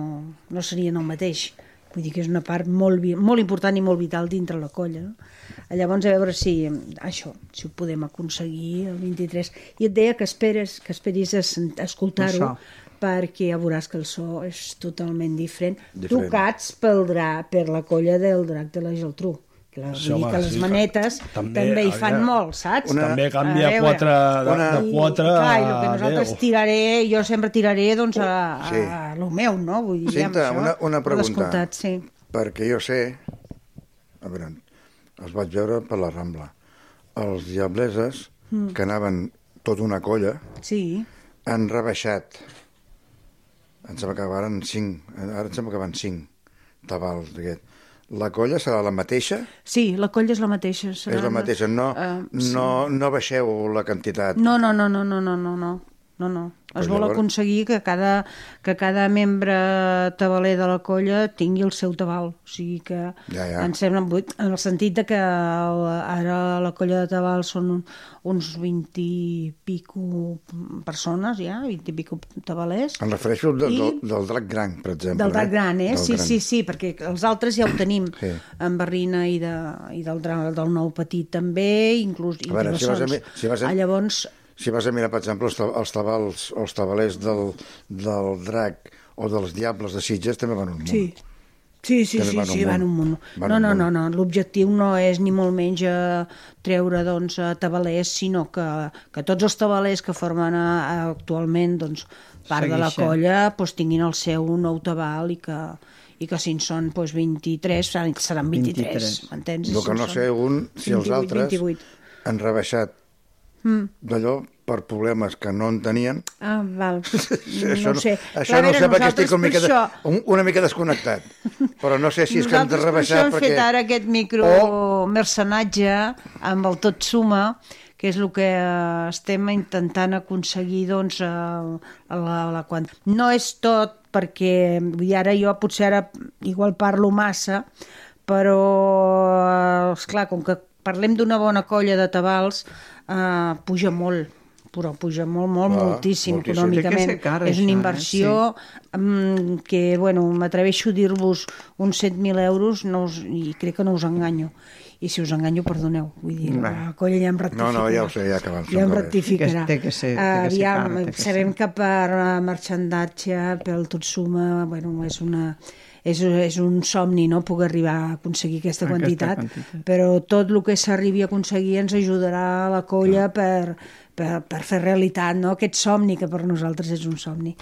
no serien el mateix. Vull dir que és una part molt, vi- molt important i molt vital dintre la colla. No? Llavors, a veure si eh, això, si ho podem aconseguir el 23. I et deia que esperes, que esperis a sent- a escoltar-ho, El perquè ja veuràs que el so és totalment diferent, Diferent. tocats pel dra, per la colla del drac de la Geltrú. Que la, Sí, sí, home, que les sí, manetes també, també hi fan aviam. molt, saps? Una... També canvia A veure. quatre, de, de I- quatre clar, i el que a nosaltres 10. tiraré, jo sempre tiraré doncs, a, a, Sí. a lo meu, no? Vull dir, Cinta, amb això, una- una ho he pregunta. escoltat, sí. Perquè jo sé... A veure, els vaig veure per la Rambla. Els diableses, Mm. que anaven tota una colla, sí. han rebaixat. Em sembla que van 5. Ara em sembla que van 5 tabals d'aquest. La colla serà la mateixa? Sí, la colla és la mateixa. Serà és la mateixa. No, eh, sí. no, no baixeu la quantitat. No, no, no, no, no, no, no, no. No, no. Es Però vol llavors- aconseguir que cada, que cada membre tabaler de la colla tingui el seu tabal. O sigui que Ja, ja. em sembla... vuit- En el sentit de que el, ara la colla de tabal són un- uns 20 i pico persones, ja, 20 i pico tabalers. Em refereixo del, I- del, del drac gran, per exemple. Del drac gran, eh? Del Sí, gran. sí, sí, perquè els altres ja ho tenim. Sí. Amb Barrina i, de, i del, dra- del nou petit també, inclús... i A veure, si vas a Ribassons. mi- si vas a- Ah, Llavors, Si vas a mirar, per exemple, els, ta- els, tabals, els tabalers del, del drac o dels diables de Sitges també van un munt. Sí. Sí, sí, També sí, van sí, un van un munt. Van no, un no, munt. no, no, l'objectiu no és ni molt menys eh, treure doncs, eh, tabalers, sinó que, que tots els tabalers que formen eh, actualment doncs, part de la Seguixen. colla doncs, tinguin el seu nou tabal i que, i que si en són doncs, 23, seran- seran 23, 23. m'entens? El que no sé un, si els 28, altres 28. han rebaixat Mm. d'allò per problemes que no en tenien. Ah, val. això Mm, no ho sé. Això no a ho veure, sé perquè nosaltres estic una mica, de, per això- un, una mica desconnectat. Però no sé si és que han de Nosaltres rebaixar per això hem perquè... fet ara aquest micromercenatge amb el tot suma, que és el que eh, estem intentant aconseguir doncs, eh, la, la quant... No és tot perquè vull dir, ara jo potser ara igual parlo massa, però és clar, com que parlem d'una bona colla de tabals, eh, puja molt, però puja molt, molt, Clar, moltíssim, moltíssim. econòmicament. Té que ser car, és una això, eh? inversió Sí. mm, que, bueno, m'atreveixo a dir-vos uns 100.000 euros no us, i crec que no us enganyo. I si us enganyo, perdoneu. Vull dir, Bé. la colla ja em No, rectificarà. no, ja ho sé, ja que van. Ja em rectificarà. Té que ser- té que ser Aviam, car, té que ser. sabem que per eh, marxandatge, pel tot suma, bueno, és una... És, és un somni, no?, poder arribar a aconseguir aquesta Aquesta quantitat, quantitat. però tot el que s'arribi a aconseguir ens ajudarà a la colla per, per, per fer realitat, no?, aquest somni que per nosaltres és un somni.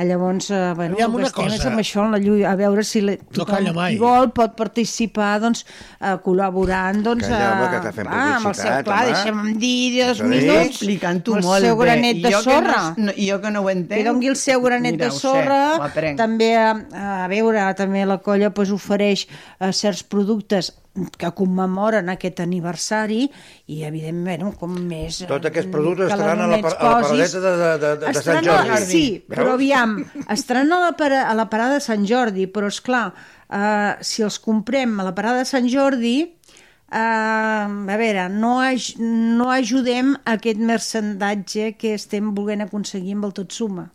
Ah, Llavors, eh, bueno, Aviam, el que una estem és cosa. amb això, en la lluita, a veure si la, calla tothom mai. qui vol pot participar doncs, eh, col·laborant doncs, Calla, home, que eh, t'ha fet va, amb el seu, publicitat, clar, home. deixa'm dir, Dios Això mío, dic. Explicant-ho amb molt el seu bé. granet de Jo que no- sorra. no- jo que no ho entenc, Que dongui el seu granet mira, de ho sé, ho sorra. aprenc. també, a, a veure, també la colla pues, ofereix eh, certs productes que commemoren aquest aniversari i, evidentment, bueno, com més... eh, Tots aquests productes que estaran a la, par- l'anonets a la posis, paradeta de, de, de, de, de Sant Estaran a- Jordi. Sí, Veus? però aviam, estaran a la, para, a la parada de Sant Jordi, però és clar, eh, si els comprem a la parada de Sant Jordi, Uh, a veure, no, aj no ajudem a aquest mercendatge que estem volent aconseguir amb el tot suma.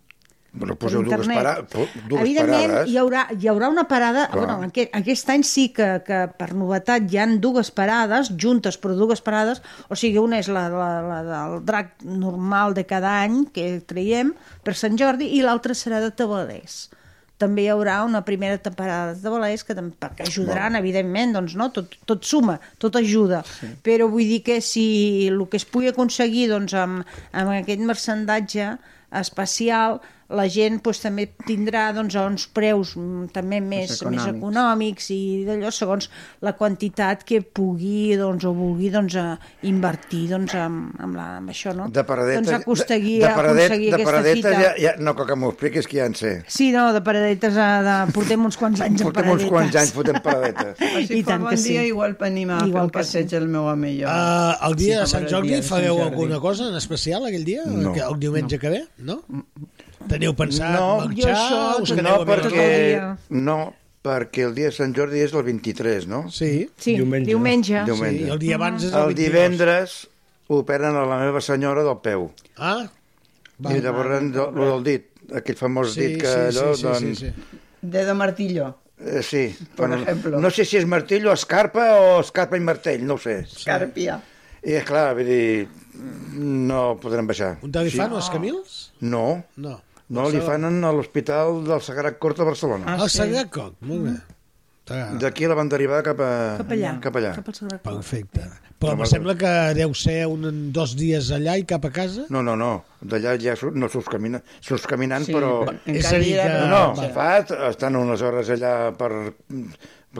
Bueno, poseu dues, Internet. para, po- dues Evidentment, parades. hi haurà, hi haurà una parada... Clar. Bueno, aquest, aquest any sí que, que per novetat hi han dues parades, juntes però dues parades, o sigui, una és la, la, la del drac normal de cada any que traiem per Sant Jordi i l'altra serà de tabalers. També hi haurà una primera temporada de tabalers que, tam- que ajudaran, evidentment, doncs, no? tot, tot suma, tot ajuda. Sí. Però vull dir que si el que es pugui aconseguir doncs, amb, amb aquest mercendatge especial, la gent doncs, també tindrà doncs, uns preus mm, també més, més econòmics. econòmics i d'allò segons la quantitat que pugui doncs, o vulgui doncs, a invertir doncs, amb, amb, la, amb això, no? De paradeta, doncs aconseguir, de, de paradet, aconseguir de aquesta paradeta fita. ja, ja, no cal que m'ho expliquis, que ja en sé. Sí, no, de paradetes, eh, de... portem uns quants anys de Portem uns paradetes. quants anys fotent paradetes. Si I I fa tant bon que sí. dia, igual venim a fer Igual un passeig al meu home i jo. Uh, el dia Sí, de Sant com el Jordi dia de Sant fareu Jordi. alguna cosa en especial aquell dia? No. Que El diumenge que ve? No? Teniu pensat No, marxar? us quedeu no, a veure? perquè, no, perquè el dia de Sant Jordi és el 23, no? Sí, Sí, diumenge. diumenge. diumenge. Sí, el dia abans és el El 22. divendres operen a la meva senyora del peu. Ah, I llavors, el del dit, aquell famós Sí, dit que sí, sí, allò, sí, doncs... sí, Dedo martillo. Eh, Sí, Por bueno, ejemplo. no sé si és martell o escarpa o escarpa i martell, no ho sé. Escàrpia. I és clar, vull dir, no podrem baixar. un tal que fan els Camils? No, No. no li fan a l'Hospital del Sagrat Cort de Barcelona. Ah, el Sagrat Coc, molt bé. D'aquí la van derivar cap, a... Cap allà. Cap allà. Cap Perfecte. Però em sembla que deu ser un, dos dies allà i cap a casa. No, no, no. D'allà ja sur- no surts, camina, surts caminant, Sí, però... en És a dir cadira, que- No, però- no, fas, estan unes hores allà per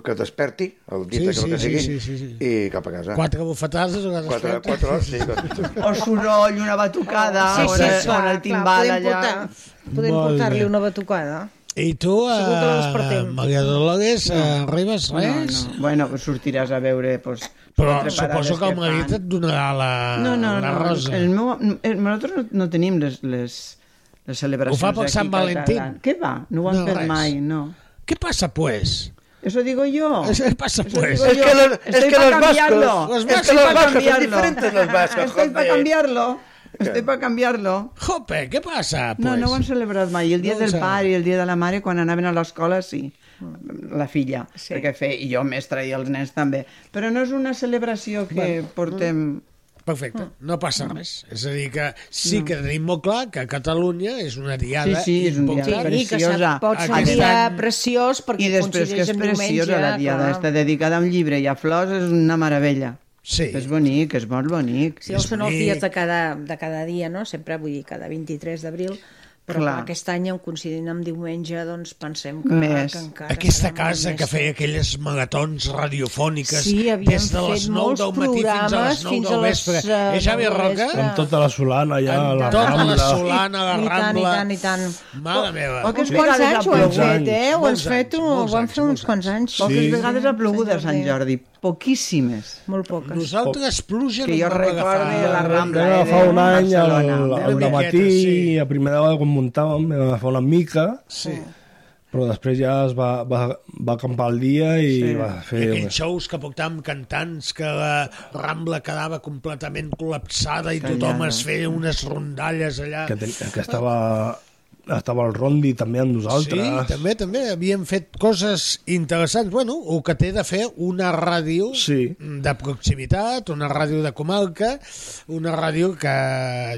que desperti, el dit Sí, que el que sí, sigui, sí, sí, sí. i cap a casa. Quatre bufetades o quatre Ah. quatre, esfertes. quatre hores, sí. Quatre. O soroll, una batucada, Sí, o, sí, el- clar, o el clar, timbal podem allà. portar- Podem Molt bé. portar-li una batucada. I tu, Segur que la eh, despertem. Maria Dolores, no. arribes No, res? no. Bueno, pues sortiràs a veure... Pues, Però quatre parades suposo que el fan. marit et donarà la, No, no, la no. rosa. El meu, el, nosaltres no, no tenim les, les, les celebracions Ho fa pel aquí Sant que Valentín. agraden. Què va? No ho han No, no, fet res. res. mai, no. Què passa, pues? Eso digo yo. Eso pasa, Eso pues. digo Es yo. que los- es Estoy que pa los vascos- cambiarlo. los Estoy vascos- pa los vascos son cambiarlo. diferentes los vascos, Estoy para joder. cambiarlo. Estoy para cambiarlo. Jope, què passa, pues? No, no ho han celebrat mai. I El dia No ho no del saben. pare i el dia de la mare, quan anaven a l'escola, sí. Mm. La filla. Sí. Perquè fe, i jo, mestra, i els nens també. Però no és una celebració que mm. Bueno. portem... Ah. Perfecte, no passa res. És a dir, que sí que tenim molt clar que Catalunya és una diada Sí, sí, és un important. diada Sí, i que s'ha- preciosa. pot ser un Aquest dia any. preciós perquè I després que és coincideix amb preciosa diumenge, la diada, clar. està dedicada a un llibre i a flors, és una meravella. Sí. És bonic, és molt bonic. Sí, els són els dies de cada, de cada dia, no? Sempre, vull dir, cada 23 d'abril, però clar. Clar. aquest any, en coincidint amb diumenge, doncs pensem que, Més. que encara... Aquesta casa que feia aquelles maratons radiofòniques Sí, havien des de les fet 9 molts del matí fins a les programes 9 fins a del les, vespre. eh, Eh, Xavi nou del Roca? vespre. Amb tota la Solana, ja, la tota la Rambla... Solana, la I tant, i Rambla... tant, i tant. Mare meva. Poques quants anys ho han Molts fet, eh? Ho han molts fet, anys, ho molts van anys, fer uns quants anys. Poques vegades ha plogut a Sant Jordi, poquíssimes. Molt poques. Nosaltres pluja Que jo recordo de la Rambla. Vam agafar eh, de un any, el, Barcelona. el de matí, sí. a primera vegada quan muntàvem, vam agafar una mica, sí. però després ja es va, va, va acampar el dia i sí. va fer... I una- aquells shows que portàvem cantants que la Rambla quedava completament col·lapsada i tothom Callada. es feia unes rondalles allà. que, ten, que estava, estava el Rondi també amb nosaltres. Sí, també, també. Havien fet coses interessants. Bueno, el que té de fer una ràdio sí. de proximitat, una ràdio de comarca, una ràdio que,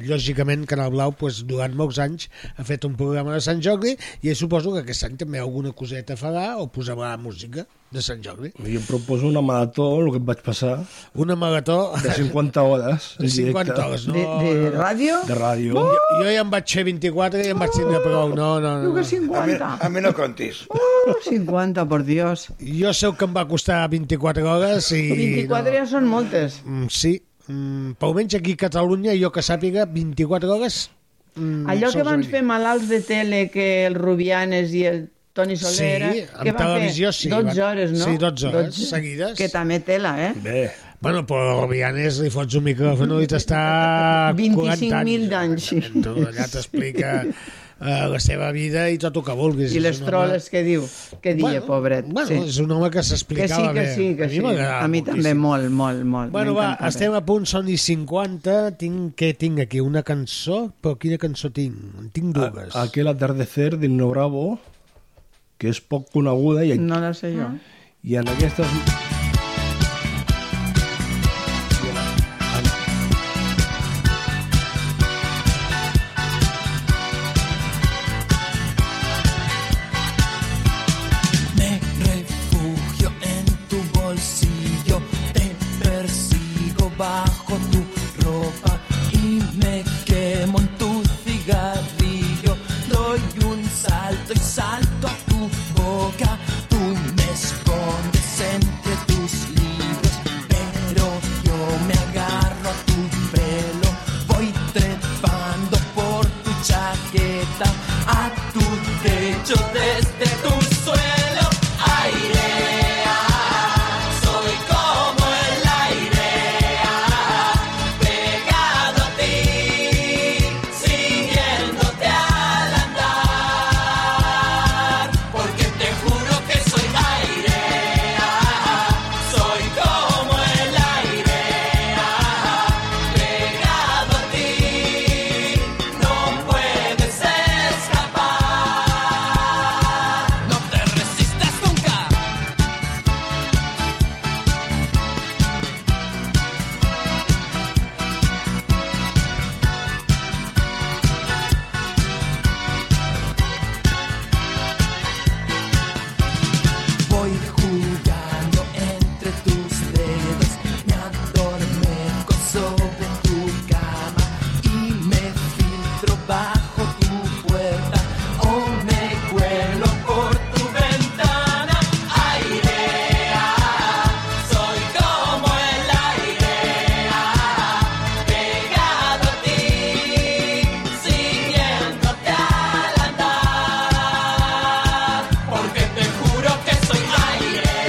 lògicament, Canal Blau pues, durant molts anys ha fet un programa de Sant Jordi i suposo que aquest any també alguna coseta farà o posarà música de Sant Jordi. Jo em proposo una marató, el que et vaig passar. Una marató... De 50 hores. De 50 hores, no. de ràdio? Uh! De ràdio. Jo, jo ja em vaig fer 24 i ja em vaig tindre prou. No, no, no. Diu que 50. A mi no contis. Oh, 50, por Dios. Jo sé el que em va costar 24 hores i... 24 ja són moltes. Mm, Sí, mm, pel menys aquí a Catalunya, jo que sàpiga, 24 hores... Mm, Allò que sols van avui. fer malalts de tele, que el Rubianes i el Toni Solera... Sí, en que van televisió fer sí, 12 van- hores, no? sí, 12 hores seguides. Que també tela, eh? Bé. Bueno, però Rubianes li fots un micròfon i t'està 40 anys. 25.000 d'anys. Tu allà t'explica eh, la seva vida i tot el que vulguis. I És les un home- troles, què diu? Què dia, Bueno, pobret? Bueno, Sí. és un home que s'explicava Que bé. sí, A que mi sí, que sí. m'agradava A mi moltíssim. també molt, molt, molt. Bueno, va, M'encantava. estem a punt, són i 50. Tinc, què tinc aquí? Una cançó? Però quina cançó tinc? En tinc dues. A- Aquel atardecer d'Inno Bravo, que és poc coneguda i, No la sé jo. i en aquestes... I en- Me refugio en tu bolsillo, te persigo bajo tu ropa y me quemo en tu cigarrillo. Doy un salto y salto a tu boca, tú me escondes entre tus libros, pero yo me agarro a tu pelo, voy trepando por tu chaqueta a tu techo desde tu suelo. Airea, soy como el aire, pegado a ti, siguiéndote al andar, porque te juro que soy airea, soy como el aire, pegado a ti, no puedes escapar, no te resistas nunca. Voy jugando entre tus dedos, me adormezco sobre tu cama y me filtro bajo tu puerta o me cuelo por tu ventana. Airea, soy como el aire, pegado a ti, siguiéndote al andar. Porque te juro que soy aire,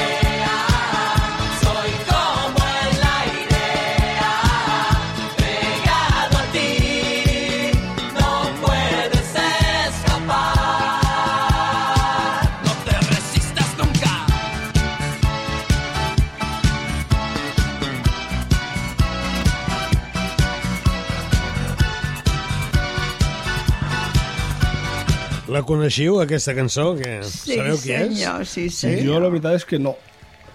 soy como el aire, pegado a ti, no puedes escapar, no te resistas nunca. La coneixiu, aquesta cançó? Que Sí, sabeu qui senyor, és? Ah, sí, senyor. Jo la veritat és que no.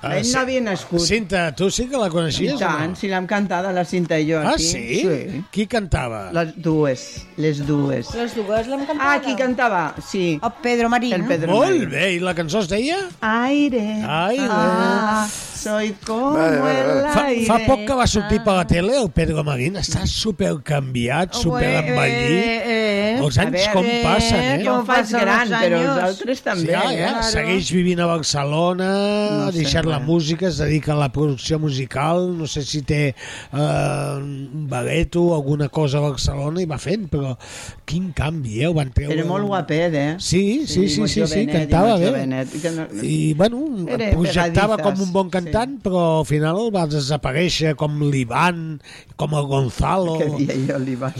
Ell no havia nascut. Cinta, tu sí que la coneixies? I tant, si l'hem cantada la Cinta i jo Ah, aquí. sí? sí? Qui cantava? Les dues, les dues. Les dues l'hem cantada. Ah, qui cantava? Sí. El Pedro Marín. El Pedro Molt Marín. bé, i la cançó es deia? Aire. Aire. Ah, soy como Vale, vale, el vale. Fa, aire. fa poc que va sortir Ah. per la tele el Pedro Marín, està supercanviat, superenvellit. eh, Els anys com passen, eh? Jo em faig passen gran, els però anys. els altres també. Ja, ja, Claro. segueix vivint a Barcelona, no ha sé, deixat la res. música, es dedica a la producció musical, no sé si té eh, un ballet o alguna cosa a Barcelona i va fent, però quin canvi, eh? Ho van treure... Era molt guapet, eh? Sí, sí, sí, molt sí, sí, jovenet i cantava molt bé. jovenet, que no- I, bueno, Era projectava pegaditas, com un bon cantant, però al final el va desaparèixer com l'Ivan, com el Gonzalo... Què dia jo, l'Ivan?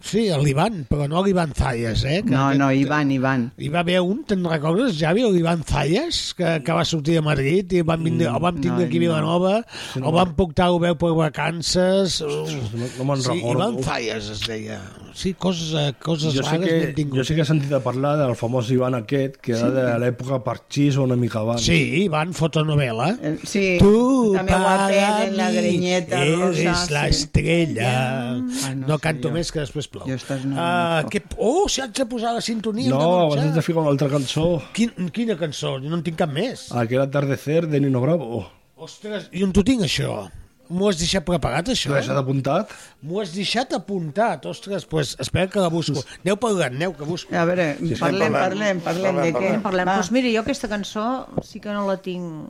Sí, l'Ivan, però no l'Ivan Zayas, eh? Que, No, que- no, Ivan, Ivan. hi va haver un, te'n recordes, Javi, el Ivan Zayas, que, que va sortir de Madrid i van Mm, vindre, el vam tindre no, aquí a no. Vilanova, Sí, no. el van portar a veu per vacances... No, no me'n sí, recordo. Ivan Zayas es deia. Sí, coses, eh, coses Jo sé, rares n'hem que, tingut. eh? jo sé que he sentit a parlar del famós Ivan aquest, que era Sí. de l'època parxís o una mica abans. Sí, Ivan, fotonovela. Eh, Sí, tu també guapet, para en la mi grenyeta eres rosa, la sí. estrella. no, canto més, que després plou. Jo estàs... Ah, que... Oh, si haig de posar la sintonia. No, hem de abans marxar. has de ficar una altra cançó. Quin, quina cançó? No en tinc cap més. Aquel atardecer de Nino Bravo. Ostres, i on t'ho tinc, això? M'ho has deixat preparat, això? T'ho has deixat apuntat? M'ho has deixat apuntat. Ostres, pues, espera que la busco. Aneu parlant, aneu, que busco. A veure, Sí, sí, parlem, parlem. parlem, parlem, de què? Parlem, Parlem, doncs mira, jo aquesta cançó sí que no la tinc...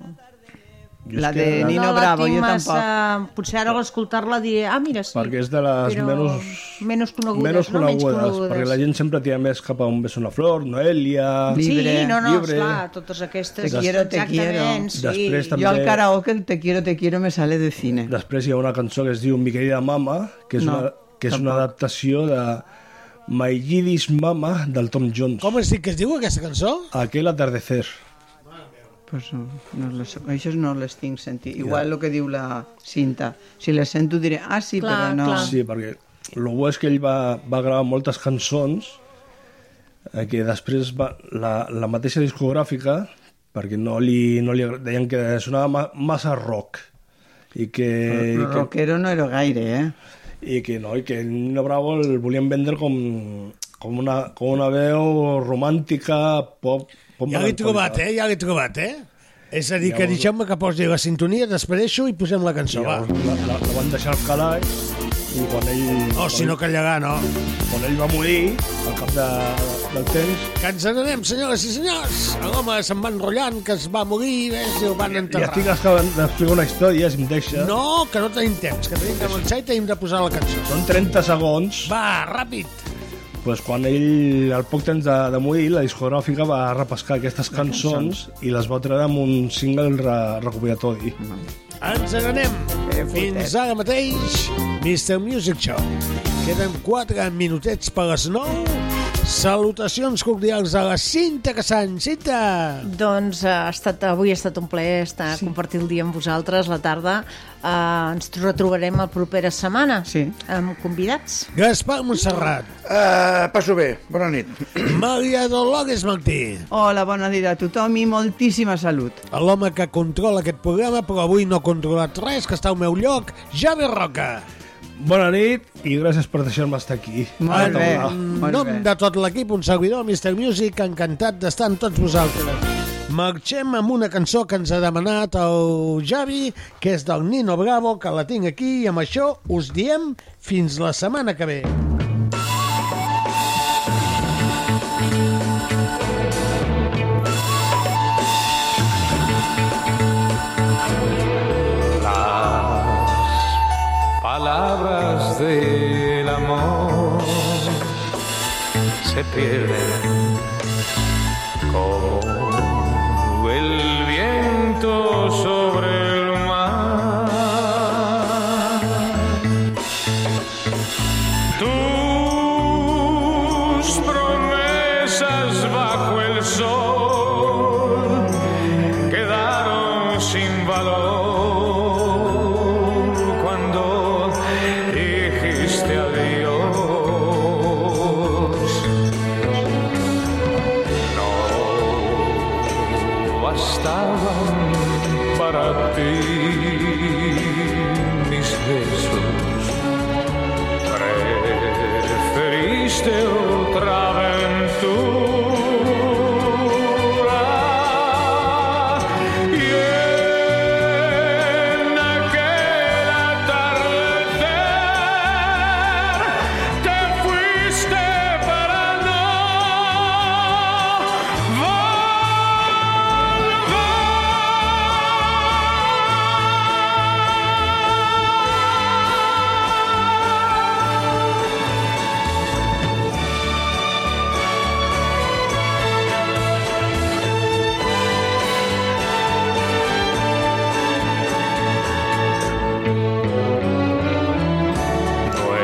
La de Nino no la Bravo, tinc jo massa... tampoc. Potser ara a l'escoltar-la diré, ah, mira, sí. Perquè és de les però menys- menys conegudes, Menys no? conegudes, menys conegudes. perquè la gent sempre tira més cap a un beso una flor, Noelia... Sí, no, no, esclar, totes aquestes... Te quiero, te quiero. Exactament, sí. Després Jo al també- karaoke el te quiero, te quiero me sale de cine. Després hi ha una cançó que es diu Mi querida mama, que és, No, una, que és una adaptació de My Yiddish Mama del Tom Jones. Com es diu que es diu aquesta cançó? Aquel atardecer. Pues no, no les, això no les tinc sentit. Igual el que diu la cinta. Si les sento diré, ah, sí, clar, però no. Sí, perquè el bo és que ell va, va gravar moltes cançons eh, que després va, la, la mateixa discogràfica perquè no li, no li agra- deien que sonava ma, massa rock i que... Però i que rockero no era gaire, eh? i que no, i que Nino Bravo el volien vendre com, com, una, com una veu romàntica, pop... pop Ja l'he melancòlica. trobat, eh? Ja l'he trobat, eh? És a dir, que Llavors- deixem-me que posi la sintonia, després i posem la cançó, va. La, la, la van deixar al calaix i quan ell... Oh, si no callarà, no. Quan ell va morir, al cap de, del temps, Que ens n'anem, senyores i senyors. L'home se'n va enrotllant, que es va morir, ves, i el van ja enterrar. estic acabant d'explicar una història, si em deixa. No, que no tenim temps, que tenim que avançar i tenim de posar la cançó. Són 30 segons. Va, ràpid. Pues quan ell, al poc temps de, de morir, la discogràfica va repescar aquestes cançons i les va treure amb un single re, recopilatori. Ens n'anem. Fins ara mateix, Mr. Music Show. Queden 4 minutets per les 9. Salutacions cordials a la Cinta Casany. Cinta! Doncs eh, ha estat, avui ha estat un plaer estar sí. compartir el dia amb vosaltres, la tarda. Eh, ens retrobarem la propera setmana sí. amb convidats. Gaspar Montserrat. Uh, passo bé. Bona nit. Maria Dolores Martí. Hola, bona nit a tothom i moltíssima salut. L'home que controla aquest programa, però avui no ha controlat res, que està al meu lloc, Javi Roca. Bona nit i gràcies per deixar-me estar aquí. En Molt nom de tot l'equip, un servidor, Mr. Music, encantat d'estar amb tots vosaltres. Marxem amb una cançó que ens ha demanat el Javi, que és del Nino Bravo, que la tinc aquí, i amb això us diem fins la setmana que ve. Las palabras del amor se pierden como el viento sobre el mar. Tus promesas bajo el sol quedaron sin valor cuando dijiste adiós. No bastaban para ti mis besos. Preferiste otra aventura. Y en aquel atardecer te fuiste para no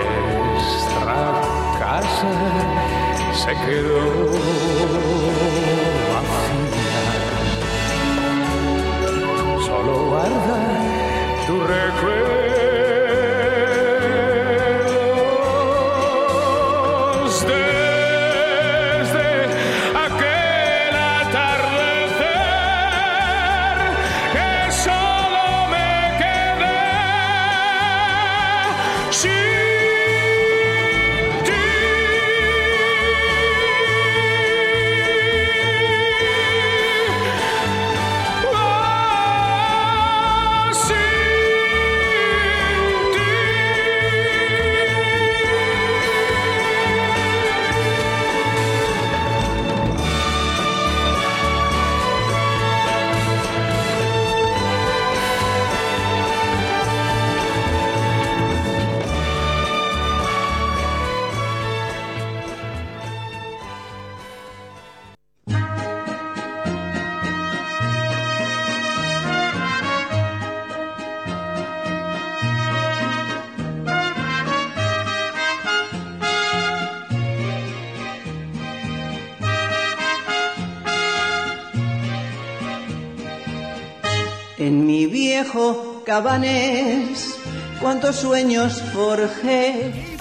Nuestra casa se quedó vacía. Solo guarda tu recuerdos desde aquel atardecer que solo me quedé sin ti. Oh, sin En mi viejo cabanés, cuántos sueños forjé.